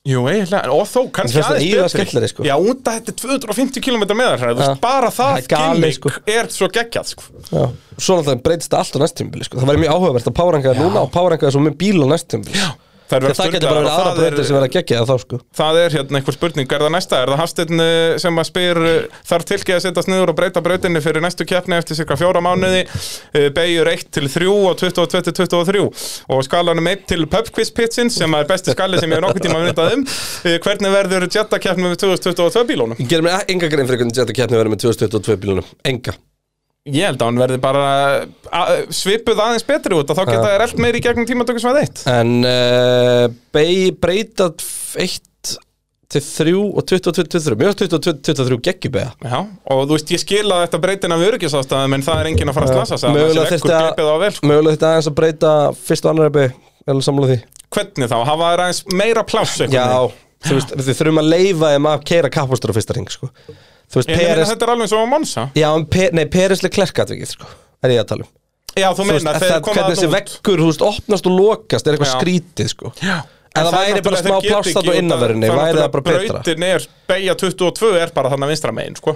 Speaker 1: Jú, eiginlega, en- og þó kannski
Speaker 2: finnst það
Speaker 1: aðeins
Speaker 2: eiginlega
Speaker 1: betri.
Speaker 2: skemmtilegri, sko.
Speaker 1: Já, út að þetta er 250 km meðalhræð
Speaker 2: Já.
Speaker 1: ja. Bara
Speaker 2: Það
Speaker 1: það
Speaker 2: er galið,
Speaker 1: gimmick
Speaker 2: sko.
Speaker 1: er svo geggjað sko.
Speaker 2: Já Svo náttúrulega breytist það allt á næst tímabili sko. Það væri mjög áhugavert að páranga það núna og páranga það svo með bíl á næst tímabili
Speaker 1: Það er verið
Speaker 2: Það getur
Speaker 1: sturlaðar og
Speaker 2: bara verið aðra
Speaker 1: það er-
Speaker 2: breytir sem verið að gegja það þá sko
Speaker 1: Það er hérna einhver spurning, er það næsta? Er það Hafsteinn eh, sem að spyr eh, þarf tilkið að setjast niður og breyta brautinni fyrir næstu keppni eftir cirka fjóra mánuði eh, beigur 1 til 3 og 22-23 og skalanum 1 til pubquizpitsin sem er besti skali sem ég er nokkuð tíma myndað um Eh, hvernig verður jettakeppni með 2022 bílónum?
Speaker 2: Ég gerir mér enga grein fyrir hvernig þetta keppni verið með 2022 bílunum Enga
Speaker 1: Ég held að hann verði bara að- svipuð aðeins betri út að þá geta þær allt meiri í gegnum tímatökusvæð eitt
Speaker 2: En uh, Bay breyta 1 til 3 og 20 til 23 Mjög 20 til 23 geggjubega
Speaker 1: Já, og þú veist, ég skil að þetta breytin af öryggisástæðum en það er enginn að fara að slasa sig annars
Speaker 2: Mögulega
Speaker 1: leggur
Speaker 2: þyrfti að-
Speaker 1: gripið á vel, sko.
Speaker 2: Mögulega þetta aðeins að breyta fyrst og annar ebbi Eller samla því
Speaker 1: Hvernig þá? Hafa þær aðeins meira pláss einhvern
Speaker 2: Já,
Speaker 1: veginn?
Speaker 2: þú veist, við þurfum að leifa þeim að keira kappastur á fyrsta ring sko. Þú veist,
Speaker 1: Ég meina
Speaker 2: Peres
Speaker 1: þetta er alveg svo á Monsa
Speaker 2: Já, en Pe nei, Peres Leclerc atvikið sko, er ég að tala um
Speaker 1: Já, þú
Speaker 2: Þú veist,
Speaker 1: meina,
Speaker 2: að
Speaker 1: þeir
Speaker 2: það-
Speaker 1: koma
Speaker 2: hvernig
Speaker 1: að
Speaker 2: þessi veggur, þú veist, opnast og lokast er eitthvað
Speaker 1: Já.
Speaker 2: skrítið, sko
Speaker 1: Já.
Speaker 2: En það væri bara smá pláss þarna á innanverðinni, væri það bara betra
Speaker 1: Brautin er, beigja 22 er bara þannig að vinstra megin, sko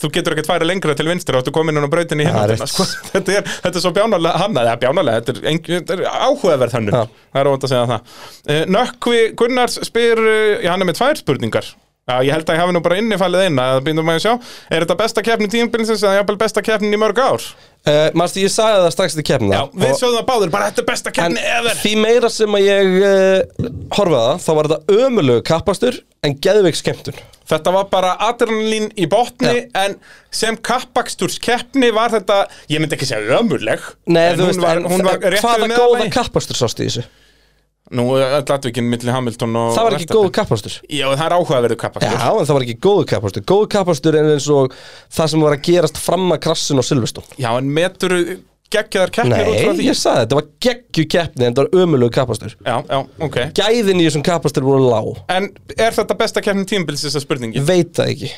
Speaker 1: Þú getur ekkert færi lengra til vinstri og þú komin inn á brautin í
Speaker 2: Það
Speaker 1: hináttina,
Speaker 2: er rétt.
Speaker 1: sko þetta er, þetta er svo bjánalega, hann eða bjánalega Þetta er, engin- þetta er áhugaverð hannun
Speaker 2: Já.
Speaker 1: Það er óvænt að segja það Eh, Nökkvi Gunnars spyr, eh, já, hann er með tvær spurningar Já, ég held að ég hafi nú bara innifælið eina, það býndum maður að sjá. Er þetta besta keppnin tímabilsins eða jafnvel besta keppnin í mörg ár?
Speaker 2: uh, Manstu, ég sagði það strax til kemna
Speaker 1: Já, við sjóðum það báður, bara þetta er besta
Speaker 2: En
Speaker 1: keppni ever.
Speaker 2: því meira sem að ég uh, horfaði á það, þá var þetta ömulegu kappastur en geðveik skemmtun
Speaker 1: Þetta var bara adrenalín í botni en sem kappaksturskeppni var þetta, ég myndi ekki segja ömurleg
Speaker 2: Nei,
Speaker 1: en
Speaker 2: þú
Speaker 1: hún
Speaker 2: veist,
Speaker 1: var,
Speaker 2: en,
Speaker 1: hún var rétt
Speaker 2: hvaða
Speaker 1: við
Speaker 2: góða
Speaker 1: meðalagi.
Speaker 2: kappastur sástu í þessu?
Speaker 1: Nú, öll atvikin milli Hamilton og
Speaker 2: Það var ekki
Speaker 1: Verstappen.
Speaker 2: góð kappastur
Speaker 1: Já, það er áhugaverðu
Speaker 2: Já,
Speaker 1: kappakstur
Speaker 2: en það var ekki góð kappastur Góð kappastur er eins og það sem var að gerast fram að krassin og Silveston
Speaker 1: Já, en metur geggjaðar keppnir út frá
Speaker 2: Nei,
Speaker 1: því
Speaker 2: ég sagði þetta var geggju keppni en það var ömulegu kappastur
Speaker 1: Já, já, ok
Speaker 2: Gæðin í þessum kappastur voru lág
Speaker 1: En er þetta besta keppnin tímabilsis þessa spurningi?
Speaker 2: Veit það ekki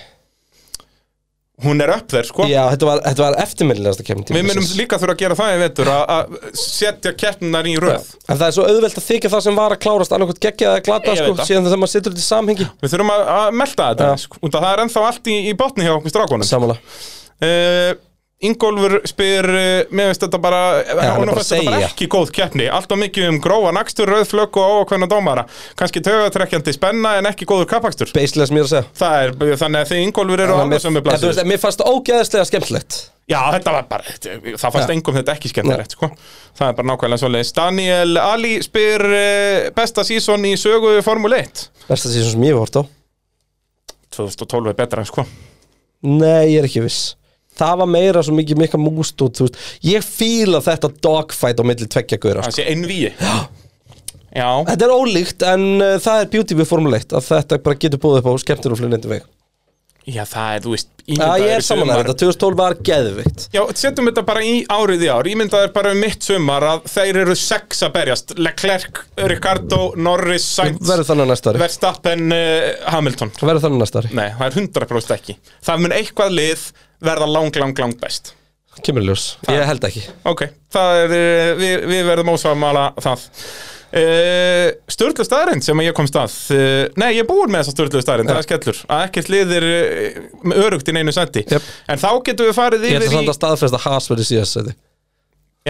Speaker 1: Hún er upp þér, sko
Speaker 2: Já, þetta var, þetta var eftirmyndilegasta keppni
Speaker 1: Við munum
Speaker 2: tímabilsins.
Speaker 1: líka þurfa að gera það í vetur að- að setja keppninar í röð
Speaker 2: En það er svo auðvelt að þykja það sem var að klárast annarkvæmt geggjað eða glata
Speaker 1: Ég
Speaker 2: sko,
Speaker 1: veit það.
Speaker 2: síðan þegar maður situr þetta í samhengi
Speaker 1: Við þurfum að, að melta þetta
Speaker 2: Já.
Speaker 1: ja. sko. Út af Það er ennþá allt í, í botni hjá okkur strákunum
Speaker 2: Samála
Speaker 1: uh, Ingólfur spyr uh, mér finnst þetta bara,
Speaker 2: er
Speaker 1: honum
Speaker 2: bara
Speaker 1: finnst
Speaker 2: að
Speaker 1: þetta bara
Speaker 2: segja.
Speaker 1: ekki góð keppni alltaf mikið um gróa nakstur, rauðflögg og ákveðna dómara kannski tögatrekkjandi spenna en ekki góður kappakstur
Speaker 2: Beislega sem ég er að segja
Speaker 1: það er, þannig að þið Ingólfur eru
Speaker 2: En
Speaker 1: alveg sem er
Speaker 2: mér- en þú veist,
Speaker 1: blasir
Speaker 2: en Mér fannst það ógeðslega skemmtilegt
Speaker 1: já, þetta var bara, þetta- það fannst
Speaker 2: Já.
Speaker 1: engum þetta ekki skemmtilegt sko. það er bara nákvæmlega svoleiðis Daniel Ali spyr uh, besta sísón í sögu Formule 1
Speaker 2: Versta síðan sem ég hef hort á
Speaker 1: 2012 er betra sko
Speaker 2: Nei, ég er ekki viss Það var meira svo mikið mikka múst og þú veist Ég fíla þetta dogfight á milli tveggja guðra
Speaker 1: það sé einvíi já,
Speaker 2: Þetta er ólíkt en uh, það er beauty við formuleitt að þetta bara getur búið upp á skemmtir og flunnindi veg
Speaker 1: já, það er, þú veist
Speaker 2: Já,
Speaker 1: ímyndaður
Speaker 2: ég er
Speaker 1: í
Speaker 2: saman
Speaker 1: sumar-
Speaker 2: að þetta 2012 var geðvikt
Speaker 1: Já, setjum þetta bara í árið í ár Ímyndaður bara um mitt sumar að þeir eru sex að berjast Leclerc, Ricardo, Norris, Sainz
Speaker 2: Verður þannig næsta ári
Speaker 1: Verstappen, uh, Hamilton
Speaker 2: Verður þannig næsta ári
Speaker 1: Nei, það er 100% ekki Það mun eitthvað lið verða lang, lang, lang best
Speaker 2: Kemur í ljós Ég held ekki
Speaker 1: Ok, það er, eh, við, við verðum ósvamála það uh, Sturlu staðarind sem ég komst að uh, Nei, ég er búinn með þessa sturlu staðarind, það er skellur Að ekkert liðir uh, örugt í neinu sendi
Speaker 2: Jep.
Speaker 1: En þá getum við farið
Speaker 2: Ég ætla
Speaker 1: yfir í
Speaker 2: samt að staðfesta Haas verður síðast sæti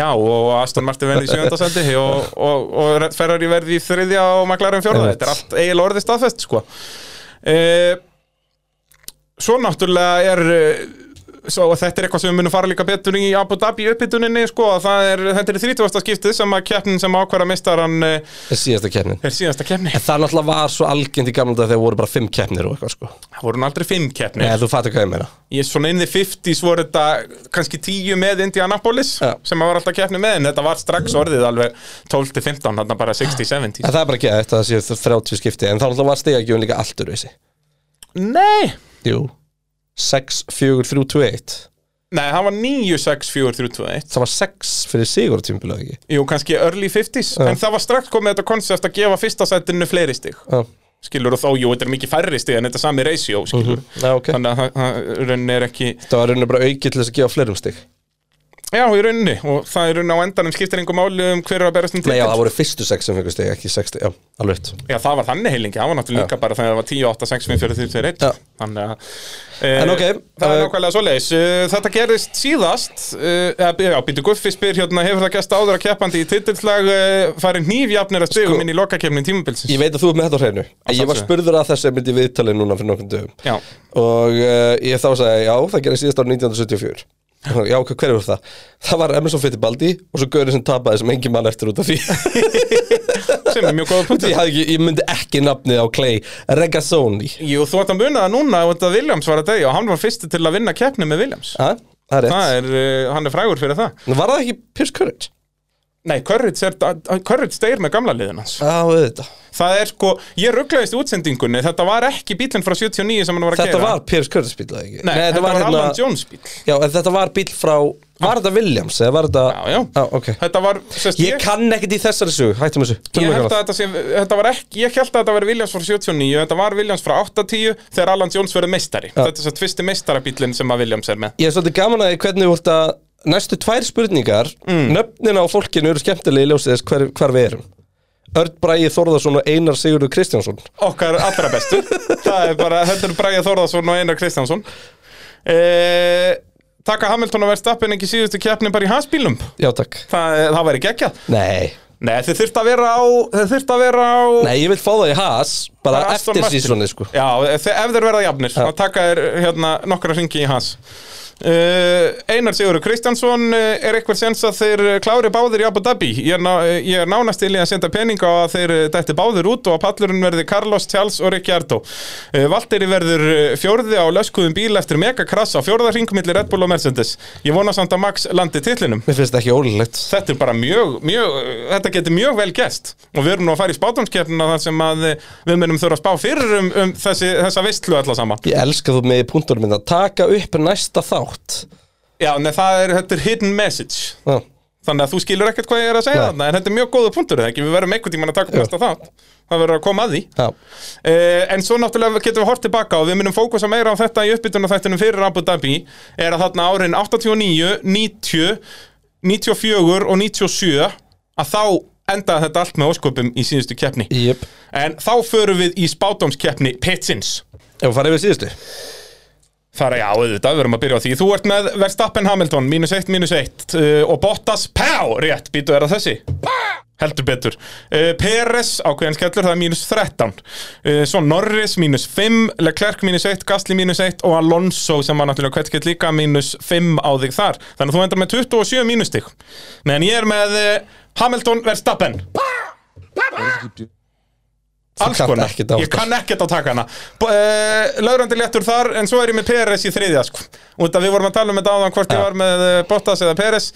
Speaker 1: Já, og Aston Martin verði í sjöndasendi og, og, og Ferrari verði í þriðja og McLaren fjórða,
Speaker 2: Einmitt.
Speaker 1: þetta er allt eiginlega orðið staðfest sko e, Svo náttúrulega er eh, svo að þetta er eitthvað sem við munum fara líka betur í Abu Dhabi uppbytuninni sko að það er, þetta er þrítjóðasta skiptið sem að keppnin sem ákvara mistaran eh,
Speaker 2: Er síðasta keppnin
Speaker 1: er síðasta keppni
Speaker 2: En það náttúrulega var svo algjönd í gamla dag þegar voru bara fimm keppnir og eitthvað sko
Speaker 1: Það voru nú aldrei fimm keppni
Speaker 2: Nei, þú fattir hvað ég meina
Speaker 1: Ég svona inn í 50s voru þetta kannski 10 með Indianapolis
Speaker 2: Já.
Speaker 1: sem að var alltaf keppni með en þetta var strax orðið alveg 12-15, þarna bara 60-70
Speaker 2: En það er bara ekki að þetta séu þrjáttíu skipti En þá náttúrulega var stigagjöfun líka allt úr þessi
Speaker 1: Nei
Speaker 2: Jú 6, 4, 3, 2, 1
Speaker 1: Nei, það var 9, 6, 4, 3, 2, 1
Speaker 2: Það var 6 fyrir sigur tímbilað ekki
Speaker 1: Jú, kannski early 50s En það var strax komið þetta konsept að gefa fyrsta setinu fleiri stig
Speaker 2: Já,
Speaker 1: Skilur og þá, jú, þetta er mikið færri stig en þetta er sami ratio, skilur
Speaker 2: Mhm. Já, ok
Speaker 1: Þannig að það- það raunin er ekki
Speaker 2: Það var rauninni bara aukið til þess að gefa flerum stig
Speaker 1: Já, í rauninni Og það er raunin á endanum skiptir engum máli um hver er að berast um
Speaker 2: Nei, já,
Speaker 1: titil.
Speaker 2: það voru fyrstu 6 sem fengur stig, ekki 6 stig Já, alveg rétt.
Speaker 1: Já, það var þannig heilingi, það var náttúrulega líka bara þegar það var 10, 8, 6, 5, 4, 3, 2, 1
Speaker 2: Já.
Speaker 1: Þannig að
Speaker 2: En
Speaker 1: eh,
Speaker 2: ok,
Speaker 1: Það er
Speaker 2: eh,
Speaker 1: nákvæmlega svoleiðis Eh, Þetta gerist síðast uh, Já, býtu Guffi spyr hérna Hefur það gæst áður að keppandi í titilslag uh, Farin nýfjafnir að stigum
Speaker 2: Sko-
Speaker 1: inn í lokakefnin tímabilsins
Speaker 2: Ég veit að þú er með þetta á hreinu En ég var
Speaker 1: sjálfsögðu.
Speaker 2: spurður að þessu myndi viðtalið núna fyrir nokkrum dögum
Speaker 1: Já,
Speaker 2: Og uh, ég þá sagði, já, það gerði síðast ára 1974 Og hann, Já, ok, hver er það? Það var Emerson Fittibaldi og svo Gauri sem tapaði sem engin mann eftir út af því
Speaker 1: sem er mjög góða punktur
Speaker 2: ég, hafði ekki, ég myndi ekki nafnið á Clay Regazzoni
Speaker 1: Jú, þú ætti að muna það núna út að Williams var að degja og hann var fyrsti til að vinna keppni með Williams
Speaker 2: Ha? það er rétt
Speaker 1: Það er, uh, hann er frægur fyrir það
Speaker 2: Nú var það ekki Pierce Courage?
Speaker 1: Nei, Courage, er, Courage deyr með gamla liðin hans
Speaker 2: Já, auðvitað
Speaker 1: Það er sko, ég rugglaðist í útsendingunni Þetta var ekki bílinn frá 79 sem hann var að
Speaker 2: Þetta
Speaker 1: keyra.
Speaker 2: var Pierce Courage bíl, eða ekki?
Speaker 1: Nei, þetta var, hérna- Alan Jones bíl
Speaker 2: hérna- Já, en þetta var bíl frá Var þetta Williams, eða var þetta
Speaker 1: Já, já.
Speaker 2: ok
Speaker 1: Þetta var, sérst,
Speaker 2: Ég kann ekkert í þessari sögu, hættum þessu
Speaker 1: Ég
Speaker 2: Tölum hérna.
Speaker 1: held að þetta
Speaker 2: eitthvað
Speaker 1: sé, þetta var ekki, ég held að þetta veri Williams frá 79, þetta var Williams frá 80 þegar Alan Jones verið meistari. Þetta er svo fyrsti meistarabílinn sem að Williams er með.
Speaker 2: Ég er svolítið gaman að því hvernig þú ert að Næstu tvær spurningar Nöfnin á fólkinu eru skemmtilegi í ljósið þess hver, hvar við erum Örn Bræði Þórðarsson og Einar Sigurður Kristjánsson
Speaker 1: Okkar allra bestu. það er bara, þetta er Bræja Þórðarsson og Einar Kristjánsson. E, taka Hamilton og Verstappen ekki síðustu keppni bara í hans bílum.
Speaker 2: Já, takk
Speaker 1: Það, það væri geggjað.
Speaker 2: Nei
Speaker 1: Nei, þið þurft að vera á, þið þurft að vera á...
Speaker 2: Nei, ég vil fá það í has Bara
Speaker 1: Bara Aston
Speaker 2: eftir
Speaker 1: Martin.
Speaker 2: sísoni, sko
Speaker 1: Já, ef, ef þeir verða jafnir þá taka þeir hérna, nokkra ringi í hans uh, Einar Sigurður Kristjánsson uh, er eitthvað sens að þeir uh, klári báðir í Abu Dhabi ég er, ná, eh, ég er nánast til í að senda pening á að þeir uh, dætti báðir út og að pallurinn verði Carlos, Charles og Ricciardo uh, Valtteri verður uh, fjórði á löskuðum bíl eftir megakrass á fjórða ring millir Red Bull og Mercedes ég vona samt að Max landi titlinum
Speaker 2: Mér finnst það ekki ólíklegt
Speaker 1: þetta er bara mjög, mjög þetta getur mjög vel gæst og við erum nú að fara í spátumskeppnina þar sem að eh, við munum þurfa að spá fyrir um, um þessi, þessa vistlu alla saman
Speaker 2: Ég elska þú með í punktunum minna Taka upp næsta þátt
Speaker 1: já, nei, það er, þetta er hidden message
Speaker 2: Já,
Speaker 1: þannig að þú skilur ekkert hvað ég er að segja
Speaker 2: Nei.
Speaker 1: þarna en þetta er mjög góða punktur, eða ekki, við verðum einhvern tímann að taka
Speaker 2: Jú.
Speaker 1: besta þátt það verður að koma að því
Speaker 2: já
Speaker 1: Eh, en svo náttúrulega getum við hort tilbaka og við munum fókusa meira á þetta í uppbytunarþættinum fyrir Abu Dhabi er að þarna árin 89, 90, 94 og 97 að þá endaði þetta allt með ósköpum í síðustu keppni
Speaker 2: Jöp
Speaker 1: en þá förum við í spátumskeppni Pitsins
Speaker 2: Ef við farið við síðustu
Speaker 1: Það er já, auðvitað, við erum að byrja á því Þú ert með Verstappen Hamilton, mínus eitt, mínus eitt uh, Og Bottas, pá, rétt, býtu er það þessi Heldur betur uh, Peres, ákveðan skellur, það er mínus 13 uh, Svo Norris, mínus 5 Leclerc, mínus 1, Gasly, mínus 1 Og Alonso, sem var náttúrulega kveldskett líka Mínus 5 á þig þar Þannig að þú endar með 27 mínustig Meðan ég er með uh, Hamilton, Verstappen Alls
Speaker 2: kannt
Speaker 1: konar,
Speaker 2: ekkert á
Speaker 1: ég
Speaker 2: þetta.
Speaker 1: kann ekkert á takana uh, Laurandi léttur þar en svo er ég með Peres í þriðja sko Út að við vorum að tala um þetta áðan hvort ég
Speaker 2: Já.
Speaker 1: var með eh, Bottas eða Peres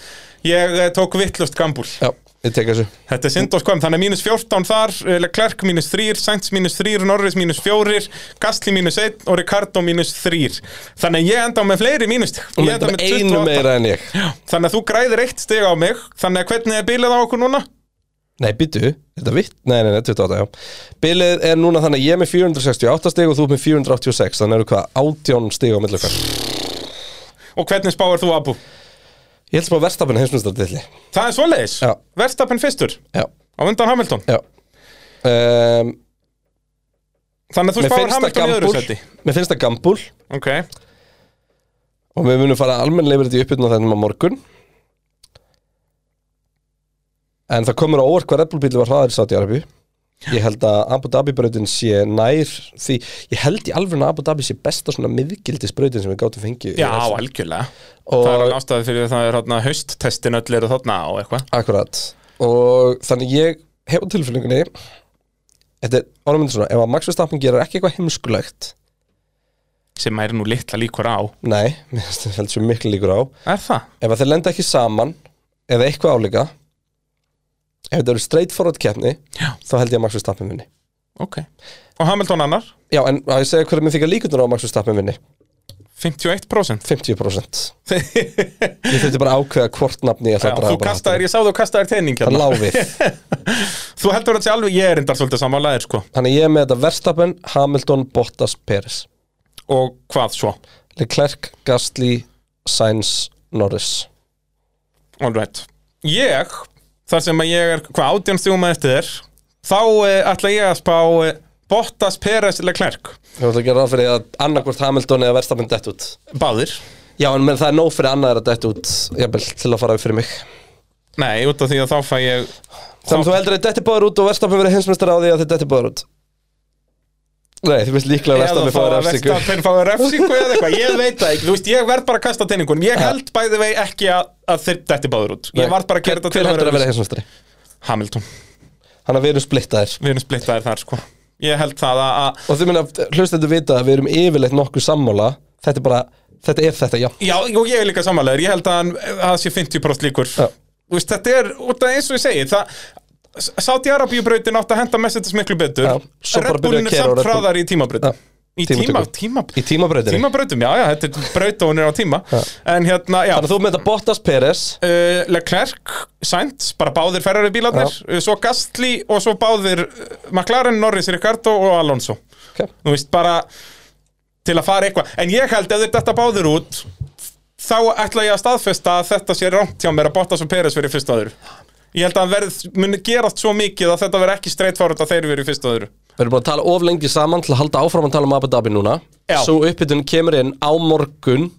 Speaker 1: Ég eh, tók vittlust gambúl
Speaker 2: Já, ég tek þessu
Speaker 1: Þetta er synd og skoðum, þannig að mínus 14 þar eh, Leclerc mínus 3, Sainz mínus 3, Norris mínus 4 Gasly mínus 1 og Ricardo mínus 3 Þannig að ég enda á með fleiri mínust Ég
Speaker 2: Þú með
Speaker 1: enda með
Speaker 2: einu
Speaker 1: 28
Speaker 2: meira en ég
Speaker 1: Þannig að þú græðir eitt stig á mig Þannig að hvernig er bílið á okkur núna?
Speaker 2: Nei, býtu, þetta vitt Nei, nei, nei, 28, já Bilið er núna þannig að ég er með 468 stig og þú með 486 Þannig eru hvað, 18 stig á milli okkar
Speaker 1: Og hvernig spáir þú Abu?
Speaker 2: Ég held sem að verstafinu heimsmyndstartilli
Speaker 1: Það er svoleiðis,
Speaker 2: Já.
Speaker 1: Verstappen fyrstur
Speaker 2: Já,
Speaker 1: á undan Hamilton
Speaker 2: já um,
Speaker 1: Þannig að þú spáir
Speaker 2: Mér finnst það
Speaker 1: Hamilton í öðru
Speaker 2: gambúl
Speaker 1: seti
Speaker 2: Mér finnst það gambúl
Speaker 1: Ok,
Speaker 2: Og við munum fara almennlega yfir þetta í uppbyrna þennum hérna á morgun En það komur á óvart hvað Red Bull bíli var hraðar í Saudi Arabi Ég held að Abu Dhabi brautin sé nær því Ég held í alveg að Abu Dhabi sé besta svona miðgildisbrautin sem við gátum fengið í
Speaker 1: já,
Speaker 2: þessu.
Speaker 1: algjörlega
Speaker 2: Og-
Speaker 1: Það er alveg ástæði fyrir það er hérna hausttestin öll eru þarna og eitthvað
Speaker 2: Akkurat Og þannig ég hef á tilfinningunni Þetta er orðmynd svona Ef að Max Verstappen gerir ekki eitthvað heimskulegt
Speaker 1: sem er nú litla líkur á
Speaker 2: Nei, mér finnst það heldur svo miklu líkur á
Speaker 1: Er það?
Speaker 2: Ef að þeir lenda ekki saman Eða eitthvað álíka Ef þetta eru straight forward keppni
Speaker 1: Já.
Speaker 2: Þá held ég að Max Verstappen vinni
Speaker 1: Ok Og Hamilton annar?
Speaker 2: Já, en að ég segja hverju mér þykir líkundur á að Max Verstappen vinni
Speaker 1: 51%
Speaker 2: 50% Ég þurfti bara að ákveða hvort nafni ég
Speaker 1: Já,
Speaker 2: ætla að draga
Speaker 1: þú kastaðir, ég sá þú kastaðir teining
Speaker 2: Það
Speaker 1: hérna
Speaker 2: lá við
Speaker 1: Þú heldur að sé alveg, ég er endar svolítið samanlegaðir sko
Speaker 2: Þannig ég er með þetta Verstappen, Hamilton, Bottas, Peres
Speaker 1: Og hvað svo?
Speaker 2: Leclerc, Gasly, Sainz, Norris
Speaker 1: All right. Ég, þar sem að ég er hvað átján stjúma eftir þér þá uh, ætla ég að spá uh, Bottas, Peres, Leclerc
Speaker 2: Þú ætla að gera ráð fyrir að annarkvort Hamilton eða Verstappen dett út
Speaker 1: Báðir
Speaker 2: Já, en menn það er nóg fyrir annar að dett út Jafnvel, til að fara við fyrir mig
Speaker 1: Nei, út af því að þá fæ ég
Speaker 2: Þannig að þú heldur að detti báður út og Verstappen verið hinsmestar á því að þið detti báður út Nei, þið finnst líklega að
Speaker 1: eða
Speaker 2: Verstappen
Speaker 1: fá
Speaker 2: fáið
Speaker 1: að
Speaker 2: refsingu
Speaker 1: Verstappen fái refsingu eða eitthvað, ég veit það ekki, þú veist, ég verð bara að kasta teiningunum, ég held bæði vei ekki að, að þeir detti báður út, ég verð bara að gera þetta
Speaker 2: Hver heldur að vera hérna?
Speaker 1: vera-
Speaker 2: hinsmestari?
Speaker 1: Hamilton,
Speaker 2: Þannig að við erum splittaðir
Speaker 1: við erum splittaðir þar sko, ég held það að, að
Speaker 2: Og þið minna, hlustendur vita að við erum yfirleitt nokkuð sammála Þetta er bara Þetta er þetta, já
Speaker 1: Já, og ég er líka samanlegur, ég held að hann að það sé 50% líkur
Speaker 2: Já.
Speaker 1: Þú veist, Þetta er, út af eins og ég segi það, Sáti-Arabíubrautin átt að henda Mercedes miklu betur
Speaker 2: Já, svo bara
Speaker 1: Red
Speaker 2: byrja
Speaker 1: Bullin
Speaker 2: að
Speaker 1: er
Speaker 2: keyra á
Speaker 1: samt
Speaker 2: Red Bull.
Speaker 1: hraðar í tímabrautin
Speaker 2: Já,
Speaker 1: Í tíma,
Speaker 2: tímatökum.
Speaker 1: tíma,
Speaker 2: Í tímabrautinni
Speaker 1: tímabrautum, já, já, þetta er braut og hún er á tíma En hérna, já
Speaker 2: Þannig að þú með þetta Bottas Peres
Speaker 1: uh, Leclerc, Sainz, bara báðir Ferrari bílarnir, uh, svo Gastli og svo báðir uh, McLaren, Norris, Ricardo og Alonso
Speaker 2: okay.
Speaker 1: þú veist, bara til að fara eitthvað, en ég held ef þetta báður út þá ætla ég að staðfesta að þetta sé rámt hjá mér að Bottas og Peres verið fyrst og öðru ég held að hann verð, muni gerast svo mikið að þetta verið ekki streitfárut að þeir verið fyrst og öðru
Speaker 2: Við erum búin að tala of lengi saman til að halda áfram að tala um Abu Dhabi núna
Speaker 1: Já.
Speaker 2: Svo uppbytun kemur inn á morgun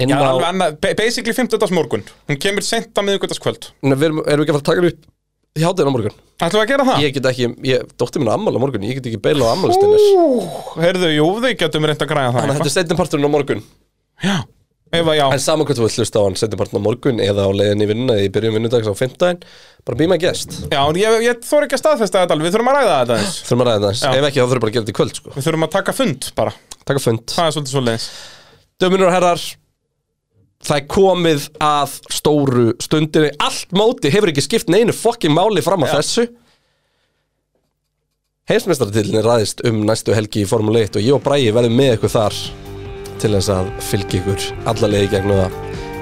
Speaker 2: inn
Speaker 1: Já,
Speaker 2: á,
Speaker 1: alveg annað, ba- basically 15. morgun hún kemur seint á miðugutaskvöld
Speaker 2: Nei, við erum, erum við ekki að fara að taka hann upp í hádeginu á morgun
Speaker 1: ætlum við að gera það?
Speaker 2: Ég get ekki, ég, dóttir minn á ammál á morgun Ég get ekki beila á ammálistennir
Speaker 1: Ú, heyrðu, jú, þau getum reynd að græja það
Speaker 2: Þannig að þetta er setjumparturinn á morgun
Speaker 1: Já, ef að já
Speaker 2: En saman hvort þú vilt hlusta á hann setjumparturinn á morgun Eða á leiðin í vinnuna eða í byrjun vinnudags á fimmtudaginn Bara býma gest
Speaker 1: Já, en ég, ég þor ekki að staðfesta þetta alveg, við þurfum að ræða þetta eins
Speaker 2: Þurfum að ræða
Speaker 1: Já.
Speaker 2: það Ef ekki þá þurfum bara að gera þetta í kvöld sko
Speaker 1: Við þurfum að taka fund bara,
Speaker 2: Takk fund
Speaker 1: það er svolítið svolítið
Speaker 2: Döminur og herrar Það er komið að stóru stundinni Allt móti hefur ekki skipt neinu fokkin máli fram að
Speaker 1: Já.
Speaker 2: þessu Heimsmeistaratillin ræðist um næstu helgi í Formule 1 og ég og Bræði verðum með ykkur þar til þess að fylgja ykkur alla leið í gegnum það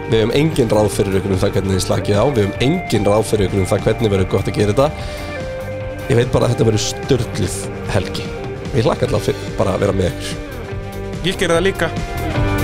Speaker 2: Við hefum engin ráð fyrir ykkur um það hvernig þið slakið á Við hefum engin ráð fyrir ykkur um það hvernig verður gott að gera þetta Ég veit bara að þetta verður störluð helgi Ég hlakka alltaf bara að vera með ykkur
Speaker 1: Ég gerir það líka